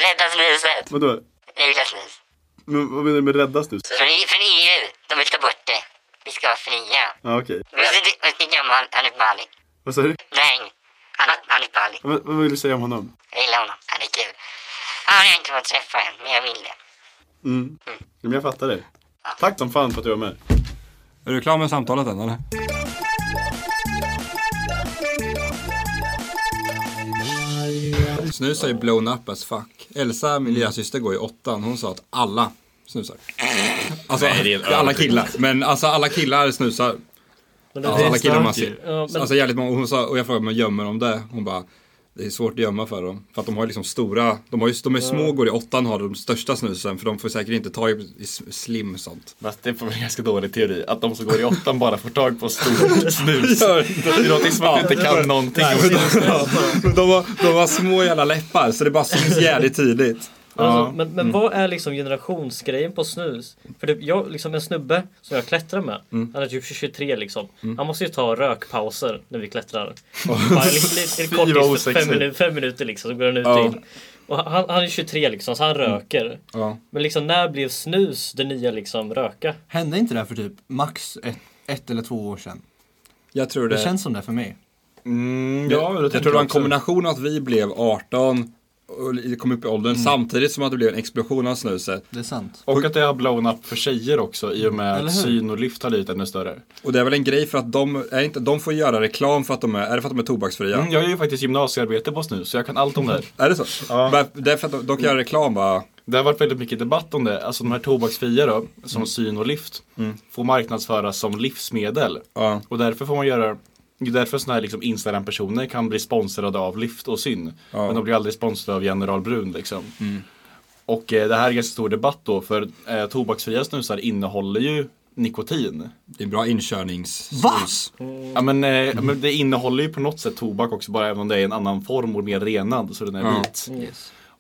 Speaker 27: Rädda snuset.
Speaker 8: Vadå?
Speaker 27: Rädda snus.
Speaker 8: Men, vad menar du med räddas nu?
Speaker 27: Fri, från EU. De vill ta bort det. Vi ska vara fria.
Speaker 8: Ja okej.
Speaker 27: Vet du- vet du om Han- Hanif Bali?
Speaker 8: Vad sa du?
Speaker 27: Nej, Han- Hanif Bali.
Speaker 8: Vad, vad vill du säga om honom?
Speaker 27: Jag gillar honom. Han är kul. Han har jag inte fått träffa än, men jag vill det.
Speaker 8: Mm. Men jag fattar dig. Tack som fan för att du var med.
Speaker 5: Är du klar med samtalet än eller? Snus har ju blown up as fuck. Elsa, min lillasyster, går i åttan. Hon sa att alla snusar. Alltså,
Speaker 4: Nej, det är en
Speaker 5: alla
Speaker 4: överdrift.
Speaker 5: killar. Men alltså alla killar snusar.
Speaker 4: Men det
Speaker 5: alltså,
Speaker 4: är
Speaker 5: alla killar man
Speaker 4: starkt ju.
Speaker 5: ser.
Speaker 4: Ja, men-
Speaker 5: Alltså jävligt många. Och Hon sa, och jag frågade om jag gömmer dem det. Hon bara, det är svårt att gömma för dem. För att de har ju liksom stora, de, har ju, de är små
Speaker 4: Ja.
Speaker 5: och går i åttan har de största snusen. För de får säkert inte tag i i slim sånt.
Speaker 4: Fast det är en ganska dålig teori. Att de som går i åttan bara får tag
Speaker 8: (laughs)
Speaker 4: på stor snus. Det låter som att de inte kan någonting.
Speaker 5: Nej,
Speaker 4: (laughs)
Speaker 5: men de, de, har, de har små jävla läppar så det bara syns
Speaker 4: (laughs)
Speaker 5: jävligt tydligt.
Speaker 2: Men, alltså, men, men
Speaker 5: Mm.
Speaker 2: vad är liksom generationsgrejen på snus? För typ, jag, liksom en snubbe som jag klättrar med,
Speaker 5: Mm.
Speaker 2: han är typ 23 liksom.
Speaker 5: Mm.
Speaker 2: Han måste ju ta rökpauser när
Speaker 5: (laughs)
Speaker 2: vi klättrar. Bara liksom, lite, lite
Speaker 5: Fy, vad
Speaker 2: kortis, fem,
Speaker 5: osexigt.
Speaker 2: minu- fem minuter liksom, så går han ut
Speaker 5: Ja. Mm.
Speaker 2: in. Och han, han är 23 liksom, så han röker.
Speaker 5: Ja.
Speaker 2: Men liksom när blev snus det nya liksom röka?
Speaker 10: Hände inte det här för typ max ett, ett eller två år sedan?
Speaker 5: Jag tror det.
Speaker 10: Det känns som det för mig.
Speaker 5: Mm,
Speaker 10: ja,
Speaker 5: jag, jag
Speaker 10: det
Speaker 5: tror
Speaker 10: tänker
Speaker 5: det var
Speaker 10: jag
Speaker 5: en
Speaker 10: också.
Speaker 5: kombination av att vi blev 18 och li- kom upp i åldern
Speaker 4: Mm.
Speaker 5: samtidigt som att det blev en explosion av snuset.
Speaker 10: Det är sant.
Speaker 4: Och att det har blown up för tjejer också i och med
Speaker 5: Eller
Speaker 4: att
Speaker 5: hur?
Speaker 4: syn och lyft har blivit ännu större.
Speaker 5: Och det är väl en grej för att de, är inte, de får göra reklam för att de är, är det för att de är tobaksfria?
Speaker 4: Mm, jag gör ju faktiskt gymnasiearbete på snus så jag kan allt om det här. Mm.
Speaker 5: Är det så? Ja. Det är för att de, de kan göra reklam bara.
Speaker 4: Det har varit väldigt mycket debatt om det. Alltså de här tobaksfria då, som
Speaker 5: Mm.
Speaker 4: syn och lyft, får marknadsföras som livsmedel. Och därför får man göra det är därför sådana här liksom Instagram-personer kan bli sponsrade av Lyft och Syn.
Speaker 5: Ja.
Speaker 4: Men de blir aldrig sponsrade av General Brun liksom. Och eh, det här är en ganska stor debatt då för eh, tobaksfria snusar innehåller ju nikotin.
Speaker 5: Det är bra inkörnings...
Speaker 4: Va? Ja men, eh, men det innehåller ju på något sätt tobak också bara även om det är i en annan form och mer renad så den är
Speaker 5: Ja.
Speaker 4: vit.
Speaker 2: Mm.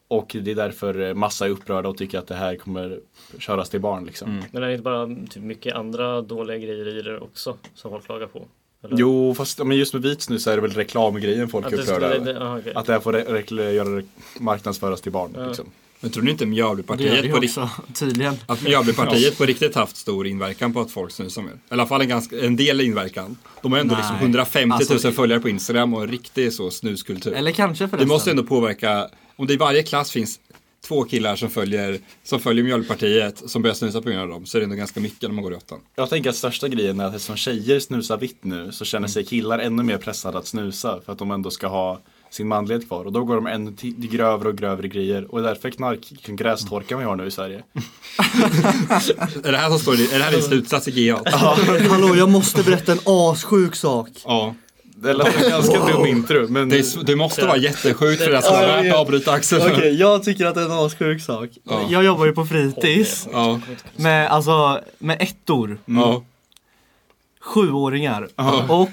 Speaker 4: Och det är därför eh, massa är upprörda och tycker att det här kommer köras till barn liksom.
Speaker 5: Mm.
Speaker 2: Men är det inte bara typ, mycket andra dåliga grejer i det också som folk klagar på? Eller?
Speaker 4: Jo, fast ja, men just med vit snus så är det väl reklamgrejen folk
Speaker 2: Att
Speaker 4: är
Speaker 2: det
Speaker 4: upprörda
Speaker 2: skulle-
Speaker 4: över.
Speaker 2: aha, okej.
Speaker 4: Att det här får re- re- göra re- marknadsföras till barn.
Speaker 2: Ja.
Speaker 4: Liksom.
Speaker 5: Men tror ni inte
Speaker 4: Det gör det
Speaker 5: Mjölbypartiet
Speaker 4: ju
Speaker 5: på,
Speaker 4: också,
Speaker 5: rikt-
Speaker 10: tydligen.
Speaker 5: Att Mjölbypartiet
Speaker 10: (laughs)
Speaker 5: på riktigt haft stor inverkan på att folk snusar mer? I alla fall en, ganska, en del inverkan. De har ändå
Speaker 10: Nej.
Speaker 5: liksom 150
Speaker 10: Alltså-
Speaker 5: 000 följare på Instagram och en riktig så snuskultur.
Speaker 10: Eller kanske
Speaker 5: Det
Speaker 10: förresten.
Speaker 5: måste ändå påverka, om det i varje klass finns två killar som följer, som följer Mjölbypartiet som börjar snusa på grund av dem så är det ändå ganska mycket när man går i åttan.
Speaker 4: Jag tänker att största grejen är att eftersom tjejer snusar vitt nu så
Speaker 10: Mm.
Speaker 4: känner sig killar ännu mer pressade att snusa för att de ändå ska ha sin manlighet kvar och då går de ännu till till grövre och grövre grejer och det är därför knark grästorkan vi har nu i
Speaker 10: (laughs)
Speaker 4: Sverige.
Speaker 5: är det här som står i, är det här din slutsats i
Speaker 4: (laughs)
Speaker 5: GA?
Speaker 10: Hallå, jag måste berätta en assjuk sak.
Speaker 5: Ja.
Speaker 4: Det lät som en ganska dum intro. Men...
Speaker 5: Det, är s- det måste vara jättesjukt för det här som
Speaker 10: Ja,
Speaker 5: är
Speaker 10: jag
Speaker 5: värt
Speaker 10: vet.
Speaker 5: att avbryta Axel.
Speaker 10: Okej, jag tycker att det är en assjuk sak.
Speaker 5: Ja.
Speaker 10: Jag jobbar ju på fritids.
Speaker 5: Ja.
Speaker 10: Med, alltså, med ettor.
Speaker 5: Mm. Ja.
Speaker 10: Sjuåringar.
Speaker 5: Ja.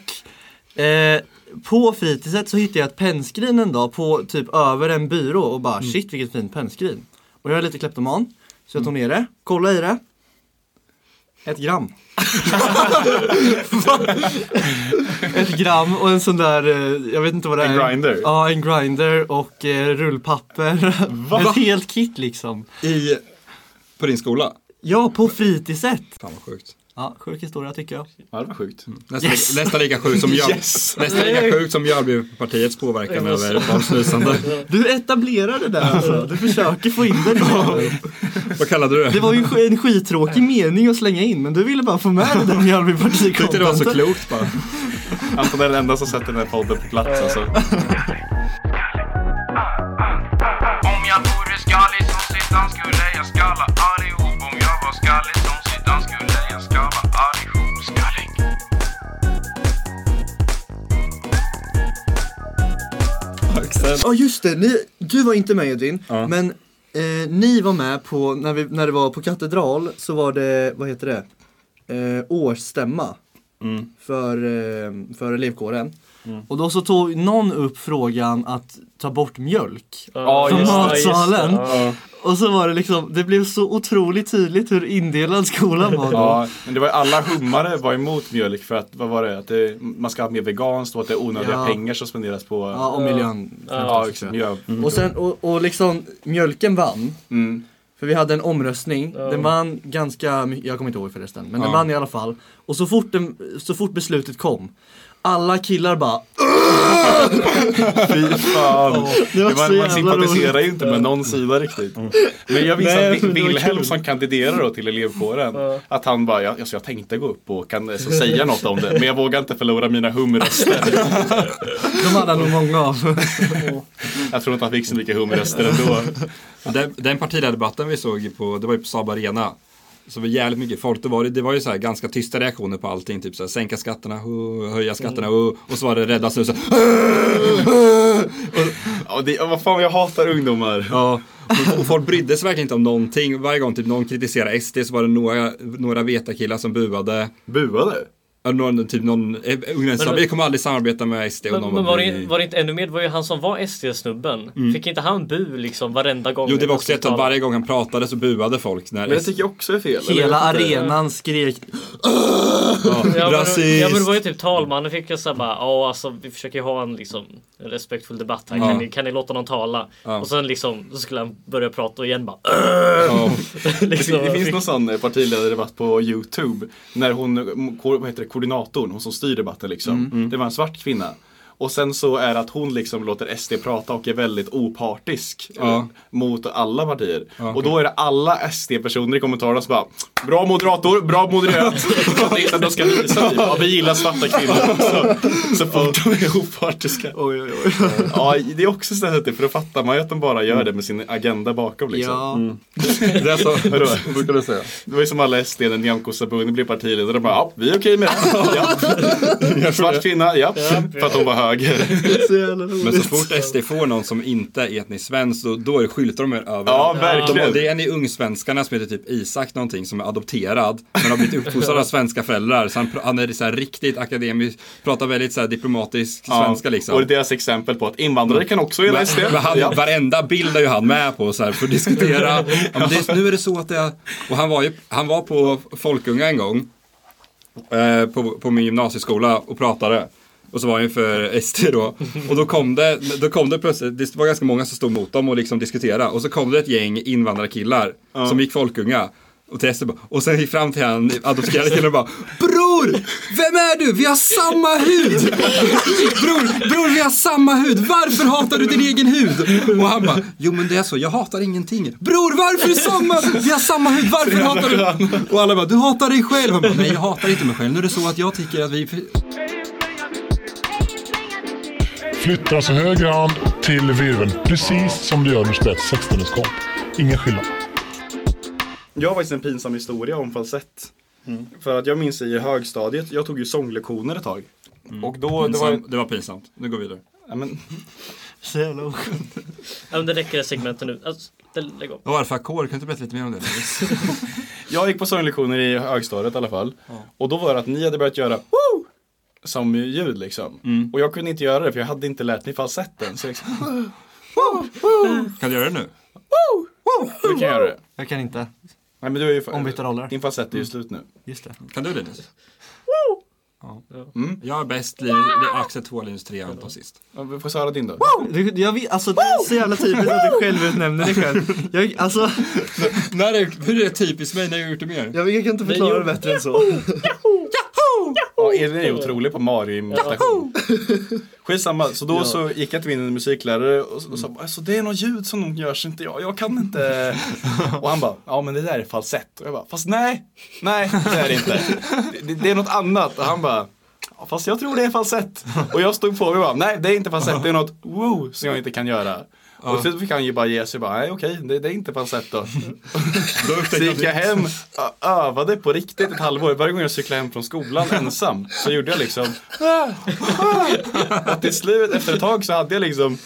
Speaker 10: Och eh, på fritidset så hittade jag ett
Speaker 5: Mm.
Speaker 10: pennskrin en dag på typ över en byrå och bara shit vilket fint pennskrin. Och jag är lite kleptoman. Så jag tog ner det, kollade i det. Ett gram. Va? Ett gram och en sån där, eh, jag vet inte vad det
Speaker 4: En
Speaker 10: är.
Speaker 4: grinder?
Speaker 10: Ja, en grinder och eh, rullpapper.
Speaker 4: Va?
Speaker 10: Ett helt kit liksom.
Speaker 5: I, på din skola?
Speaker 10: Ja, på fritidset.
Speaker 5: Fan vad sjukt.
Speaker 10: Ja, sjuk historia tycker jag.
Speaker 4: Ja, det var sjukt.
Speaker 5: Nästan, nästan lika sjukt som, Mjöl- nästan lika sjukt som Mjölbypartiets påverkan över barnsnusande.
Speaker 10: Du etablerar det där alltså. Du försöker få in det. där.
Speaker 5: Vad kallade du det?
Speaker 10: Det var ju sk- en skittråkig mening att slänga in men du ville bara få med det där Mjölbypartiet.
Speaker 4: Tyckte det var så klokt bara. Anton Alltså, är den enda som sätter den här podden på plats alltså.
Speaker 6: Om jag vore skallig som Zidane skulle jag skalla allihop Om jag var skallig som Zidane skulle jag skalla allihop Skallig
Speaker 10: Ja just det, ni, du var inte med Edvin, men eh, ni var med på, när, vi, när det var på katedral så var det, vad heter det, eh, årsstämma för, eh, för elevkåren.
Speaker 2: Mm.
Speaker 10: Och då så tog någon upp frågan att ta bort mjölk
Speaker 2: Ja,
Speaker 10: från
Speaker 2: just det,
Speaker 10: matsalen.
Speaker 2: just det, ja.
Speaker 10: Och så var det liksom, det blev så otroligt tydligt hur indelad skolan var då.
Speaker 4: Ja, men det var ju alla hummare var emot mjölk för att, vad var det, att det, man ska ha mer veganskt och att det är onödiga
Speaker 10: Ja.
Speaker 4: pengar som spenderas på
Speaker 10: Ja, och miljön.
Speaker 4: Ja, exakt. Miljö.
Speaker 10: Mm. Och, sen, och, och liksom, mjölken vann.
Speaker 4: Mm.
Speaker 10: För vi hade en omröstning.
Speaker 2: Ja.
Speaker 10: Den vann ganska mycket, jag kommer inte ihåg förresten. Men den
Speaker 2: Ja.
Speaker 10: vann i alla fall. Och så fort, den, så fort beslutet kom, alla killar bara
Speaker 4: Fy fan.
Speaker 10: Det var
Speaker 4: Det
Speaker 10: så
Speaker 4: man, man
Speaker 10: jävla
Speaker 4: sympatiserar
Speaker 10: roligt. Mm.
Speaker 4: ju inte med någon sida riktigt. Men jag minns
Speaker 10: Nej,
Speaker 4: att
Speaker 10: men det var
Speaker 4: Wilhelm
Speaker 10: kul.
Speaker 4: som kandiderar då till elevkåren,
Speaker 10: Ja.
Speaker 4: att han bara, ja, alltså jag tänkte gå upp och kan, så, säga något om det, men jag vågar inte förlora mina humröster.
Speaker 10: (laughs) De hade nog många av.
Speaker 4: Jag tror inte han fick så mycket humröster ändå.
Speaker 5: Den, den partiledardebatten vi såg på, det var ju på Saab Arena. Så det var jävligt mycket folk. Det var, det var ju så här ganska tysta reaktioner på allting. Typ så här, sänka skatterna, hu, höja skatterna
Speaker 10: Mm.
Speaker 5: hu, och så var det rädda
Speaker 10: (laughs)
Speaker 5: snusen.
Speaker 4: (laughs) Ja, det, vad fan, jag hatar ungdomar.
Speaker 5: Ja, och, och folk brydde sig verkligen inte om någonting. Varje gång typ någon kritiserade SD så var det några, några vetakillar som buade.
Speaker 4: Buade?
Speaker 5: Ja, någon, typ någon eh, ungdom sa
Speaker 2: Men-
Speaker 5: vi kommer aldrig samarbeta med SD.
Speaker 2: Men,
Speaker 5: och någon
Speaker 2: men var,
Speaker 5: "Vi-
Speaker 2: det, var det inte ännu mer, det var ju han som var SD-snubben.
Speaker 5: Mm.
Speaker 2: Fick inte han bu liksom varenda gång?
Speaker 5: Jo, det var också ett att varje gång han pratade så buade folk. När
Speaker 2: Men det
Speaker 5: SD
Speaker 4: tycker jag också är fel.
Speaker 10: hela arenan skrek
Speaker 5: Ja,
Speaker 2: Ja, men,
Speaker 5: rasist.
Speaker 2: ja men det var ju typ talmannen fick jag såhär bara ja alltså vi försöker ju ha en liksom en respektfull debatt här
Speaker 5: Ja.
Speaker 2: kan, ni, kan ni låta någon tala?
Speaker 4: Ja.
Speaker 2: Och sen liksom så skulle han börja prata och igen bara
Speaker 4: (laughs) Ja. Det,
Speaker 2: Liksom,
Speaker 4: fin- det finns
Speaker 2: fick-
Speaker 4: någon sån eh, partiledardebatt på Youtube. När hon, mm, ko- vad heter det, koordinatorn, hon som styr debatten liksom. Det var en svart kvinna. Och sen så är det att hon liksom låter SD prata och är väldigt opartisk
Speaker 5: Ja.
Speaker 4: eh, mot alla partier.
Speaker 5: Ja,
Speaker 4: Och då är det alla SD-personer i kommentarerna som bara Bra moderator, bra (laughs) moderat! det är så att de ska visa typ, ja, vi gillar svarta kvinnor också. (laughs) Så fort de är opartiska.
Speaker 10: Oj, oj,
Speaker 4: oj. Ja, det är också ständigt för då fattar man ju att de bara gör det med sin agenda bakom liksom.
Speaker 10: Ja.
Speaker 4: (laughs) Det är så,
Speaker 5: Vadå?
Speaker 4: brukar du säga. Det var ju som alla SD när Nyamko Sabuni blev partiledare. De bara, ja, vi är okej med det. Ja. Svart kvinna, ja. För att hon var
Speaker 2: (laughs)
Speaker 4: höger.
Speaker 5: Men så fort SD får någon som inte är etnisk svensk, då, då är det skyltar de er överallt.
Speaker 4: Ja, verkligen.
Speaker 5: De, det är en i Ungsvenskarna som heter typ Isak någonting, som är adopterad, men har blivit uppfostrad av svenska föräldrar. Så han, pr- han är så här riktigt akademisk, pratar väldigt så här diplomatisk
Speaker 4: Ja,
Speaker 5: svenska liksom.
Speaker 4: och det är deras exempel på att invandrare kan också gilla
Speaker 5: Men-
Speaker 4: SD.
Speaker 5: Men han,
Speaker 4: Ja.
Speaker 5: Varenda bild är ju han med på så här, för att
Speaker 4: (laughs)
Speaker 5: diskutera. Ja, men det, nu är det så att jag... Och han var, ju, han var på Folkunga en gång, eh, på, på min gymnasieskola och pratade. Och så var han ju för SD då. Och då kom det, då kom det plötsligt, det var ganska många som stod mot dem och liksom diskuterade. Och så kom det ett gäng invandrarkillar som gick Folkunga. Och, till SD bara- och sen gick fram till han adopterade killen och bara Bror! Vem är du? Vi har samma hud! (laughs) Bror, bror vi har samma hud! Varför hatar du din egen hud? Och han bara, jo men det är så, jag hatar ingenting. Bror varför samma, vi har samma hud, varför hatar du? Och alla bara, du hatar dig själv. Han bara, nej jag hatar inte mig själv, nu är det så att jag tycker att vi...
Speaker 7: Flytta alltså höger hand till virveln, precis som du gör när du spelar ett sextonderskamp. Ingen skillnad.
Speaker 4: Jag har faktiskt en pinsam historia om falsett. För att jag minns i högstadiet, jag tog ju sånglektioner ett tag.
Speaker 5: Mm.
Speaker 4: Och då, det var,
Speaker 5: det var pinsamt, nu går vi vidare.
Speaker 4: Ja, men,
Speaker 2: Så jävla oskönt. ja men det räcker det segmentet nu. Alltså, det, lägg av.
Speaker 5: Och varför ackord? Kan du inte berätta lite mer om det?
Speaker 4: (laughs) jag gick på sånglektioner i högstadiet i alla fall. Och då var det att ni hade börjat göra Woo! som ljud liksom.
Speaker 28: Mm.
Speaker 4: Och jag kunde inte göra det för jag hade inte lärt mig falsetten. Så jag liksom,
Speaker 5: Kan du göra det nu?
Speaker 28: Du kan göra det.
Speaker 10: Jag kan inte.
Speaker 4: Nej men du är ju
Speaker 10: Ombytta roller. Mm.
Speaker 4: Din falsett är ju slut nu.
Speaker 10: Just det.
Speaker 5: Kan du Linus? Ja. Jag är bäst, Li- Axel 2, Linus 3 och Anton sist.
Speaker 4: Mm. Ja, vi får höra din då.
Speaker 10: Du, jag vet, alltså det är så jävla typiskt att du själv utnämner dig själv. Jag,
Speaker 4: (laughs)
Speaker 10: alltså...
Speaker 5: när är, hur är det typiskt mig när jag har gjort det mer?
Speaker 10: Jag, jag kan inte förklara det bättre än så.
Speaker 4: (laughs) Ja, Elin är ju otrolig på Mario-imitation. Skitsamma, så då så gick jag till min musiklärare och så- och sa alltså, det är något ljud som nog görs inte jag, jag kan inte. Och han bara, ja men det där är falsett. Och jag bara, fast nej, nej det är det inte. Det, det är något annat. Och han bara, "Ja, fast jag tror det är falsett. Och jag stod på mig och bara, nej det är inte falsett, det är något wow som jag inte kan göra. Och så fick han ju bara ge sig bara, nej okej, det, det är inte falsett då. Så gick jag hem, ö- övade på riktigt ett halvår. Varje gång jag cyklade hem från skolan ensam så gjorde jag liksom Och (laughs) till slut, efter ett tag så hade jag liksom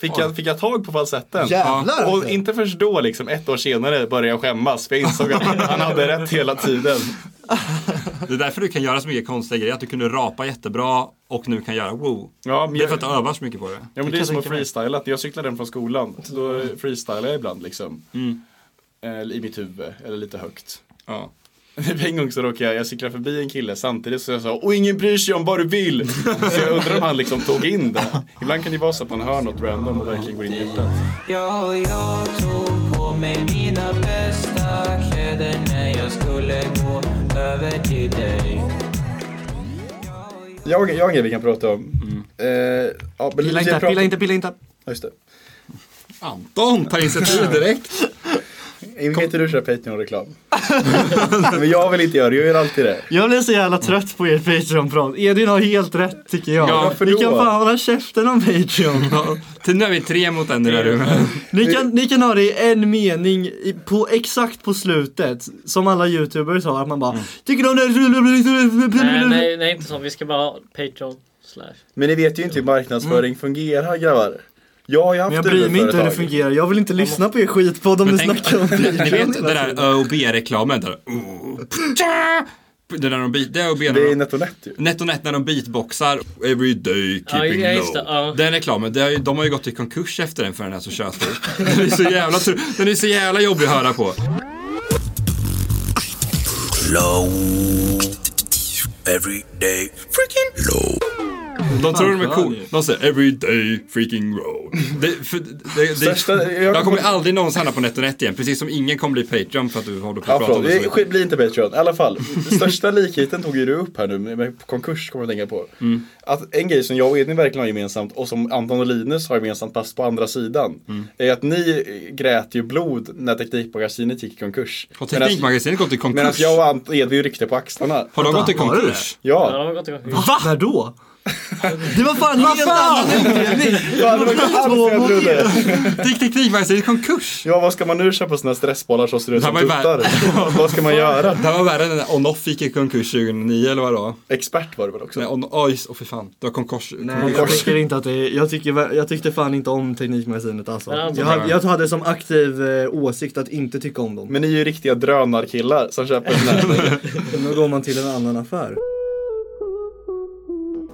Speaker 4: Fick jag, fick jag tag på falsetten.
Speaker 10: Jävlar,
Speaker 4: och
Speaker 10: alltså.
Speaker 4: inte först då, liksom, ett år senare, började jag skämmas. För jag insåg att han hade rätt hela tiden.
Speaker 5: (laughs) Det är därför du kan göra så mycket konstiga grejer, att du kunde rapa jättebra och nu kan göra wow. det är för att du övar så mycket på det.
Speaker 4: Ja, men det är som att freestyla. När jag cyklade hem från skolan, då freestylade jag ibland liksom. Eh, I mitt huvud, eller lite högt.
Speaker 5: Ja.
Speaker 4: (laughs) En gång så råkade jag, jag cyklade förbi en kille samtidigt så jag sa och ingen bryr sig om vad du vill. (laughs) Så jag undrar om han liksom tog in det. Ibland kan det ju vara så att man hör något random och verkligen går in i hjärtat.
Speaker 8: Ja, jag tog på mig mina bästa kläder när jag skulle gå över till dig.
Speaker 4: Jag, jag har en grej vi kan prata om.
Speaker 5: Mm.
Speaker 4: Eh, ja, men
Speaker 10: Pilla
Speaker 4: vi
Speaker 10: inte,
Speaker 4: pratar-
Speaker 10: pilla inte, pilla inte.
Speaker 4: Ja, just det.
Speaker 5: Anton tar initiativ
Speaker 4: (laughs)
Speaker 5: direkt.
Speaker 4: Kan inte du
Speaker 5: (laughs)
Speaker 4: köra Patreon-reklam? men jag vill inte göra det, jag gör alltid det.
Speaker 10: Jag blir så jävla trött på er Patreon-prat. Edvin har helt rätt tycker jag.
Speaker 5: Ja, varför
Speaker 10: ni
Speaker 5: då?
Speaker 10: kan fan hålla käften om Patreon.
Speaker 5: Till nu är vi tre mot en i det här rummet.
Speaker 10: Ni kan, ni kan ha det i en mening i, på, exakt på slutet. Som alla youtubers har, att man bara Tycker du om det?
Speaker 2: Nej, nej, nej inte så. Vi ska bara ha Patreon. Slash.
Speaker 4: Men ni vet ju inte hur marknadsföring
Speaker 5: Mm.
Speaker 4: fungerar grabbar. Jag har ju haft
Speaker 10: Men jag bryr mig inte hur det fungerar. Jag vill inte lyssna på er skitpodd om ni snackar om
Speaker 5: Ni ni
Speaker 10: Patreon.
Speaker 5: vet det där Ö och B-reklamen där. Oh. Det, där de beat, det, är det är
Speaker 4: Netto Net ju.
Speaker 5: Netto Net när de beatboxar. Every day keeping
Speaker 2: Ja,
Speaker 5: low.
Speaker 2: just det, ja.
Speaker 5: Den reklamen, det har ju, de har ju gått i konkurs efter den för den är så tjötig. Den är så jävla, tur- den är så jävla jobbig att höra på.
Speaker 29: Low. Every day. Freaking low.
Speaker 5: De tror de är cool. De säger every day freaking row. Det, för, det, det,
Speaker 4: Största- jag-
Speaker 5: jag, kommer aldrig någonsin hamna på Net och Net igen. Precis som ingen kommer bli Patreon för att du håller på
Speaker 4: Ja,
Speaker 5: att prata om
Speaker 4: förlåt.
Speaker 5: det så mycket.
Speaker 4: Det blir inte Patreon. I alla fall, största likheten tog ju du upp här nu med- med konkurs kommer jag att tänka på. Att en grej som jag och Edvin verkligen har gemensamt och som Anton och Linus har gemensamt fast på andra sidan.
Speaker 5: Mm.
Speaker 4: Är att ni eh, grät ju blod när Teknikmagasinet gick i konkurs.
Speaker 5: Och Teknikmagasinet gått i konkurs?
Speaker 4: Medan jag och Ant- Edvin ryckte på axlarna.
Speaker 5: Har de gått i Har det? konkurs?
Speaker 4: Ja.
Speaker 2: Ja, de har gått igång.
Speaker 10: Va? När då? Det var fan en
Speaker 2: Vad
Speaker 10: helt
Speaker 2: fan?
Speaker 10: annan utdelning.
Speaker 4: (laughs) Ja, det var inte alls det jag trodde.
Speaker 5: Dick Teknikmagasinet konkurs.
Speaker 4: Ja, vad ska man nu köpa sådana stressbollar som ser ut som
Speaker 5: var ju värre. (laughs)
Speaker 4: tuttar? vad ska man göra?
Speaker 5: Det här var värre än när On-Off gick i konkurs 2009 eller vad det var.
Speaker 4: Expert var det väl också?
Speaker 5: Nej, on, oh, just, oh, för fan. Det var konkurs.
Speaker 10: Nej, jag tycker inte att det är, jag, tycker, jag tyckte fan inte om Teknikmagasinet alltså.
Speaker 4: Nej, alltså.
Speaker 10: Jag, hade- jag hade som aktiv eh, åsikt att inte tycka om dem.
Speaker 4: Men ni är ju riktiga drönarkillar som köper den
Speaker 10: (laughs)
Speaker 4: här.
Speaker 10: Då går man till en annan affär.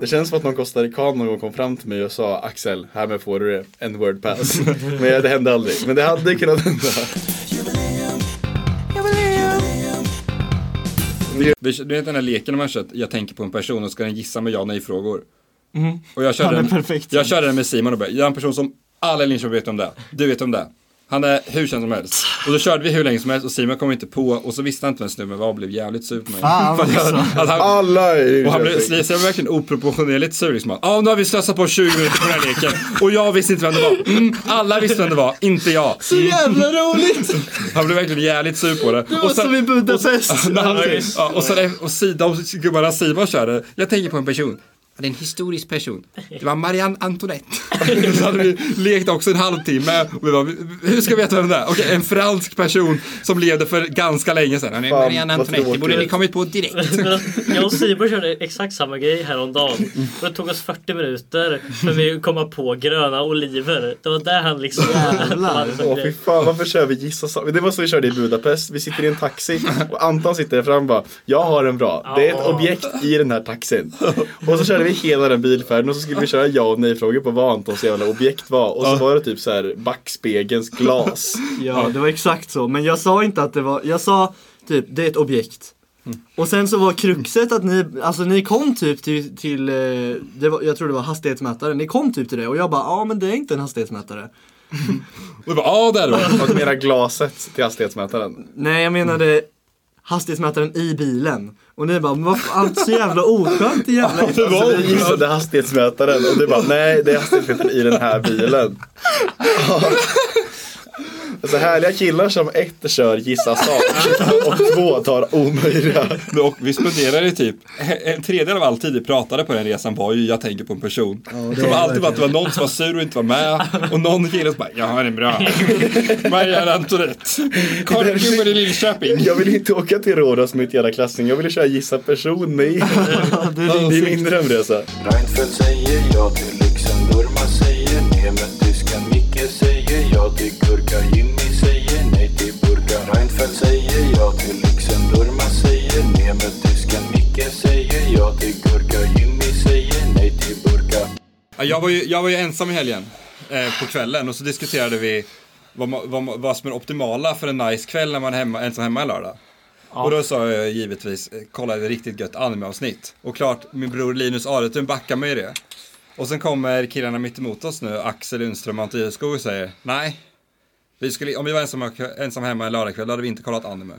Speaker 4: Det känns som att någon kostarikan någon gång kom fram till mig och sa Axel, härmed får du det, en word pass. Men det hände aldrig. Men det hade kunnat hända.
Speaker 5: Du, du vet den här leken de har kört, jag tänker på en person och ska den gissa med ja och nej-frågor.
Speaker 4: Mhm.
Speaker 10: Mm.
Speaker 5: Och jag
Speaker 10: Han
Speaker 5: körde,
Speaker 10: är
Speaker 5: den,
Speaker 10: perfekt.
Speaker 5: jag körde den med Simon och bara, jag är en person som alla i Linköping vet om det. Du vet om det. Han är hur känd som helst. Och då körde vi hur länge som helst och Simon kom inte på och så visste han inte vem snubben var och blev jävligt sur på mig. (laughs)
Speaker 4: Fan,
Speaker 5: För att jag-
Speaker 4: alltså.
Speaker 5: att han-
Speaker 4: Alla i
Speaker 5: Och han blev,
Speaker 4: Linköping.
Speaker 5: så jag var verkligen oproportionerligt sur liksom. Ja, nu har vi slösat på 20 minuter på den här leken. Och jag visste inte vem det var. Mm, alla visste vem det var, inte jag. Mm.
Speaker 10: Så jävla
Speaker 4: (laughs)
Speaker 10: roligt!
Speaker 5: Han blev verkligen jävligt sur på det.
Speaker 10: Det var som
Speaker 5: (laughs)
Speaker 10: i Budapest.
Speaker 5: och- när han-
Speaker 10: Ja, visst.
Speaker 5: ja, och sen och Sida och gubbarna Simon körde. Jag tänker på en person. Han är en historisk person. Det var Marianne Antoinette. (laughs) så hade vi lekt också en halvtimme. Och vi bara, hur ska vi veta vem det är? Okej, en fransk person som levde för ganska länge sedan. Han är
Speaker 2: Fan,
Speaker 5: Marianne
Speaker 2: vad
Speaker 5: Antoinette. Det borde ni
Speaker 2: tråkigt.
Speaker 5: kommit på direkt.
Speaker 2: (laughs) Jag och Simon körde exakt samma grej häromdagen. Och det tog oss 40 minuter för vi komma på gröna oliver. Det var där han liksom... han
Speaker 4: Åh fy fan, varför kör vi gissa så? Det var så vi körde i Budapest. Vi sitter i en taxi och Anton sitter där fram och bara, jag har en bra. Det är ett objekt i den här taxin. Och så körde
Speaker 30: vi hela den bilfärden och så skulle vi köra ja och nej-frågor på vad Antons jävla objekt var. Och så var det typ så här backspegelns glas.
Speaker 10: Ja, det var exakt så. Men jag sa inte att det var, jag sa typ, det är ett objekt. Och sen så var kruxet att ni, alltså ni kom typ till, till eh, det var, jag tror det var hastighetsmätare, ni kom typ till det och jag bara, ja ah, men det är inte en hastighetsmätare.
Speaker 30: Och vi bara, ja där var det. Fast mera glaset till hastighetsmätaren.
Speaker 10: Nej jag menade hastighetsmätaren i bilen. Och ni bara, men vad fan, så jävla oskönt
Speaker 4: (laughs)
Speaker 10: det jävla
Speaker 30: Det var alltså, vi gissade hastighetsmätaren och du bara nej det är hastighetsmätaren i den här bilen. Ja. Alltså härliga killar som ett kör gissa sak och två tar omöjliga.
Speaker 5: (laughs) Och vi spenderade typ, en tredjedel av all tid vi pratade på den resan var ju jag tänker på en person.
Speaker 30: det
Speaker 5: det var
Speaker 30: är
Speaker 5: alltid bara att det var
Speaker 30: verkligen.
Speaker 5: någon som var sur och inte var med. Och någon kille som bara, jag har
Speaker 30: (laughs)
Speaker 5: en bra. Marianne Antoinette. Korvgubben i Linköping.
Speaker 30: Jag vill inte åka till Rhodos med mitt jävla klassning. Jag vill köra gissa person med er. Det är min drömresa.
Speaker 8: Reinfeldt säger ja till lyxen, Burma säger nej men tyskan Micke säger ja till gurka, Jimmy säger nej till burka Reinfeldt säger ja till lyxen, Burma säger nej men tyskan Micke säger ja till gurka, Jimmy säger nej till burka
Speaker 5: Ja, Jag var ju, jag var ju ensam i helgen eh, på kvällen och så diskuterade vi vad, ma- vad, ma- vad som är optimala för en nice kväll när man är hemma, ensam hemma en lördag. Och då sa jag givetvis, eh, kolla ett riktigt gött animeavsnitt. Och klart, min bror Linus Aretun backar mig i det. Och sen kommer killarna mitt emot oss nu, Axel Lundström och Anton Jyskog och säger, nej. Vi skulle, om vi var ensamma, ensam hemma en lördagkväll, då hade vi inte kollat anime.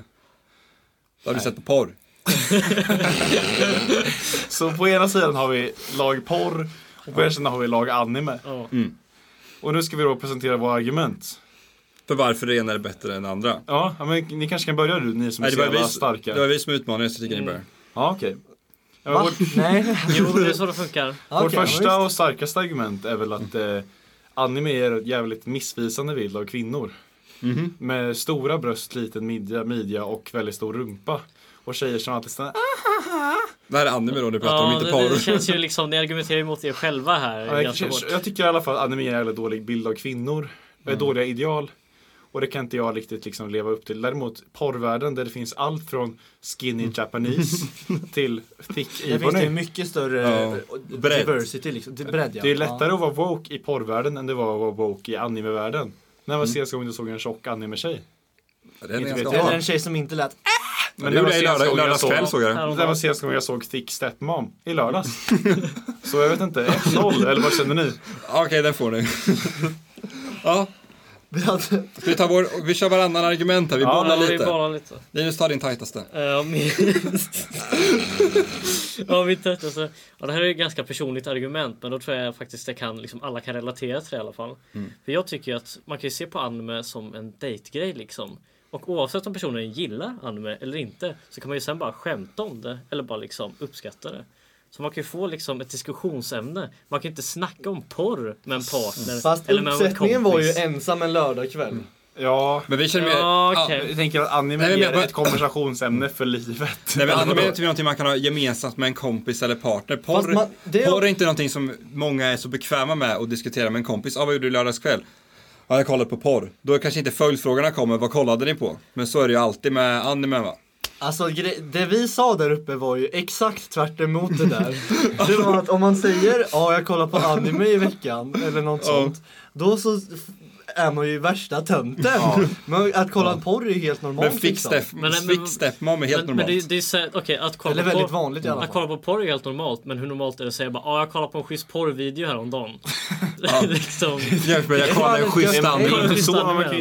Speaker 5: Då hade vi sett på porr.
Speaker 4: Så på ena sidan har vi lag porr och på andra sidan har vi lag anime.
Speaker 5: Mm.
Speaker 4: Och nu ska vi då presentera våra argument.
Speaker 5: För varför det ena är bättre än andra.
Speaker 4: Ja, ja, men ni kanske kan börja du, ni som är
Speaker 5: Nej, det
Speaker 4: så
Speaker 5: var
Speaker 4: jävla
Speaker 5: vi-
Speaker 4: starka.
Speaker 5: det var vi som utmanade, så jag tycker ni börjar.
Speaker 4: Ja, okej. Ja,
Speaker 2: Va?
Speaker 4: vårt- (laughs)
Speaker 2: Nej. Jo, det är så det funkar.
Speaker 4: Vårt
Speaker 2: Okej, ja,
Speaker 4: första
Speaker 2: visst.
Speaker 4: och starkaste argument är väl att eh, anime är ett jävligt missvisande bild av kvinnor.
Speaker 5: Mhm.
Speaker 4: Med stora bröst, liten midja, midja och väldigt stor rumpa. Och tjejer som alltid stannar
Speaker 5: Det här är anime då ni pratar om, inte
Speaker 2: det,
Speaker 5: porr.
Speaker 2: det känns ju liksom, ni argumenterar ju mot er själva här
Speaker 4: Ja, jag,
Speaker 2: ganska
Speaker 4: kanske-
Speaker 2: hårt.
Speaker 4: jag tycker i alla fall att anime är en jävla dålig bild av kvinnor. Det är
Speaker 2: Mm.
Speaker 4: Dåliga ideal. Och det kan inte jag riktigt liksom leva upp till. Däremot porrvärlden där det finns allt från
Speaker 5: Mm.
Speaker 4: skinny
Speaker 5: (laughs)
Speaker 4: Japanese till thick
Speaker 10: Där finns det ju mycket större, Ja. eh, Bredd. diversity liksom. Det- bredd, ja.
Speaker 4: Det är lättare
Speaker 10: Ja.
Speaker 4: att vara woke i porrvärlden än det var att vara woke i animevärlden. När var senaste gången du såg en tjock anime-tjej?
Speaker 5: Mm. den är
Speaker 4: Inte
Speaker 5: ganska
Speaker 4: vet jag.
Speaker 10: Eller en tjej som inte lät
Speaker 4: Men
Speaker 5: Det
Speaker 4: det var
Speaker 5: gjorde jag i
Speaker 4: senaste
Speaker 5: lördag-
Speaker 4: gången
Speaker 5: lördagskväll såg jag den.
Speaker 4: Det var senaste gången jag såg Thick Stepmom
Speaker 5: (laughs)
Speaker 4: i lördags. Så jag vet inte, 1-0 eller vad känner ni?
Speaker 5: Okej, den får
Speaker 4: (laughs)
Speaker 5: ni. ja. Ska vi, ta vår, vi kör varannan argument här, vi
Speaker 2: Ja,
Speaker 5: bollar
Speaker 2: vi
Speaker 5: lite.
Speaker 2: bollar lite.
Speaker 5: Linus, ta din tajtaste.
Speaker 2: Eh, (laughs) min- ja, mitt tröttaste. Ja, det här är ju ett ganska personligt argument men då tror jag faktiskt det kan, liksom, alla kan relatera till det i alla fall.
Speaker 5: Mm.
Speaker 2: För jag tycker ju att man kan ju se på anime som en dejtgrej liksom. Och oavsett om personen gillar anime eller inte så kan man ju sen bara skämta om det eller bara liksom uppskatta det. Så man kan ju få liksom ett diskussionsämne. Man kan ju inte snacka om porr med en partner.
Speaker 10: Fast
Speaker 2: eller med en
Speaker 10: uppsättningen var ju
Speaker 2: kompis.
Speaker 10: ensam en lördagkväll.
Speaker 4: Ja,
Speaker 5: men vi känner ju-
Speaker 2: Ja,
Speaker 5: okej.
Speaker 4: Jag tänker att anime
Speaker 5: Nej, men
Speaker 4: är
Speaker 5: jag-
Speaker 4: ett konversationsämne för livet.
Speaker 5: (laughs) Nej, men anime är typ någonting man kan ha gemensamt med en kompis eller partner. Porr,
Speaker 4: man- det är-
Speaker 5: porr är inte någonting som många är så bekväma med att diskutera med en kompis. Ah, vad gjorde du i lördagskväll? Ja, jag kollade på porr. Då kanske inte följdfrågorna kommer, vad kollade ni på? Men så är det ju alltid med anime va?
Speaker 10: Alltså gre- det vi sa där uppe var ju exakt tvärt emot
Speaker 5: (laughs)
Speaker 10: det där. Det var att om man säger ja jag kollar på anime i veckan eller något
Speaker 5: Ja.
Speaker 10: sånt. Då så f- är man ju värsta tönten.
Speaker 5: Ja.
Speaker 10: Men att kolla porr är ju helt normalt. liksom.
Speaker 5: Men fick Steff- Men- men- fick Stepmom är helt
Speaker 2: men,
Speaker 5: normalt. (laughs)
Speaker 2: Men det, det är så, här- okej, att kolla
Speaker 10: Eller
Speaker 2: på
Speaker 10: väldigt
Speaker 2: porr-
Speaker 10: vanligt i alla
Speaker 2: Att
Speaker 10: fall.
Speaker 2: kolla på porr är helt normalt, men hur normalt är det att säga bara ah, jag kollar på en schysst porrvideo häromdagen. (laughs) liksom.
Speaker 5: Jag, men jag kollar en schysst anime.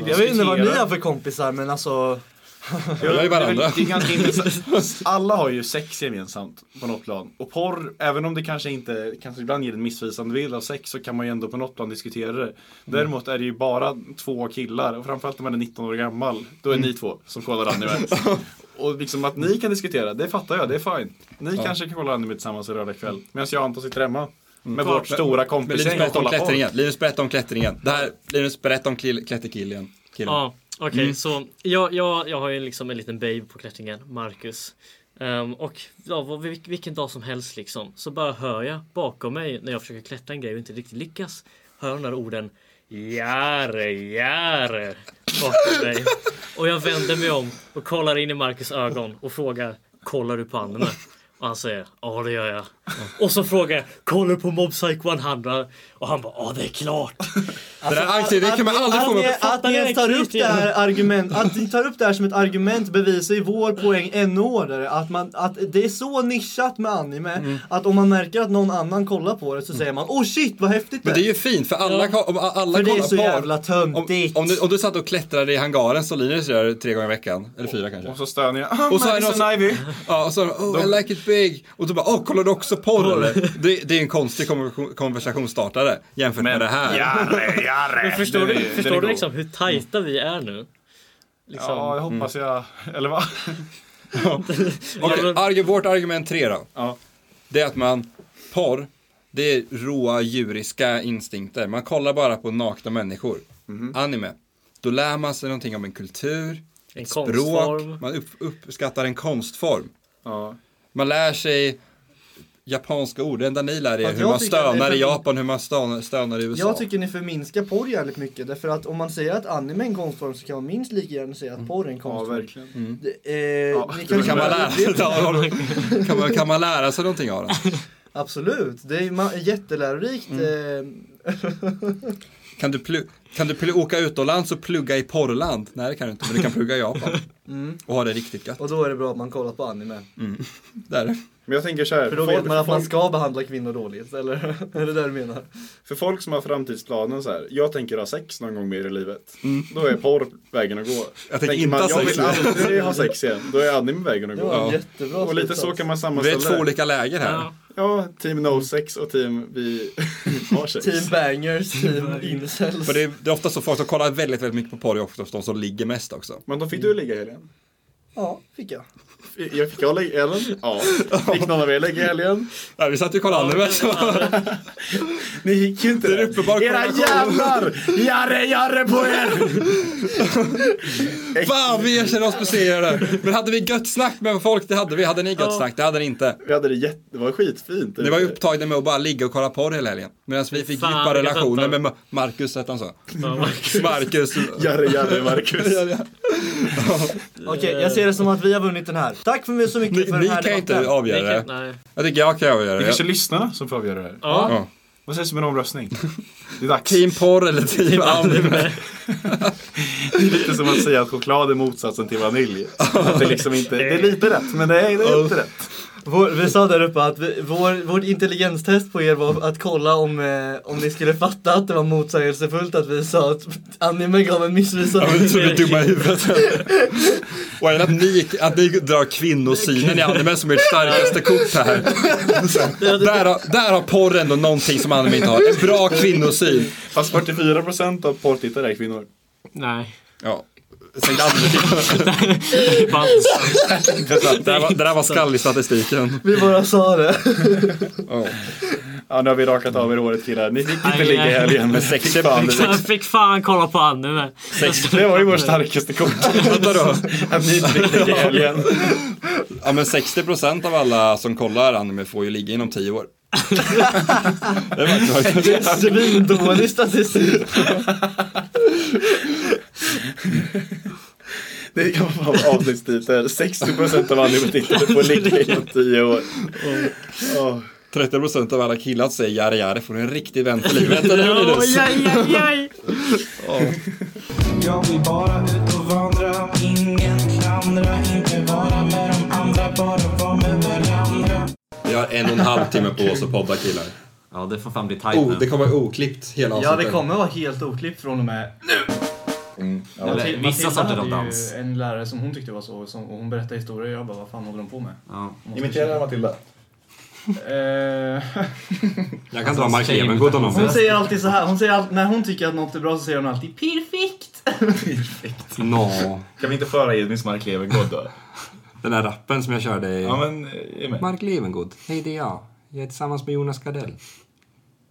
Speaker 10: Jag vet inte vad ni har för kompisar men alltså.
Speaker 4: det är väl- Det är ganska
Speaker 5: (laughs)
Speaker 4: intressant. Alla har ju sex gemensamt på något plan. Och porr, även om det kanske inte kanske ibland ger en missvisande bild av sex så kan man ju ändå på något plan diskutera det.
Speaker 5: Mm.
Speaker 4: Däremot är det ju bara två killar och framförallt när man är 19 år gammal. Då
Speaker 5: Mm.
Speaker 4: är ni två som kollar anime.
Speaker 5: (laughs)
Speaker 4: Och liksom att ni kan diskutera, det fattar jag, det är fine. Ni
Speaker 5: Ja.
Speaker 4: kanske kan kolla anime tillsammans en lördagkväll. Medan jag och Anton sitter hemma. Med
Speaker 5: Klart,
Speaker 4: vårt stora kompisgäng
Speaker 5: Mm. Linus, berätta om
Speaker 4: och kollar
Speaker 5: klättringen. Linus, berätta om klättringen. Det här, Linus, berätta om kill- klätterkillen. Killen.
Speaker 2: Ja, okej.
Speaker 5: Mm.
Speaker 2: Så jag, jag, jag har ju liksom en liten babe på klättringen, Marcus. Ehm, och ja, vad- vil- vilken dag som helst liksom så bara hör jag bakom mig när jag försöker klättra en grej och inte riktigt lyckas. Hör jag de där orden Järe, järe bakom mig. Och jag vänder mig om och kollar in i Marcus ögon och frågar Kollar du på anime? Och han säger ja det gör jag. Och så frågar jag kollar du på Mob Psycho 100? Och han bara ja det är klart.
Speaker 5: Alltså, det där anknytningen kan man aldrig få mig
Speaker 2: Fattar
Speaker 10: Att ni ens
Speaker 2: en
Speaker 10: tar upp
Speaker 2: knytning?
Speaker 10: det här argument, att ni tar upp det här som ett argument bevisar ju vår poäng ännu hårdare. Att, man, att det är så nischat med anime
Speaker 5: Mm.
Speaker 10: att om man märker att någon annan kollar på det så säger man åh shit vad häftigt det
Speaker 5: Men det är ju fint för Mm. alla, ko- om alla
Speaker 10: För det är
Speaker 5: kollar
Speaker 10: så
Speaker 5: på-
Speaker 10: jävla töntigt.
Speaker 5: Om, om, du, om du satt och klättrade i hangaren som Linus gör tre gånger i veckan, eller fyra kanske. Och så stönar jag.
Speaker 4: "Ah, Madison Ivy."
Speaker 5: Ja, och så oh, I like it big. Och så bara, åh, kollar du också porr eller? Det, det är en konstig konversation- konversationsstartare jämfört med det här.
Speaker 4: Jarre, jarre.
Speaker 2: Men förstår
Speaker 4: Den
Speaker 2: du,
Speaker 4: är- den
Speaker 2: förstår
Speaker 4: är
Speaker 2: du
Speaker 4: god.
Speaker 2: liksom hur tajta vi är nu? Liksom.
Speaker 4: Ja, jag hoppas
Speaker 5: Mm.
Speaker 4: jag...
Speaker 5: (laughs)
Speaker 4: Eller vad? (laughs)
Speaker 5: Okej, argu- vårt argument tre då. Det är att man, porr, det är råa djuriska instinkter. Man kollar bara på nakna människor.
Speaker 2: Mhm.
Speaker 5: Anime. Då lär man sig någonting om en kultur,
Speaker 2: En
Speaker 5: ett
Speaker 2: konstform.
Speaker 5: språk, man upp, uppskattar en konstform. Man lär sig japanska ord, det enda ni lär er är
Speaker 10: Fast
Speaker 5: hur
Speaker 10: jag
Speaker 5: man
Speaker 10: tycker att det är
Speaker 5: stönar i
Speaker 10: väldigt-
Speaker 5: Japan, hur man stönar, stönar i USA.
Speaker 10: Jag tycker ni förminskar porr jävligt mycket därför att om man säger att anime är en konstform så kan man minst lika gärna säga att porr är en konstform.
Speaker 4: verkligen.
Speaker 5: Mm.
Speaker 10: Det, eh, ni
Speaker 5: Kan, kan, man
Speaker 10: bara- (laughs)
Speaker 5: lära sig, (laughs) kan, man, kan man lära sig någonting av det?
Speaker 10: Absolut, det är ju ma- jättelärorikt.
Speaker 5: Mm.
Speaker 10: eh,
Speaker 5: Kan du, plu- kan du pl- åka utomlands och plugga i porrland? Nej det kan du inte, men du kan plugga i Japan.
Speaker 10: Mm.
Speaker 5: Och ha det riktigt gött.
Speaker 10: Och då är det bra att man kollat på anime.
Speaker 5: Mm. Där.
Speaker 4: Men jag tänker så här.
Speaker 10: För då
Speaker 4: folk-
Speaker 10: vet man att man
Speaker 4: folk-
Speaker 10: ska behandla kvinnor dåligt, eller? (laughs) är det där du menar?
Speaker 4: För folk som har framtidsplanen så här, jag tänker ha sex någon gång mer i livet. Då är porr vägen att gå.
Speaker 5: Mm. Jag tänker inte ha sex
Speaker 4: Jag vill
Speaker 5: igen."
Speaker 4: aldrig ha sex igen. Då är anime vägen att
Speaker 5: Det
Speaker 4: gå.
Speaker 5: var en Ja. jättebra
Speaker 4: Och lite så
Speaker 5: slutsats.
Speaker 4: kan man
Speaker 5: Vi
Speaker 4: sammanställa
Speaker 5: är två olika läger här.
Speaker 4: Ja, ja team no sex och team
Speaker 5: (laughs)
Speaker 4: vi har sex.
Speaker 10: Team bangers,
Speaker 4: (laughs)
Speaker 10: team incels.
Speaker 5: För det är, det är ofta så folk som kollar väldigt, väldigt mycket på porr är oftast de som ligger mest också.
Speaker 4: Men då fick du ligga i helgen?
Speaker 10: Ja, fick jag.
Speaker 4: Jag fick jag lägga i helgen? Ja. Fick någon av er lägga i helgen?
Speaker 5: Nej, vi satt ju och kollade anime.
Speaker 4: Ni gick ju inte det. Är
Speaker 5: uppenbar
Speaker 4: Era
Speaker 5: korrelation.
Speaker 4: jävlar! Jarre, jarre på er!
Speaker 5: (laughs)
Speaker 8: (laughs)
Speaker 5: Fan, vi erkänner oss besegrade. Men hade vi gött snack med folk? Det hade vi. Hade ni gött
Speaker 4: Ja.
Speaker 5: snack? Det hade ni inte.
Speaker 4: Vi hade det jätte... Det var skitfint.
Speaker 5: Ni var ju upptagna med att bara ligga och kolla porr hela helgen. Medan vi fick
Speaker 4: Fan,
Speaker 5: djupa
Speaker 4: vilka
Speaker 5: relationer
Speaker 4: tuttar.
Speaker 5: med Ma- Marcus, hette han så?
Speaker 4: Ja, Marcus.
Speaker 5: Marcus.
Speaker 4: Jarre,
Speaker 5: (laughs)
Speaker 4: jarre, Marcus.
Speaker 10: Okej, jag ser det som att vi har vunnit den här. Tack för så mycket
Speaker 5: Ni,
Speaker 10: för
Speaker 5: ni
Speaker 10: den här
Speaker 5: kan ju inte
Speaker 10: debatten.
Speaker 5: avgöra
Speaker 10: Ni kan-
Speaker 5: det. Jag tycker jag kan avgöra
Speaker 4: Det är
Speaker 5: det.
Speaker 4: kanske lyssnarna som får avgöra det här.
Speaker 5: Ja. Ja.
Speaker 4: Vad sägs om
Speaker 5: (laughs)
Speaker 4: en omröstning? Det är dags.
Speaker 5: Team porr eller team anime?
Speaker 4: (laughs) Det är lite som att säga att choklad är motsatsen till vanilj. Att det, är liksom inte, det är lite rätt, men det är, det är inte rätt.
Speaker 10: Vår, vi sa där uppe att vi, vår, vårt intelligenstest på er var att kolla om, eh, om ni skulle fatta att det var motsägelsefullt att vi sa att anime gav en missvisande
Speaker 5: Ja, men så är vi dumma i huvudet. Och även att ni, att ni drar kvinnosynen i anime som är ert starkaste kort här. Där har, där har porr ändå någonting som anime inte har. En bra kvinnosyn.
Speaker 4: Fast 44% av porrtittare är kvinnor.
Speaker 2: Nej.
Speaker 5: Ja. Sen
Speaker 4: (laughs)
Speaker 5: det, där var, det där var skall i statistiken.
Speaker 10: (laughs) Vi bara sa det.
Speaker 4: Ja, nu har vi rakat av er håret killar. Ni fick inte
Speaker 2: Aj,
Speaker 4: ligga i
Speaker 2: aj.
Speaker 4: helgen.
Speaker 2: Men
Speaker 5: sex
Speaker 2: Fick fan, fick fan kolla på anime.
Speaker 4: Sex, det var ju vår starkaste kort.
Speaker 5: Vadå?
Speaker 4: Att ni inte fick ligga i helgen.
Speaker 5: (laughs) Ja men 60% av alla som kollar anime får ju ligga inom 10
Speaker 4: (laughs)
Speaker 5: år. (laughs) Det är faktiskt-
Speaker 10: Det är svindålig statistik.
Speaker 4: Det kan man vara en avsnittstitel. 60% av anime-tittare får ligga
Speaker 5: (laughs)
Speaker 4: inom 10 år. Åh.
Speaker 5: 30% av alla killar säger jare jare får du en riktig vän för livet, eller hur Linus?
Speaker 8: Jag vill bara ut och vandra Ingen klandra, inte vara med de andra Bara vara med varandra
Speaker 5: Vi har en och en halv timme på oss att podda killar.
Speaker 31: Ja, det (laughs) får fan bli tajt
Speaker 5: Oh,
Speaker 31: nu.
Speaker 5: det kommer vara oklippt hela
Speaker 10: Ja,
Speaker 5: avsnittet.
Speaker 10: det kommer vara helt oklippt från och med
Speaker 31: Ja, Eller
Speaker 10: Matilda-
Speaker 31: vissa
Speaker 10: Matilda
Speaker 31: sorter av
Speaker 10: hade
Speaker 31: dans.
Speaker 10: ju en lärare som hon tyckte var så, som, och hon berättade historier och jag bara, vad fan håller de på med?
Speaker 31: Ja.
Speaker 10: Imiterar
Speaker 4: Matilda.
Speaker 31: (laughs)
Speaker 5: Jag kan dra Mark Levengood om någon
Speaker 10: Eh. Alltså, Hon
Speaker 5: vill.
Speaker 10: säger alltid så här, hon säger all, när hon tycker att något är bra så säger hon alltid perfekt.
Speaker 5: Nå.
Speaker 4: Kan vi inte föra Edvins Mark Levengood då?
Speaker 5: Den här rappen som jag körde i...
Speaker 4: Ja, men, eh, ge mig.
Speaker 5: Mark Levengood. Hej, det är jag. Jag är tillsammans med Jonas Gardell.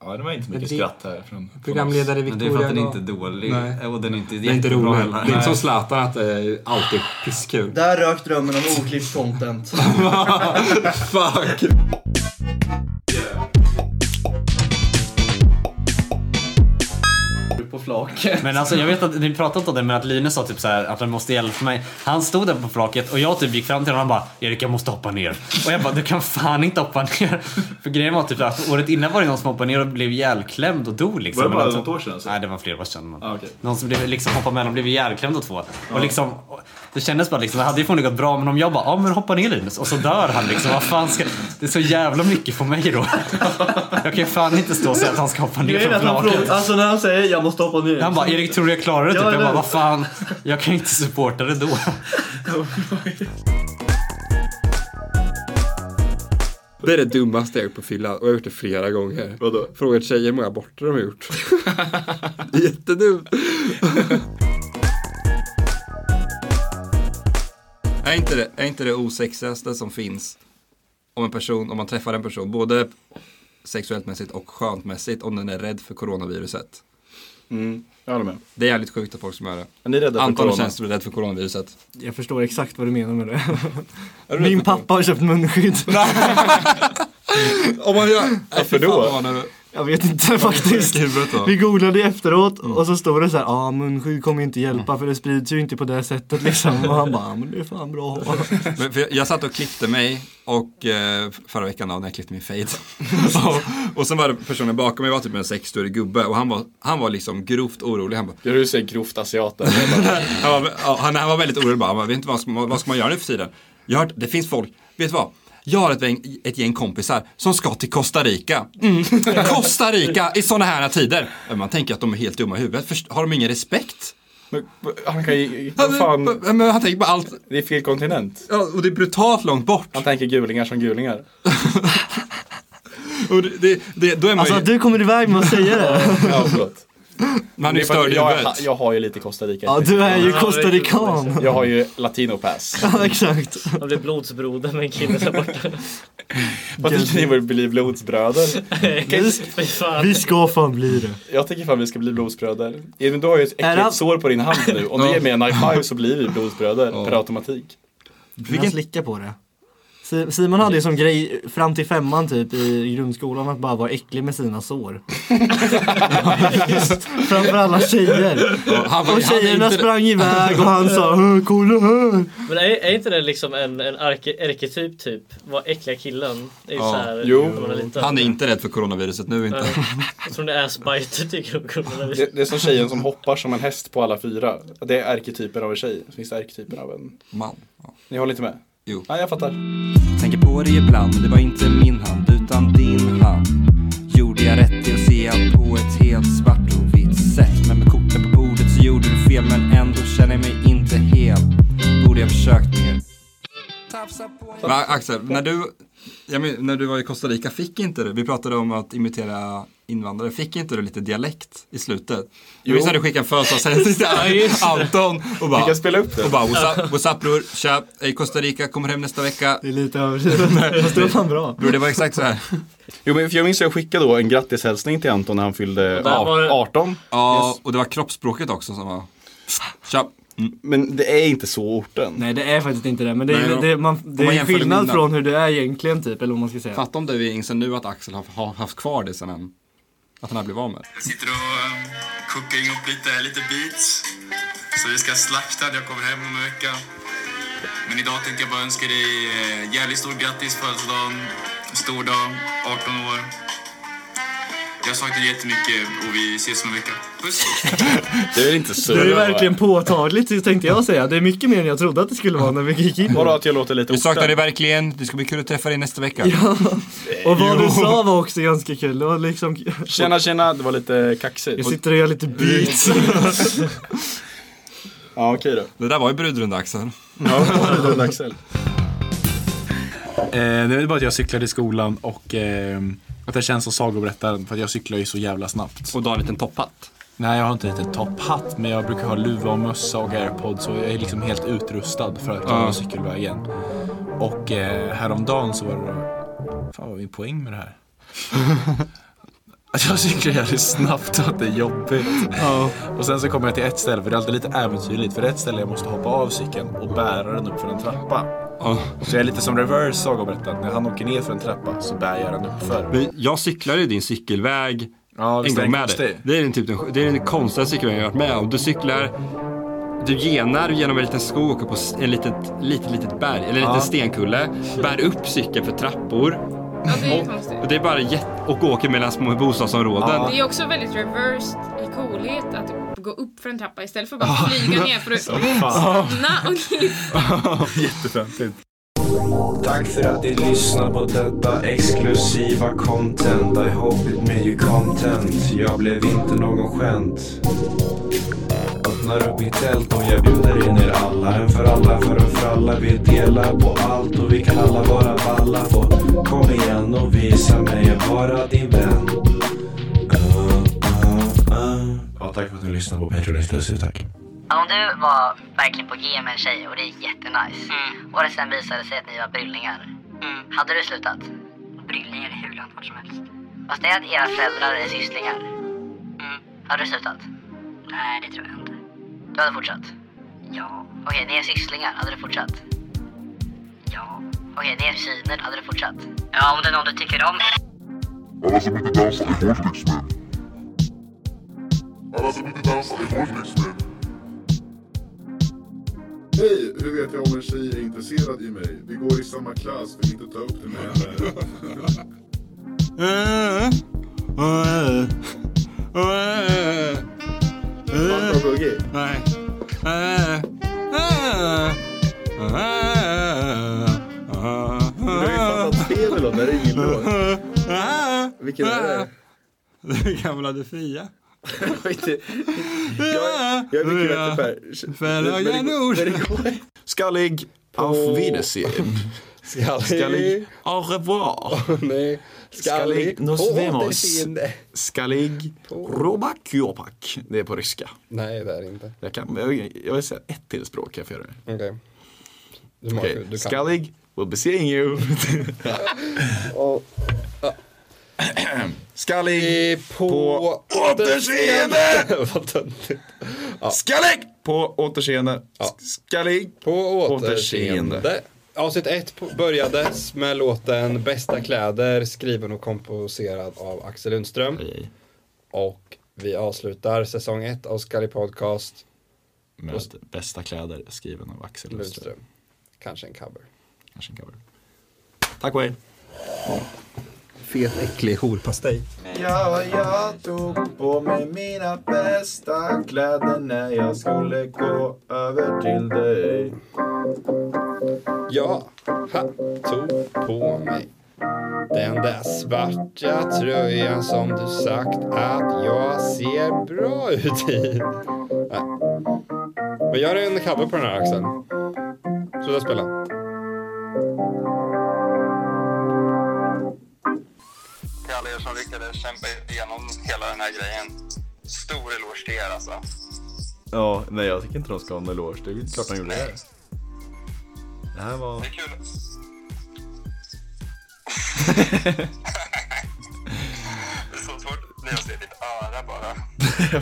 Speaker 4: Ja, det var inte mycket
Speaker 5: Det-
Speaker 4: skratt här från, från
Speaker 5: Programledare
Speaker 4: oss.
Speaker 31: Men
Speaker 5: Victoria
Speaker 31: det är för att den
Speaker 5: Dahl.
Speaker 31: inte är dålig.
Speaker 5: Nej.
Speaker 31: Och den är inte
Speaker 5: Det är inte
Speaker 31: jättebra
Speaker 5: roligt. Det
Speaker 31: heller.
Speaker 5: är inte som
Speaker 31: Nej.
Speaker 5: Zlatan att det är alltid pisskul.
Speaker 10: (laughs) Där rök drömmen om oklippt content.
Speaker 5: Fuck!
Speaker 10: På
Speaker 32: flaket.
Speaker 31: Men alltså jag vet att ni pratat om det men att Linus sa typ så här att han måste hjälpa mig. Han stod där på flaket och jag typ gick fram till honom och han bara Erik jag måste hoppa ner. Och jag bara du kan fan inte hoppa ner. För grejen var typ att året innan var det någon som hoppade ner och blev ihjälklämd och dog liksom.
Speaker 4: Var det bara
Speaker 31: Men de-
Speaker 4: något år sedan? Alltså?
Speaker 31: Nej det var flera år sedan. men-
Speaker 4: Ah, okej.
Speaker 31: Någon som blev, liksom hoppade mellan och blev ihjälklämd och två.
Speaker 4: Ja.
Speaker 31: Och liksom, och det kändes bara liksom, det hade ju förmodligen gått bra men om jag bara, ja men hoppa ner Linus och så dör han liksom. Vad fan ska, det är så jävla mycket på mig då. (laughs) Jag kan ju fan inte stå och säga att han ska hoppa ner
Speaker 32: Grejen är
Speaker 31: från
Speaker 32: att han
Speaker 31: flaket.
Speaker 32: frågar, alltså när han säger jag måste hoppa ner.
Speaker 31: Han bara, Erik tror du jag klarar det? Typ.
Speaker 32: Ja,
Speaker 31: Jag
Speaker 32: eller
Speaker 31: bara,
Speaker 32: hur?
Speaker 31: vad fan, jag kan ju inte supporta det då.
Speaker 33: Det är det dummaste jag gjort på fyllan och jag har gjort det flera gånger. Vadå? Frågat tjejer hur många aborter de har gjort. (laughs) Jättedumt.
Speaker 5: (laughs) Är inte det, är inte det osexigaste som finns om en person, om man träffar en person, både sexuellt mässigt och skönt mässigt, om den är rädd för coronaviruset?
Speaker 4: Mm, jag håller med.
Speaker 5: Det är jävligt sjukt att folk som är det.
Speaker 4: Är ni rädda för
Speaker 5: Anton och
Speaker 4: corona?
Speaker 5: Kjellström är rädd för coronaviruset.
Speaker 10: Jag förstår exakt vad du menar med det.
Speaker 5: Är du
Speaker 10: Min pappa har
Speaker 5: (laughs)
Speaker 10: köpt munskydd.
Speaker 5: Om man
Speaker 10: (laughs)
Speaker 5: gör... Varför då?
Speaker 10: Jag vet inte faktiskt. Vi googlade ju efteråt
Speaker 5: Mm.
Speaker 10: och så stod det så här, ah, munskydd kommer inte hjälpa för det sprids ju inte på det sättet liksom. Och han bara, "Ah, men det är fan bra att ha.
Speaker 5: (laughs) Men för jag, jag satt och klippte mig och eh, förra veckan då, när jag klippte min
Speaker 4: (laughs)
Speaker 5: fade. och, och sen var det personen bakom mig var typ en sexårig gubbe och han var, han var liksom grovt orolig. Han bara,
Speaker 4: Gör du säger grovt asiater?
Speaker 5: (laughs) han, var, ja, han, han var väldigt orolig bara, han bara, vet inte vad ska, man- vad ska man göra nu för tiden? Jag har hört, det finns folk, vet du vad? Jag har ett, gäng- ett gäng kompisar som ska till Costa Rica. Mm. (laughs) Costa Rica i sådana här tider. Men Man tänker att de är helt dumma i huvudet. Först, har de ingen respekt?
Speaker 4: Han kan ju, vad fan.
Speaker 5: Men han tänker på allt.
Speaker 4: Det är fel kontinent.
Speaker 5: Ja, och det är brutalt långt bort.
Speaker 4: Han tänker gulingar som gulingar.
Speaker 5: Och det, det, det, då är man
Speaker 10: Alltså
Speaker 5: ju...
Speaker 10: att du kommer iväg med att säga det.
Speaker 4: ja, förlåt.
Speaker 5: Man
Speaker 4: Det
Speaker 5: är
Speaker 4: är för att
Speaker 5: störd i
Speaker 4: jag,
Speaker 5: huvudet.
Speaker 4: jag har ju lite Costa Rica.
Speaker 10: Ja, du är ju costarican.
Speaker 4: Jag har ju latino-pass.
Speaker 10: Ja, exakt.
Speaker 2: Jag blev blodsbroder med en kille där borta.
Speaker 4: Vad tycker ni om att
Speaker 5: (laughs)
Speaker 4: bli blodsbröder?
Speaker 2: Vi- Fy fan.
Speaker 10: Vi ska fan bli det.
Speaker 4: Jag tycker fan vi ska bli blodsbröder. Edvin, du har ju ett
Speaker 10: Är
Speaker 4: äckligt
Speaker 10: han-
Speaker 4: sår på din hand nu. Om du
Speaker 10: Ja.
Speaker 4: ger mig en high five så blir vi blodsbröder per automatik.
Speaker 10: Vilken... slicka på det. Si- Simon hade ju som grej fram till femman typ i grundskolan att bara vara äcklig med sina
Speaker 2: (laughs)
Speaker 10: sår. (laughs) Framför alla tjejer.
Speaker 2: Ja, han var-
Speaker 10: och tjejerna
Speaker 2: han inte-
Speaker 10: sprang iväg och han sa "Hö, kolla här.
Speaker 2: Men är, är inte det liksom en, en arke, arketyp typ? Vad äckliga killen. Det är ju så
Speaker 5: Ja.
Speaker 2: här, när man
Speaker 5: Jo,
Speaker 2: liten.
Speaker 5: han är inte rädd för coronaviruset nu inte.
Speaker 2: Nej. Jag tror det är assbiter tycker jag. coronavirus.
Speaker 4: Det, det är som tjejen som hoppar som en häst på alla fyra. Det är arketypen av en tjej. Så finns det arketypen av en
Speaker 5: man.
Speaker 4: Ni håller inte med?
Speaker 5: Jo.
Speaker 4: Nej, jag fattar.
Speaker 34: Tänker på det ibland, det var inte min hand utan din hand. Gjorde jag rätt i att se allt på ett helt svart och vitt sätt? Men med korten på bordet så gjorde du fel men ändå känner jag mig inte hel. Borde jag försökt mer?
Speaker 5: Va, Axel, när du, jag men, när du var i Costa Rica, fick inte du, vi pratade om att imitera invandrare, fick inte du lite dialekt i slutet? Jag
Speaker 4: Jo.
Speaker 5: minns när du skickade en födelsedagshälsning
Speaker 4: (laughs) Ja,
Speaker 5: till
Speaker 4: just det.
Speaker 5: Anton och bara...
Speaker 4: Vi kan spela upp det.
Speaker 5: Och bara, what's up, what's up bror, tja, jag är i Costa Rica, kommer hem nästa vecka.
Speaker 10: Det är
Speaker 5: (laughs)
Speaker 10: lite överdrivet. Fast det var fan bra.
Speaker 5: Bror, det var exakt så här.
Speaker 4: Jo, men för jag minns att jag skickade då en grattishälsning till Anton när han fyllde
Speaker 5: Och där var det-
Speaker 4: 18.
Speaker 5: Ja, och det var kroppsspråket också som var... Tja. Mm.
Speaker 4: Men det är inte så orten.
Speaker 10: Nej det är faktiskt inte det men det är,
Speaker 5: Nej,
Speaker 10: men det, man,
Speaker 5: om
Speaker 10: det
Speaker 5: man
Speaker 10: är
Speaker 5: jämför med
Speaker 10: skillnad
Speaker 5: mina.
Speaker 10: från hur det är egentligen typ eller vad man ska säga.
Speaker 5: Fatta om det vi inser nu att Axel har, har haft kvar det sen han, att han har blivit av med.
Speaker 35: sitter och um, kokar ihop lite, lite beats. Så vi ska slakta det. Jag kommer hem om en vecka. Men idag tänkte jag bara önska dig eh, jävligt stort grattis födelsedagen. Stor dag, 18 år. Jag saknar dig jättemycket och vi ses om en vecka.
Speaker 4: (laughs)
Speaker 35: Puss!
Speaker 4: Det är väl inte så
Speaker 10: Det är
Speaker 4: bra, va?
Speaker 10: verkligen påtagligt tänkte jag säga. Det är mycket mer än jag trodde att det skulle vara när vi gick in.
Speaker 4: att jag låter lite
Speaker 5: Vi saknar dig verkligen, det ska bli kul att träffa dig nästa vecka.
Speaker 10: Ja. Och vad
Speaker 5: Jo.
Speaker 10: du sa var också ganska kul. Det var liksom...
Speaker 4: Tjena, tjena. Det var lite kaxigt.
Speaker 10: Jag sitter och gör lite
Speaker 2: (laughs)
Speaker 10: beats.
Speaker 4: Ja, okej då.
Speaker 5: Det där var ju brudrunda Axel.
Speaker 4: (laughs) Ja, Axel.
Speaker 8: Eh, det är bara att jag cyklar till skolan och eh, att jag känns som sagoberättaren för att jag cyklar ju så jävla snabbt.
Speaker 5: Och du har en liten topphatt?
Speaker 8: Nej, jag har inte en liten topphatt men jag brukar ha luva och mössa och airpods och jag är liksom helt utrustad för att ta
Speaker 5: Ja.
Speaker 8: uh. cykelvägen. Och eh, häromdagen så var det... Fan vad är min poäng med det här? Att jag cyklar jävligt snabbt och att det är jobbigt. Och sen så kommer jag till ett ställe, för det är alltid lite äventyrligt. För det är ett ställe jag måste hoppa av cykeln och bära den upp för en trappa. Så jag är lite som reverse
Speaker 5: (laughs)
Speaker 8: sagoberättaren. När han åker ner för en trappa så bär jag den uppför.
Speaker 5: Men jag cyklade ju din cykelväg
Speaker 36: Ja,
Speaker 5: en
Speaker 36: visst är den
Speaker 5: gång med
Speaker 36: konstig?
Speaker 5: dig. Det är den, typ den, det är den konstigaste cykeln jag har varit med om. Du cyklar, du genar genom en liten skog och åker på s- en litet, litet, litet berg, eller en
Speaker 36: Ja.
Speaker 5: liten stenkulle. Bär upp cykeln för trappor.
Speaker 25: det är
Speaker 5: och,
Speaker 25: konstigt.
Speaker 5: och det är bara jätte, och åker mellan små bostadsområden.
Speaker 25: Det är också väldigt reversed i coolhet att gå upp för en trappa istället för att bara flyga ner för att
Speaker 36: Som fan.
Speaker 25: stanna och glida.
Speaker 36: Jätteföntigt.
Speaker 8: Tack för att ni lyssnar på detta exklusiva content. I hope it made you content. Jag blev inte någon skämt. Öppnar upp mitt tält och jag bjuder in er alla. En för alla, för en för alla. Vi delar på allt och vi kan alla vara balla. På. Kom igen och visa mig vara din vän. Uh, uh, uh. Ja, tack för att ni lyssnar på Patreon Exclusive. Tack.
Speaker 37: Om du var verkligen på G med en tjej och det gick jättenice och det sen visade sig att ni var bryllingar. Hade du slutat? Bryllingar Mm. är hur långt bort som helst. Fast det är att era föräldrar är sysslingar. Har du slutat? Nej, det tror jag inte. Du hade fortsatt? Ja. Okej, ni är sysslingar. Hade du fortsatt? Ja. Okej, ni är kusiner. Hade du fortsatt? Ja, om det är någon du tycker om.
Speaker 7: Alla som inte dansar i vårt livsliv.
Speaker 4: Alla som inte dansar i vårt livsmedel.
Speaker 38: Hej, hur vet jag om en tjej är intresserad i mig? Vi går i samma klass, vill inte ta upp det med henne.
Speaker 5: Nej.
Speaker 10: Du har ju fattat fel eller när det
Speaker 5: (laughs)
Speaker 10: är
Speaker 5: illa.
Speaker 10: Vilken är
Speaker 5: (laughs)
Speaker 10: det?
Speaker 5: Den gamla du (laughs) fria.
Speaker 10: Jag,
Speaker 38: jag
Speaker 10: är mycket
Speaker 5: Ja.
Speaker 10: bättre på
Speaker 5: Färöiga nord.
Speaker 10: Skallig. Auf Wiedersehen.
Speaker 38: (laughs) Skallig.
Speaker 10: Skallig. Au revoir.
Speaker 38: (laughs) Nej.
Speaker 10: Skallig.
Speaker 38: Nos
Speaker 10: På
Speaker 38: vemos.
Speaker 10: återseende. Skallig. Robakiopak. Det är på ryska.
Speaker 38: Nej, det är det inte.
Speaker 10: Jag kan, jag, jag vill säga ett till språk. Jag får göra det.
Speaker 38: Okej.
Speaker 10: Okej.
Speaker 38: Marcus, du kan.
Speaker 10: Skallig. We'll be seeing
Speaker 38: (laughs)
Speaker 10: you. Skallig. På återseende. Vad töntigt. Skallig. På återseende. Skallig.
Speaker 5: På återseende. Avsnitt 1 börjades med låten Bästa kläder skriven och komposerad av Axel Lundström. Och vi avslutar säsong 1 av Skallig Podcast.
Speaker 36: Med bästa kläder skriven av Axel Lundström.
Speaker 5: Lundström. Kanske en cover.
Speaker 36: Kanske en cover. Tack och hej.
Speaker 5: Fet, äcklig horpastej.
Speaker 4: Ja, jag tog på mig mina bästa kläder när jag skulle gå över till dig.
Speaker 5: Ja, ha, tog på mig den där svarta tröjan som du sagt att jag ser bra ut i. Nej. Men gör en cover på den här Axel. Sluta spela.
Speaker 23: till alla er som lyckades kämpa igenom hela den här grejen. Stor eloge till er alltså.
Speaker 39: Ja, nej jag tycker inte de ska ha en eloge. Det är klart de gjorde det. Det här var...
Speaker 23: Det är kul. det är så svårt när jag ser ditt öra bara.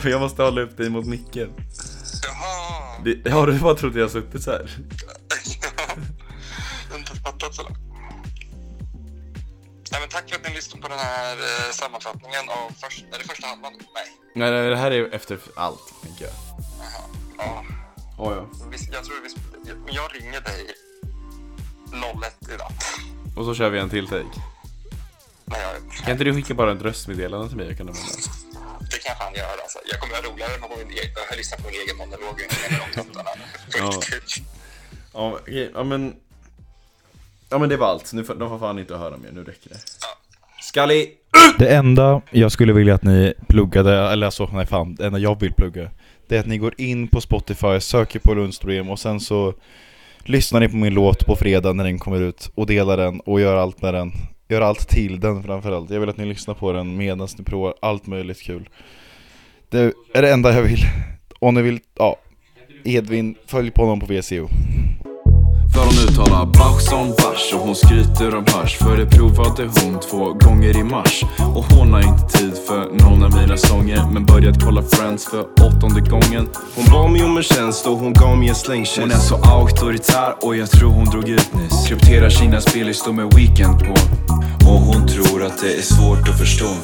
Speaker 39: (laughs) För jag måste hålla upp dig mot micken. Det, har du bara trott jag har suttit så här?
Speaker 23: Nej, men tack för att ni lyssnade på den här eh, sammanfattningen av först, är det första halvan. Nej,
Speaker 39: Nej, det här är efter allt, tänker jag.
Speaker 23: ja.
Speaker 39: Oh, ja.
Speaker 23: Vi- Jag tror vi... jag- Jag ringer dig 01 idag.
Speaker 39: Och så kör vi en till take.
Speaker 23: Nej,
Speaker 39: Kan inte du skicka bara ett röstmeddelande till mig? Jag kan använda.
Speaker 23: Det kan jag fan göra alltså. Jag kommer att ha roligare än att jag lyssnar på min egen monolog och inte de tuttarna.
Speaker 39: Ja. Ja, okej, ja, men... Ja, men det var allt. Nu får, de får fan inte höra mer. Nu räcker det. Skalli!
Speaker 40: Det enda jag skulle vilja att ni pluggade, eller alltså nej fan, det enda jag vill plugga Det är att ni går in på Spotify, söker på Lundström och sen så Lyssnar ni på min låt på fredag när den kommer ut och delar den och gör allt med den Gör allt till den framförallt, jag vill att ni lyssnar på den medan ni provar allt möjligt kul Det är det enda jag vill Om ni vill, ja Edvin, följ på honom på VCO
Speaker 4: För hon uttalar Bach som bärs och hon skryter om hasch För det provade hon två gånger i mars Och hon har inte tid för någon av mina sånger Men börjat kolla Friends för åttonde gången Hon bad mig om en tjänst och hon gav mig en slängkyss Hon är så auktoritär och jag tror hon drog ut nyss Krypterar sina spellistor med Weekend på Och hon tror att det är svårt att förstå